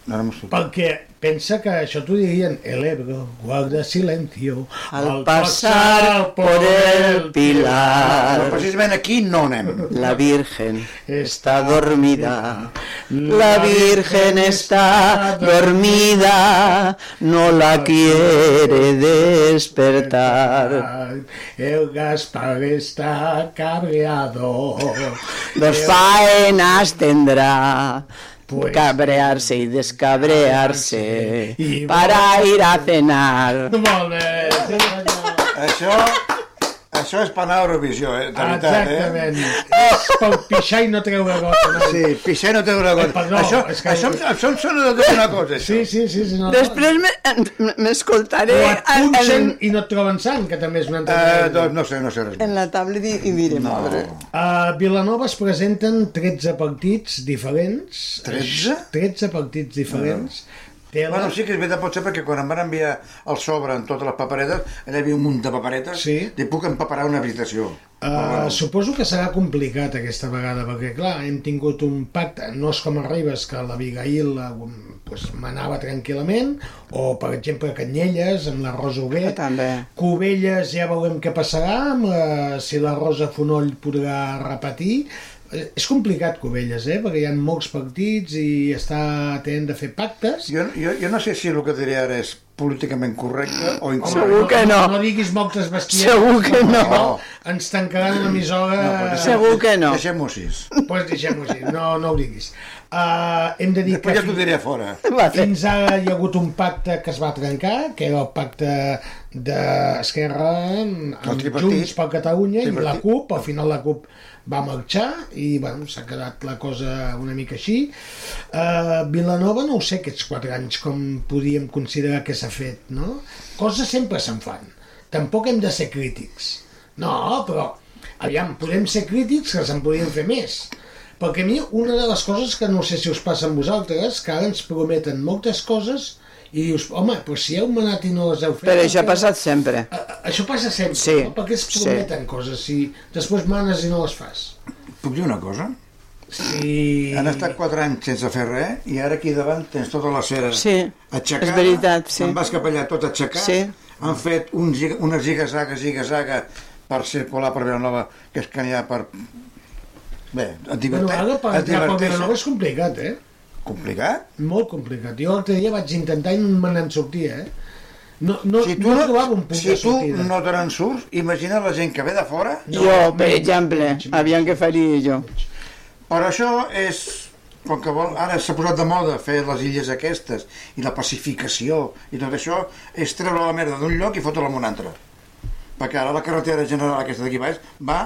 G: No, no, no
E: Perquè pensa que això t'ho dirien El Ebro guarda silencio
F: Al pasar por el pilar,
G: pues precisament aquí no anem.
F: la Virgen
E: Està
F: está dormida. La Virgen está dormida, no la quiere despertar.
E: El Gaspar está cabreado.
F: Dos faenas tendrá. cabrearse y descabrearse para ir a cenar.
E: Molt bé.
G: Això, això és per anar a Eurovisió, eh? De veritat, eh?
E: Exactament. És pel pixar i no treure gota. No? Eh,
G: Sí, pixar no té una cosa.
E: perdó,
G: això,
E: és que-
G: això, em- això em sona de una cosa, això.
E: Sí, sí, sí. sí no,
F: Després me- m'escoltaré
E: Ho
F: al- al-
E: punxen i no et troben sang, que també és una altra
G: Eh,
E: cosa.
G: doncs no sé, no sé res.
F: en la tablet i, i diré, madre.
E: A Eh, Vilanova es presenten 13 partits diferents.
G: 13?
E: 13 partits diferents. Tela.
G: Bueno, sí que és veritat, potser, perquè quan em van enviar el sobre en totes les paperetes, allà hi havia un munt de paperetes, sí. i puc empaparar una habitació.
E: Uh, Suposo que serà complicat aquesta vegada, perquè clar, hem tingut un pacte, no és com a Ribes, que l'Abigail la, um, pues, manava tranquil·lament, o per exemple Canyelles, amb la Rosa
G: Ah,
E: Huguet,
F: també.
E: Cubelles ja veurem què passarà, amb, uh, si la Rosa Fonoll podrà repetir, Eh, és complicat Cubelles, eh? perquè hi ha molts partits i està tenint de fer pactes.
G: Jo, jo, jo no sé si el que diré ara és políticament correcte o incorrecte.
E: No, no diguis moltes bestieres.
G: Segur que no.
E: no. Ens tancaran una emissora...
G: Deixem-ho així.
E: pues deixem-ho així, no, no ho diguis. Uh, hem de dir
G: Després
E: que
G: ja t'ho diré a fora.
E: Fins ara hi ha hagut un pacte que es va trencar, que era el pacte d'Esquerra amb
G: tripartit.
E: Junts per Catalunya i la
G: Tripartit.
E: CUP. Al final la CUP va marxar i bueno, s'ha quedat la cosa una mica així. Uh, Vilanova no ho sé aquests quatre anys com podíem considerar que s'ha fet, no? Coses sempre se'n fan. Tampoc hem de ser crítics. No, però aviam, podem ser crítics que se'n podien fer més. Perquè a mi una de les coses que no sé si us passa a vosaltres, que ara ens prometen moltes coses i dius, home, però si heu manat i no les heu fet...
F: Però això ha passat sempre.
E: Això passa sempre,
F: Sí,
E: no? perquè es
F: sí.
E: prometen coses si després manes i no les fas.
G: Puc dir una cosa?
E: Sí.
G: Han estat 4 anys sense fer res i ara aquí davant tens tota la cera
F: Sí,
G: aixecada.
F: és veritat, sí.
G: Te'n vas cap allà tot aixecat.
F: Sí.
G: Han fet un, giga- una ziga-zaga, ziga-zaga per circular per Vilanova, que és que n'hi ha per... Bé, et
E: Bueno,
G: diverteix.
E: ara per
G: et
E: entrar pel
G: diverteix.
E: Vilanova és complicat, eh?
G: Complicat?
E: Molt complicat. Jo l'altre dia vaig intentar i no me n'en sortia, eh? No, no, si no, trobava un punt
G: si
E: de
G: tu
E: sortida.
G: no te n'en surts, imagina la gent que ve de fora.
F: Jo, per exemple, aviam què faria jo.
G: Però això és... Com que vol, ara s'ha posat de moda fer les illes aquestes i la pacificació i tot això, és treure la merda d'un lloc i fotre-la en un altre. Perquè ara la carretera general aquesta d'aquí baix va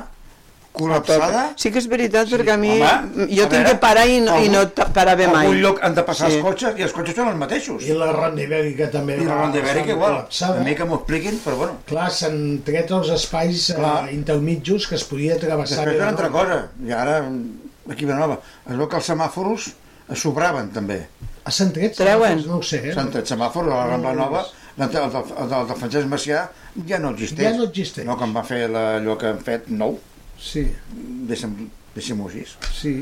G: col·lapsada.
F: Sí que és veritat, perquè a mi
G: Home,
F: jo
G: a
F: tinc
G: veure,
F: que parar i, no- i no
G: algun-
F: ta- pararé
G: A
F: mai.
G: algun lloc han de passar
F: Sí.
G: els cotxes i els cotxes són els mateixos.
E: I la Ronda Ibèrica també.
G: I la
E: va
G: Ronda Ibèrica
E: bastant
G: igual.
E: col·lapsada.
G: A mi que m'ho expliquin, però bueno.
E: Clar, s'han tret els espais eh,
G: Clar.
E: intermitjos que es podia travessar.
G: Després una
E: Vilanova.
G: altra cosa, i ara aquí a Vilanova, es veu que els semàforos sobraven també.
E: Ah, s'han tret?
G: Treuen?
E: No ho sé. Eh?
G: S'han tret semàforos a la Rambla
E: No, no,
G: Nova, el de, el, de, el de Francesc Macià ja no existeix.
E: Ja no existeix.
G: No, quan va fer la, allò que han fet, nou.
E: Sí.
G: Deixa'm, deixa'm-ho així.
E: Sí.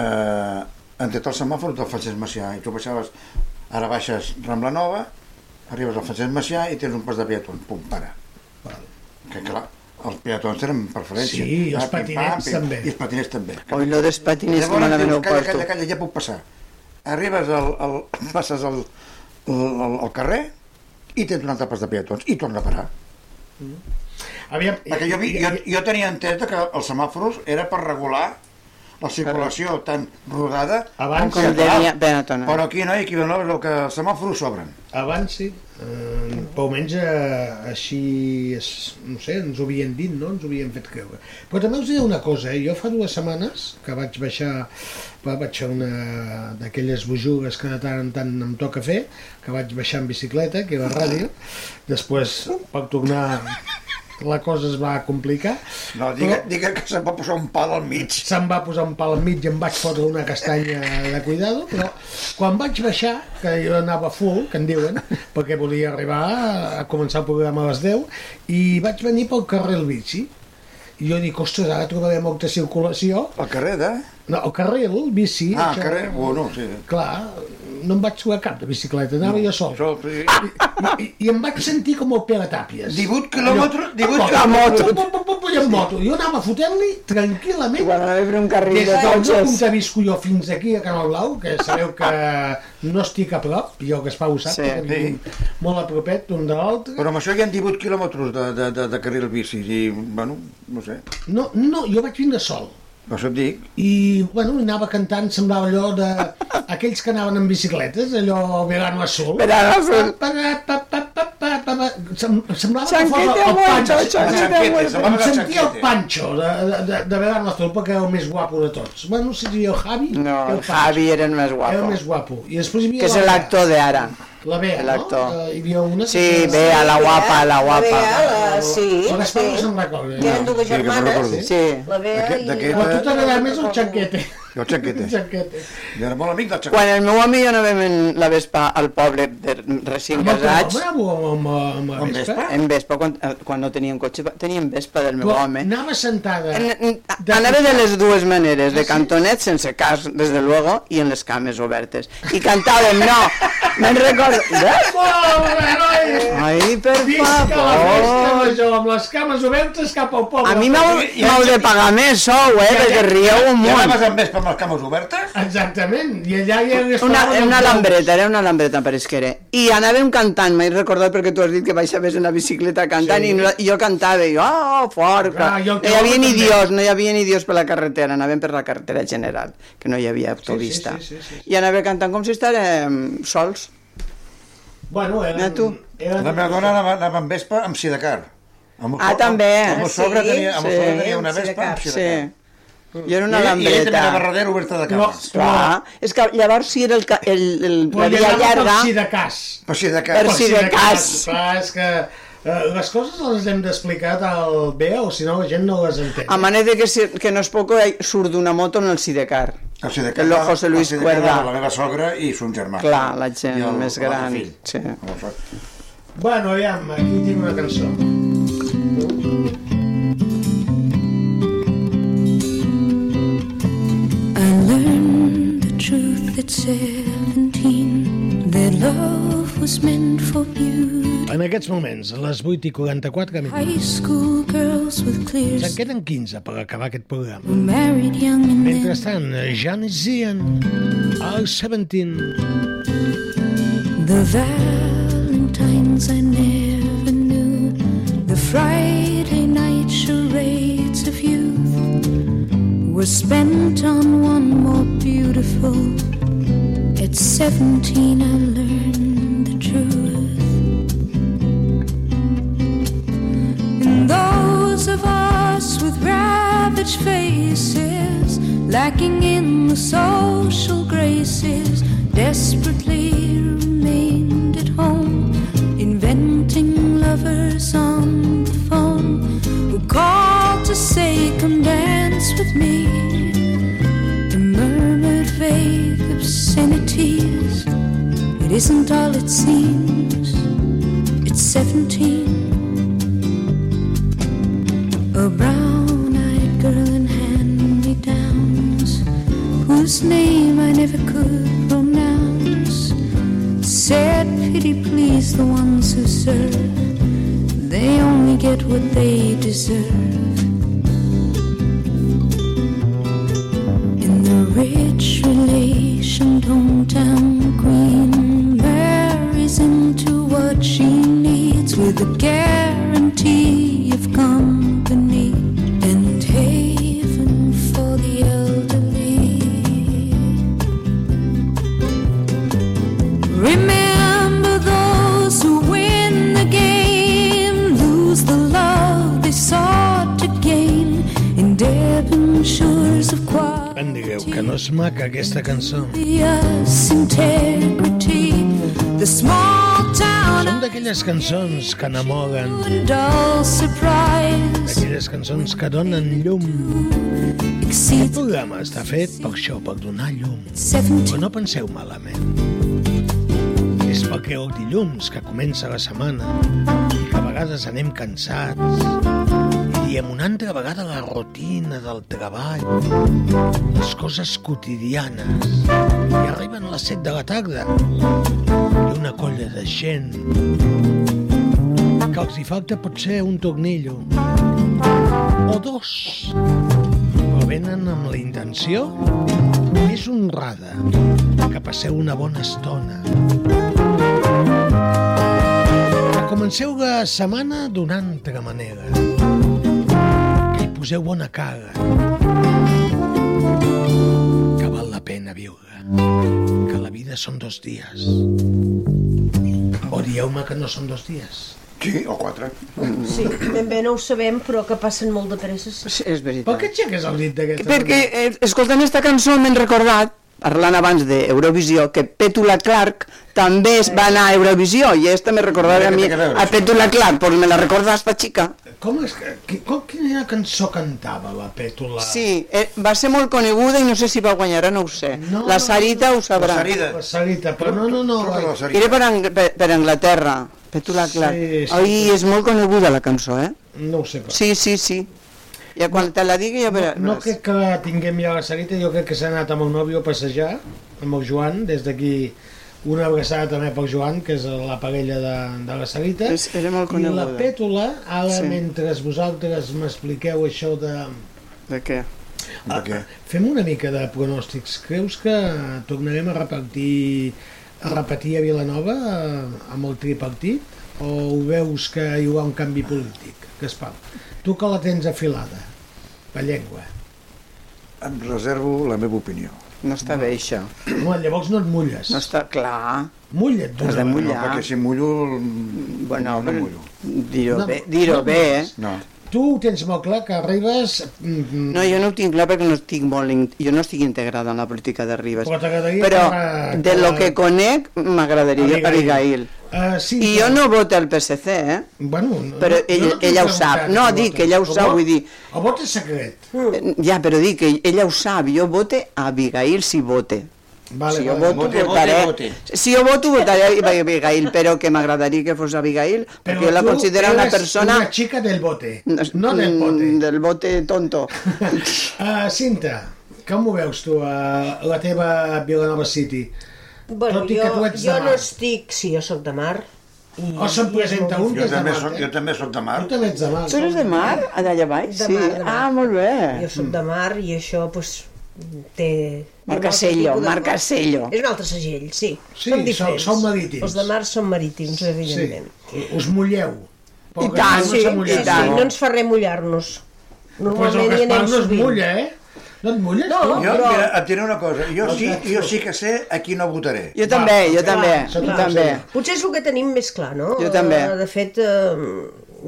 G: Eh, han tret el semàfor del Francesc Macià i tu baixaves, ara baixes Rambla Nova, arribes al Francesc Macià i tens un pas de peatons, pum, para. Que clar, els peatons tenen preferència.
E: Sí, i els
G: Ah, pim, pam,
E: patinets
G: pim,
E: també.
G: I els patinets també.
F: Oi, lo dels patinets que
G: Llavors
F: malament
G: dius,
F: ho
G: calla,
F: porto.
G: calla, calla, ja puc passar. Arribes al, al passes al, al, al carrer i tens un altre pas de peatons i torna a parar.
E: Mm. Aviam,
G: Perquè jo, vi- jo, jo tenia entès que els semàforos era per regular la circulació tan rodada
E: Abans,
G: que
E: Com deia
F: Benetton.
G: Però aquí no, aquí no, el que els semàforos s'obren.
E: Abans sí. Eh, però almenys eh, així, és, no sé, ens ho havien dit, no? Ens ho havien fet creure. Però també us diré una cosa, eh? Jo fa dues setmanes que vaig baixar, va, vaig fer una d'aquelles bojugues que de tant en tant em toca fer, que vaig baixar en bicicleta, que era a ràdio, després per tornar la cosa es va complicar.
G: No, digue, digue que se'n va posar un pal al mig.
E: Se'm va posar un pal al mig i em vaig fotre una castanya de cuidado, però quan vaig baixar, que jo anava full, que en diuen, perquè volia arribar a començar el programa a les 10, i vaig venir pel carrer el bici. I jo dic, ostres, ara trobaré molta circulació.
G: Al carrer de...
E: No, el carrer, el bici.
G: Ah, al carrer, bueno, sí.
E: Clar, no em vaig suar cap de bicicleta, anava no, jo sol. sol sí. I, i, I em vaig sentir com el Pere Tàpies.
G: 18 quilòmetres, 18
E: quilòmetres. Pum, pum, pum, pum, i en moto. Jo anava fotent-li tranquil·lament.
F: Quan anava per un carril
E: Des
F: de
E: d'on
F: totxes.
E: de visco jo fins aquí a Canal Blau, que sabeu que no estic a prop, jo que es fa ho sap,
G: Sí,
E: que vivim molt a propet un de l'altre.
G: Però amb això hi ha 18 quilòmetres de, de, de, de carril bici i, bueno, no sé,
E: No, no, jo vaig vindre sol.
G: per això et dic.
E: I, bueno, anava cantant, semblava allò de... Aquells que anaven amb bicicletes, allò Verano Azul.
F: Verano Azul.
E: Pa, pa, pa, pa, pa, pa, pa, Sem, semblava
F: Chanquete
E: que fos el,
F: muerto,
E: Pancho.
F: chanquete
E: Chanquete,
F: muerto.
E: semblava Em
F: el
E: sentia el
F: chanquete.
E: Pancho de, de, de Verano Azul, perquè era el més guapo de tots. Bueno, si diria el Javi,
F: No,
E: era
F: el Javi era el més
E: Era el
F: guapo,
E: més guapo. I després hi havia
F: que és
E: la Bea.
F: l'actor de ara.
E: La Bea,
F: l'actor.
E: no? Eh, Hi havia una...
F: Sí, Bea, la guapa, la guapa.
I: la- sí,
E: La Gaspar no
I: sí.
E: se'n recorda.
I: Que eren dues
G: Sí, que me'n
I: germanes,
G: recordo.
F: Sí.
I: la Bea
G: D'aquest-
I: i...
G: d'aquest-
E: Però a tu t'agrada més el xanquete.
G: Jo el xanquete.
E: xanquete.
G: Jo era molt amic del xanquete.
F: Quan el meu amic i jo anàvem en la Vespa al poble de recent
E: Amb el
F: casats,
E: programa o amb, amb, amb la Vespa?
F: en Vespa, quan, eh, quan no teníem cotxe, va- teníem Vespa del meu
E: Tu
F: home.
E: Anava sentada.
F: Anava de les dues maneres, de cantonet, sense cas, des de luego, i en les cames obertes. I cantàvem, no, me'n recordo... Vespa! Ai, per
E: Visca la festa
F: favor!
E: major, amb les cames obertes cap al poble.
F: A mi m'heu
E: I-
F: m'heu de pagar més sou, eh, perquè rieu un
G: Ja
F: munt.
G: anaves amb vespa amb les cames obertes?
E: Exactament, i allà hi hagués...
F: Una, una lambreta, era una lambreta per esquerra. I anàvem cantant, m'he recordat perquè tu has dit que baixaves en la bicicleta cantant sí. i, no- i jo cantava, i jo, oh, fort, clar.
E: Ah, i el
F: no hi
E: teu home
F: havia ni
E: també.
F: dios, no hi havia ni dios per la carretera, anàvem per la carretera general, que no hi havia autopista.
E: sí, sí, sí,
F: I anava cantant com si estàvem sols.
E: Bueno,
F: Mira
E: eren...
F: tu.
E: eren-
G: La meva dona anava, anava amb vespa amb sidecar. Amb el
F: Ah,
G: so-
F: també.
G: Amb el
F: Ah,
G: sogre
F: sí?
G: tenia, amb el
F: Sí,
G: sogre tenia una
F: amb
G: vespa amb
F: Sí.
G: sidecar.
F: Jo era una
G: I ell- I ell també anava
F: lambreta.
G: darrere oberta de cames.
F: Clar, és que llavors si era el, ca- el, el,
E: Però
F: la
E: hi
F: via
E: anava
F: llarga...
E: Per si de cas.
G: Per si de
F: Per
G: cas.
F: si de cas.
E: Clar, és que eh, les coses les hem d'explicar al bé o si no la gent no les entén.
F: A manera que, si- que no es poco eh, surt d'una moto en el sidecar.
G: El sidecar.
F: El lo José
G: el
F: Luis
G: sidecar
F: Cuerda.
G: era La meva sogra i son germà.
F: Clar, la gent
G: I el-
F: més
G: l'altre
F: gran,
G: fill.
F: sí.
E: Bueno, aviam, aquí tinc una cançó.
W: I learned the truth at 17 that love was meant for beauty.
E: En aquests moments, a les 8 i 44
W: High school girls with clear
E: Ens en queden 15 per acabar aquest
W: who
E: programa.
W: married young and
E: Mentrestant, Janis Zian, el 17,
W: The Valentines I never knew, the Friday night charades of youth were spent on one more beautiful. At 17, I learned the truth. And those of us with ravaged faces, lacking in the social graces, desperately remained at home, inventing lovers on the phone who called to say, Come dance with me. The murmured vague obscenities, it isn't all it seems, it's 17. A brown eyed girl in hand me downs, whose name I never could pronounce, said, Pity please the ones who serve, they only get what they deserve. In the rich relation hometown queen marries into what she needs with a guarantee of company and haven for the elderly. Remember those who win the game lose the love they sought to gain in Devonshire's of quiet.
E: en digueu que no és maca aquesta cançó.
W: Obvious integrity, the small town
E: Són d'aquelles cançons que enamoren,
W: and dull surprise.
E: d'aquelles cançons que donen llum. Aquest programa està fet per això, per donar llum. Però no penseu malament. És perquè el dilluns, que comença la setmana, i que a vegades anem cansats, i amb una altra vegada la rutina del treball, les coses quotidianes. I arriben les 7 de la tarda i una colla de gent que els hi falta potser un tornillo o dos, però venen amb la intenció més honrada que passeu una bona estona. Que comenceu la setmana d'una altra manera. Que hi poseu bona cara. Que val la pena viure. Que la vida són dos dies. O dieu-me que no són dos dies.
G: Sí, o quatre.
I: Sí, ben bé no ho sabem, però que passen molt de pressa. Sí.
F: És veritat.
E: Per què aixeques el dit d'aquesta
F: Perquè, eh, escoltant esta cançó, m'he recordat, parlant abans d'Eurovisió, que Petula Clark també es va anar a Eurovisió, i esta me recordava a mi, a Petula Clark, però me la recorda esta xica.
E: Com és que... qui- Com, quina cançó cantava la Pètula?
F: Sí, eh, va ser molt coneguda i no sé si va guanyar, ara no ho sé. No, la Sarita ho sabrà.
E: La Sarita, però no, no, no. ai.
F: Era per, Ang per, per Anglaterra, Petula Clark. Sí,
E: sí,
F: sí, Oi,
E: sí.
F: és molt coneguda la cançó, eh?
E: No ho sé, però.
F: Sí, sí, sí. Ja quan te la digui ja veràs.
E: No crec que la tinguem ja la Sarita, jo crec que s'ha anat amb el nòvio a passejar, amb el Joan, des d'aquí una abraçada també pel Joan, que és la parella de, de la Sarita.
F: És, era molt
E: I la
F: coneguda.
E: Pètula, ara
F: Sí.
E: sí. mentre vosaltres m'expliqueu això de...
F: De què?
E: De què? Fem una mica de pronòstics. Creus que tornarem a repetir a repetir a Vilanova eh, amb el tripartit? O veus que hi haurà un canvi polític? Gaspar, tu que la tens afilada, la llengua.
G: Em reservo la meva opinió.
F: No està bé, això.
E: Home, llavors no et mulles.
F: No està clar.
E: Mulla't
F: Has de mullar.
G: Doncs No, perquè si mullo... Bueno, no, no mullo.
F: Dir-ho
E: No,
F: bé, dir
E: no,
F: bé, eh?
G: No.
E: Tu ho tens molt clar, que arribes... mm,
F: No, jo no ho tinc clar perquè no estic molt... in- Jo no estic integrada en la política de Ribes.
E: Però t'agradaria
F: Però
E: que-
F: de lo que
E: que-
F: conec m'agradaria
E: Abigail.
F: Abigail.
E: Uh, sí,
F: I jo no voto el PSC, eh?
E: Bueno,
F: però
E: no-
F: ell,
E: no t'he
F: ella ho
E: preguntat
F: sap.
E: si
F: No,
E: votes.
F: dic que ella ho
E: El
F: sap,
E: vot-
F: vull dir...
E: El vot és secret.
F: Eh, Ja, però dic que ella ho sap. Jo vote Abigail si vote.
E: Vale,
F: si jo
E: vale,
F: voto,
E: vote,
F: votaré.
E: vote,
F: Si jo voto, votaré a Abigail, però que m'agradaria que fos Abigail, perquè jo la
E: tu
F: considero una
E: eres
F: persona...
E: Una xica del bote, no del
F: Mm,
E: bote.
F: Del bote tonto.
E: Uh, Cinta, com ho veus tu a la teva Vilanova City?
I: Bueno,
E: Tot i
I: jo,
E: que tu ets de
I: jo no
E: mar.
I: estic... Sí, jo sóc de mar. I,
E: O se'n presenta un que
G: Jo
E: és de
G: també,
E: mar,
G: soc,
E: eh?
G: jo també soc de mar.
E: Tu també ets de mar.
F: Tu eres de mar, allà baix?
I: De
F: sí.
I: mar, de mar.
F: Ah, molt bé.
I: Jo sóc de mar i això, doncs, té...
F: Marca sello, marca sello.
I: És un altre segell, sí.
E: Sí,
I: Som
E: sou-
I: diferents.
E: sou marítims.
I: Els de mar són marítims, evidentment.
E: Sí. Us mulleu. Però que
I: Ah,
E: no
I: sí,
E: s'ha
I: sí,
E: mullat.
I: sí, no ens fa res mullar-nos.
E: Pues el
I: Normalment hi
E: Gaspar
I: anem
E: no es
I: sovint.
E: mulla, eh? No et mulles?
I: No,
G: Jo,
I: però-
G: mira, et diré una cosa. Jo
E: No,
G: sí,
E: exacte.
G: jo sí que sé a qui no votaré.
F: Jo també, jo
I: doncs Clar,
F: també,
I: clar,
F: jo
I: clar.
F: també.
I: Potser és el que tenim més clar, no?
F: Jo també.
I: Eh, De fet, eh,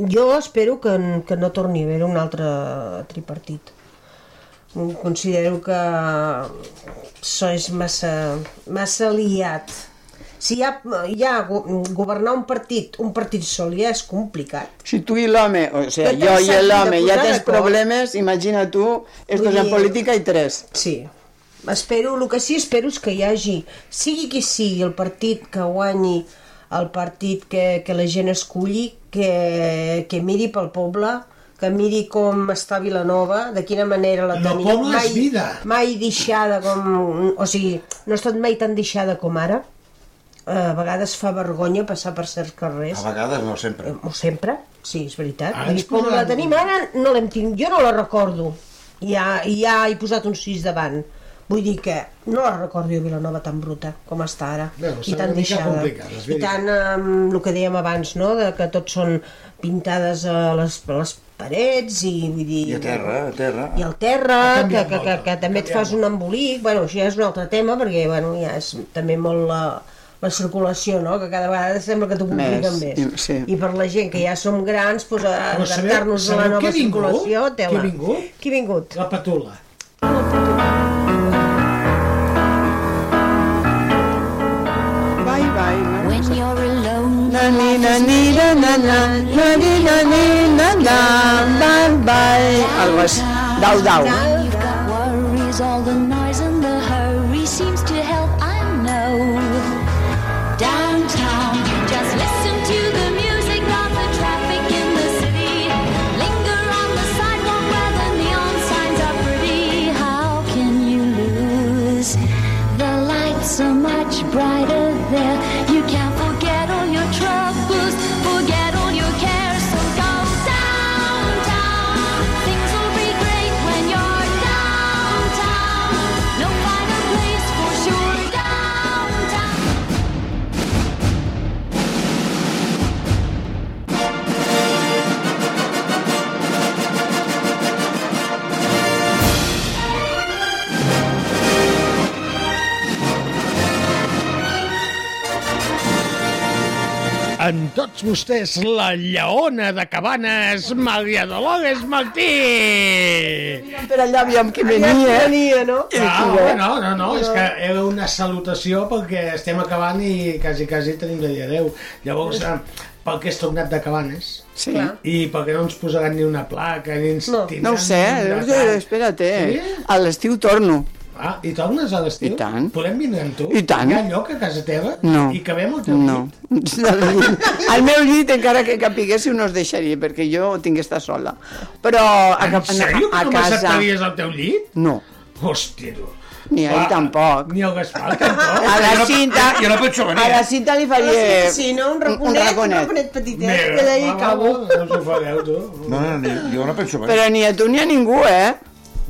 I: jo espero que, n- que no torni a haver un altre tripartit. Mm, Considero que això és massa, massa liat. Si ja, ja go- governar un partit, un partit sol ja és complicat.
F: Si tu i l'home, o sigui,
I: No
F: jo
I: t'has
F: i l'home
I: de
F: ja
I: posar
F: tens
I: d'acord.
F: problemes, imagina tu, estos
I: Vull
F: en
I: dir-
F: política i tres.
I: Sí. Espero, el que sí espero és que hi hagi, sigui qui sigui, el partit que guanyi, el partit que, que la gent esculli, que, que miri pel poble, que miri com està Vilanova, de quina manera la
E: El
I: tenim.
E: poble és vida.
I: Mai deixada com... O sigui, no ha estat mai tan deixada com ara. Eh, A vegades fa vergonya passar per certs carrers.
G: A vegades no, sempre.
I: Eh, O sempre, sí, és veritat.
E: Ah,
G: Ara
I: I
G: ens
I: com la
G: posaran-
I: tenim ara, no l'hem tingut, jo no la recordo. Ja, ja he posat un 6 davant. Vull dir que no la recordo jo Vilanova tan bruta com està ara.
E: Bé, doncs
I: I
E: serà
I: tan
E: una mica
I: deixada.
E: complicat, és
I: I tant eh, el que dèiem abans, no?, de que tot són pintades a les, a les parets i vull dir...
G: I a terra, a terra.
I: I al terra,
G: Ha
I: que,
G: canviat
I: que, que,
E: eh?
I: que també et fas un embolic, bueno, això ja és un altre tema, perquè bueno, ja és també molt la, la circulació, no?, que cada vegada sembla que t'ho compliquen més.
F: i- Sí.
I: I per la gent que ja som grans, doncs, a-
E: Però sabeu-
I: adaptar-nos a la
E: sabeu
I: nova
E: qui ha vingut?
I: circulació,
E: Qui ha
I: tela.
E: vingut?
I: Qui ha vingut?
E: La Petula.
F: Bye, bye.
J: When you're alone,
F: Na ni na ni na na na na ni na ni na na bye bye. Algo així. Dau, dau.
J: Now you've got worries, all the noise and the hurry seems to help, I know. Downtown, just listen to the music of the traffic in the city. Linger on the
H: brighter there. You can't forget all your troubles, forget all your cares. So go downtown. Things will be great when you're downtown. No other place for sure. Downtown.
E: Amb tots vostès, la lleona de Cabanes, Maria Dolores Martí!
F: Per allà aviam qui venia,
E: Aviam
F: eh?
E: qui venia, no?
F: I
E: Ah,
F: qui
E: home,
F: ve.
E: no, no, no, és que era una salutació perquè estem acabant i quasi, quasi tenim de dir adeu. Llavors, eh, pel que és tornat de Cabanes,
F: Sí. Clar.
E: i perquè no ens posaran ni una placa, ni ens no. tindran...
F: No ho sé,
E: ni
F: eh?
E: un
F: Jo-
E: detall.
F: espera't, eh?
E: Sí?
F: A l'estiu torno.
E: Ah, i tornes a l'estiu?
F: I tant.
E: Podem vindre amb tu?
F: I tant.
E: Hi ha lloc a casa teva?
F: No.
E: I cabem al teu
F: No. Al meu llit, encara que capiguéssiu, no us deixaria, perquè jo tinc que estar sola. Però a,
E: En sèrio que
F: a
E: no
F: casa...
E: m'acceptaries al teu llit?
F: No.
E: Hòstia, tu.
F: Ni a ell tampoc.
E: Ah, Ni al Gaspar, tampoc.
F: A la cinta...
E: Jo no penso venir.
F: A la cinta li faria...
C: Sí, no? Un raconet, un raconet, un raconet petitet,
F: Mira,
C: que d'ahir
F: va, va,
C: cabo.
E: No us ho fareu, tu.
G: No, no, ni, jo no penso
F: Però ni a tu ni a ningú, eh?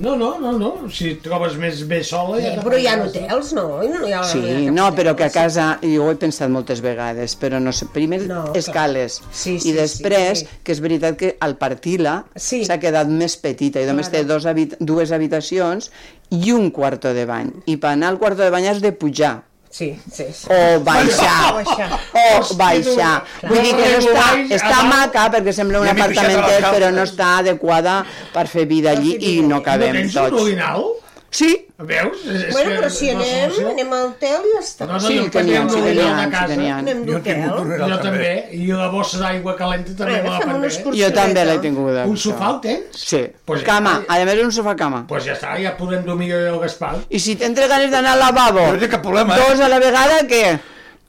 E: No, no, no, no. Si et trobes més bé sola...
C: Eh, però hi ha hotels, no? no hi ha...
F: Sí, no, però que a casa, jo ho he pensat moltes vegades, però no sé, primer no, escales
C: sí,
F: i després,
C: sí, sí.
F: que és veritat que al partila s'ha quedat més petita i només té dos habit dues habitacions i un quarto de bany. I per anar al quarto de bany has de pujar.
C: Sí, sí, sí.
F: O baixar. o
C: Hòstia,
F: baixar.
C: tu,
F: Vull dir que
C: clar.
F: no està,
C: Baix,
F: està
C: a dalt.
F: maca perquè sembla un
C: Ja m'he pixat a les
F: apartamentet
C: calces.
F: però no està adequada per fer vida allí i no
E: No
F: cabem
E: tens un
F: tots.
E: urinal?
F: Sí.
E: Veus? És, és
C: Bueno,
E: que
C: però si
E: no és
C: anem,
E: solució.
C: anem al hotel i ja està.
E: No, no, sí, jo tenia, sí, tenia, sí, tenia.
C: Anem d'hotel.
E: Jo també. I la bossa d'aigua calenta també
C: Res,
E: me la
C: fem
E: prendré.
C: unes
F: Jo també l'he tinguda.
E: Un
F: això.
E: sofà el tens?
F: Sí.
E: Pues ja
F: cama,
E: està.
F: a més un sofà cama.
E: Pues ja està, ja podem dormir jo i el Gaspar.
F: I si tens ganes d'anar al lavabo,
E: No té cap problema, eh?
F: dos a la vegada, què?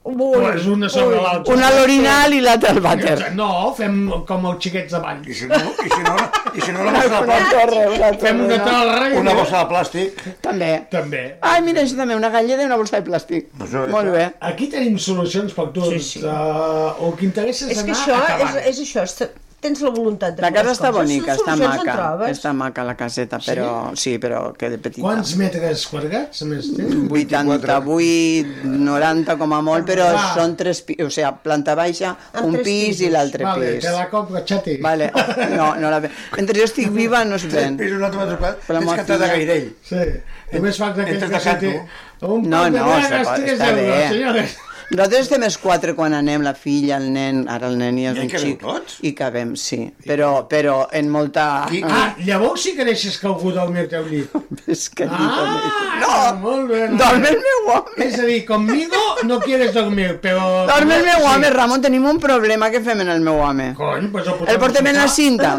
E: Pues una sobre l'altra.
F: Una a l'orinal i l'altra al vàter.
E: No, fem com els xiquets de bany. I si
G: no, i si no, i si no la bossa de
F: Una torre, una
G: plàstic.
F: torre,
G: Fem una
F: no?
G: torre. i- Una bossa de plàstic.
F: També.
E: També.
F: Ai, mira, això també, una galleda i una bolsa de plàstic.
G: Doncs, eh,
F: Molt bé.
E: Aquí tenim solucions per tu. Sí, sí. Uh, o que interesses
C: És que
E: anar
C: això, és,
E: acabant.
C: és això, està- tens la voluntat de
F: La
C: fer
F: casa
C: les
F: està
C: coses.
F: bonica, està
C: Solucions en
F: maca.
C: trobes.
F: Està maca la caseta, però sí, però queda petita.
E: Quants metres quadrats més tens?
F: 88, 90 com a molt, però
E: Ah.
F: són tres pi- o sigui, planta
C: Ah,
F: baixa,
E: Amb
F: un
E: tres
F: pis i
E: pisos.
F: l'altre
E: Vale,
F: pis.
E: te la compro, xati.
F: Vale, no, no la ve. Mentre jo estic viva no es ven.
G: Tres pisos, un altre metre quadrat.
F: Per la
G: Tens
F: meva
G: que entrar de
F: filla.
G: gairell.
E: Sí. Només falta que
G: Entres
E: que
G: de canto.
E: senti- Un
F: No,
E: pot de
F: no,
E: bragues,
F: està,
E: tres
F: està
E: euros,
F: bé.
E: senyores.
F: Nosaltres estem els quatre quan anem, la filla, el nen, ara el nen i és
E: I
F: un
E: cabeu
F: xic. I cabem, sí. Però, però en molta... Mm.
E: I, ah, llavors sí que deixes algú dormir al teu llit.
F: És que
E: ah, no, molt bé. No.
F: Dorme el meu home.
E: És a dir, conmigo no quieres dormir, però...
F: Dorme el meu home, Ramon, tenim un problema que fem en el meu home.
E: Cony, pues ho
F: el portem en la cinta.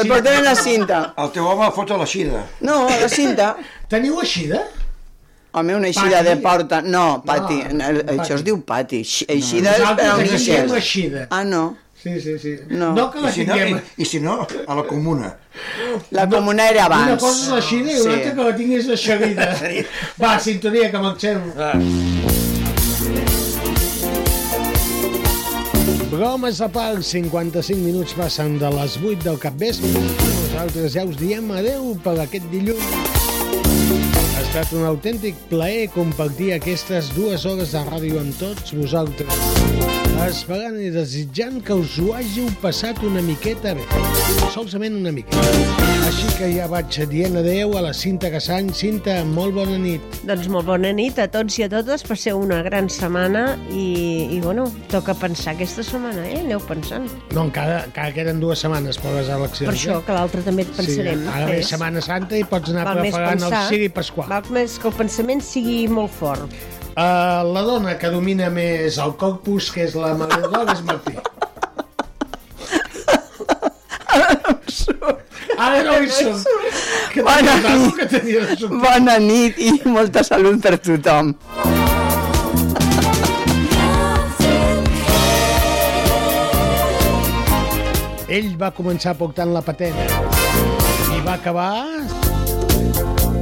F: El portem en la cinta.
G: El teu home fot a la xida.
F: No, la cinta.
E: Teniu eixida?
F: Home, una eixida
E: Pati?
F: de porta... No, Ah, pati.
E: No,
F: No, això es diu pati. Eix- Eixida és per a un
E: Nosaltres aquí tenim
F: eixer.
E: eixida.
F: Ah, no.
E: Sí, sí, sí.
F: No.
E: no que la
G: I si no,
E: tinguem...
G: i, i si no a la comuna.
F: La comuna era abans.
E: Una cosa és la xina i una altra que la tinguis aixerida. Va, sintonia, que marxem. Bromes a part, 55 minuts passen de les 8 del capvespre. Nosaltres ja us diem adeu per aquest dilluns. Ha estat un autèntic plaer compartir aquestes dues hores de ràdio amb tots vosaltres. Esperant i desitjant que us ho hàgiu passat una miqueta bé. Solament una miqueta. Així que ja vaig dient adeu a la Cinta Casany. Cinta, molt bona nit.
I: Doncs molt bona nit a tots i a totes, passeu una gran setmana i, i bueno, toca pensar aquesta setmana, eh? Aneu pensant.
E: No, encara, encara queden dues setmanes per les eleccions. eh?
I: Per això, que l'altra també et pensarem. eh?
E: Sí, ara ve
I: res.
E: Setmana Santa i pots anar
I: Val més
E: preparant el
I: pensar.
E: Siri Pasqual.
I: Val més que el pensament sigui molt fort.
E: Uh, la dona que domina més el corpus, que és la Maria Dolores Martí. Ara no hi surt. Que
F: Bona
E: tenia rato,
F: nit.
E: que tenia rato.
F: Bona nit i molta salut per tothom.
E: Ell va començar portant la patena i va acabar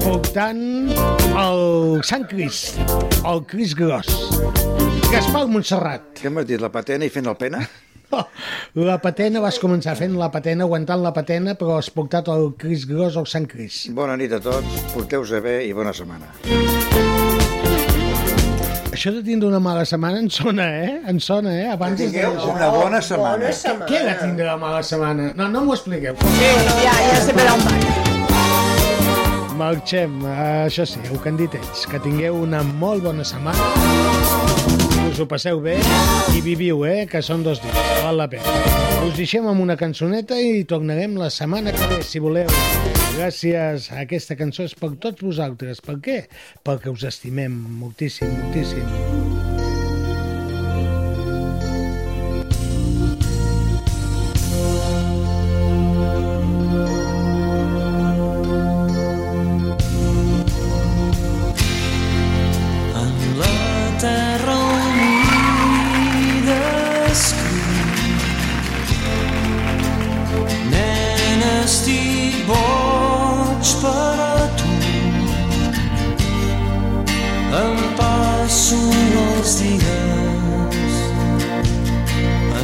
E: voltant el Sant Cris, el Cris Gros. Gaspar Montserrat.
G: Què m'has dit, la patena i fent el pena?
E: La patena, vas començar fent la patena, aguantant la patena, però has portat el Cris Gros al Sant Cris.
G: Bona nit a tots, porteu-se bé i bona setmana.
E: Això de tindre una mala setmana en sona, eh? En sona, eh? Abans
G: Que tingueu
E: es deia-
G: una "Oh, bona Bona setmana. setmana.
E: Què era tindre una mala setmana? No, no m'ho expliqueu.
F: Sí, ja, ja sé per on va.
E: Marxem, eh, això sí, el que han dit ells. Que tingueu una molt bona setmana. Us ho passeu bé i viviu, eh? Que són dos dies, val la pena. Us deixem amb una cançoneta i tornarem la setmana que ve, si voleu. Gràcies a aquesta cançó és per tots vosaltres. Per què? Perquè us estimem moltíssim, moltíssim.
H: La terra unida escriu Nena, estic boig per a tu Em passo els dies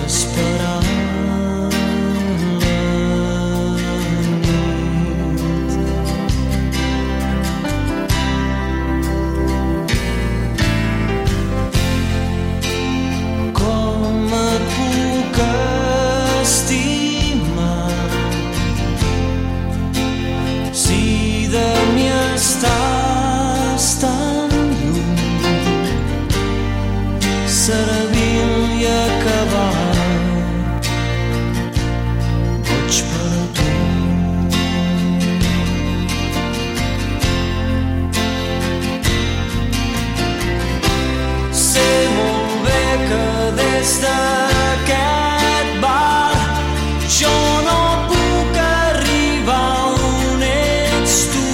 H: esperant com et puc estimar si de mi estàs tan lluny servint i acabat boig per tu Sé molt bé que des d'aquest bar jo no puc arribar on ets tu.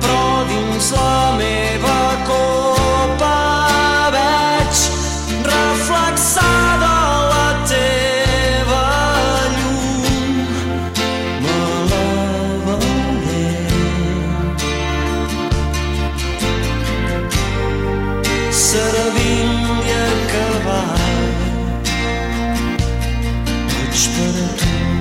H: Però dins la meva copa veig reflexada la teva llum. Me la veuré servint i acabat. Vaig per a tu.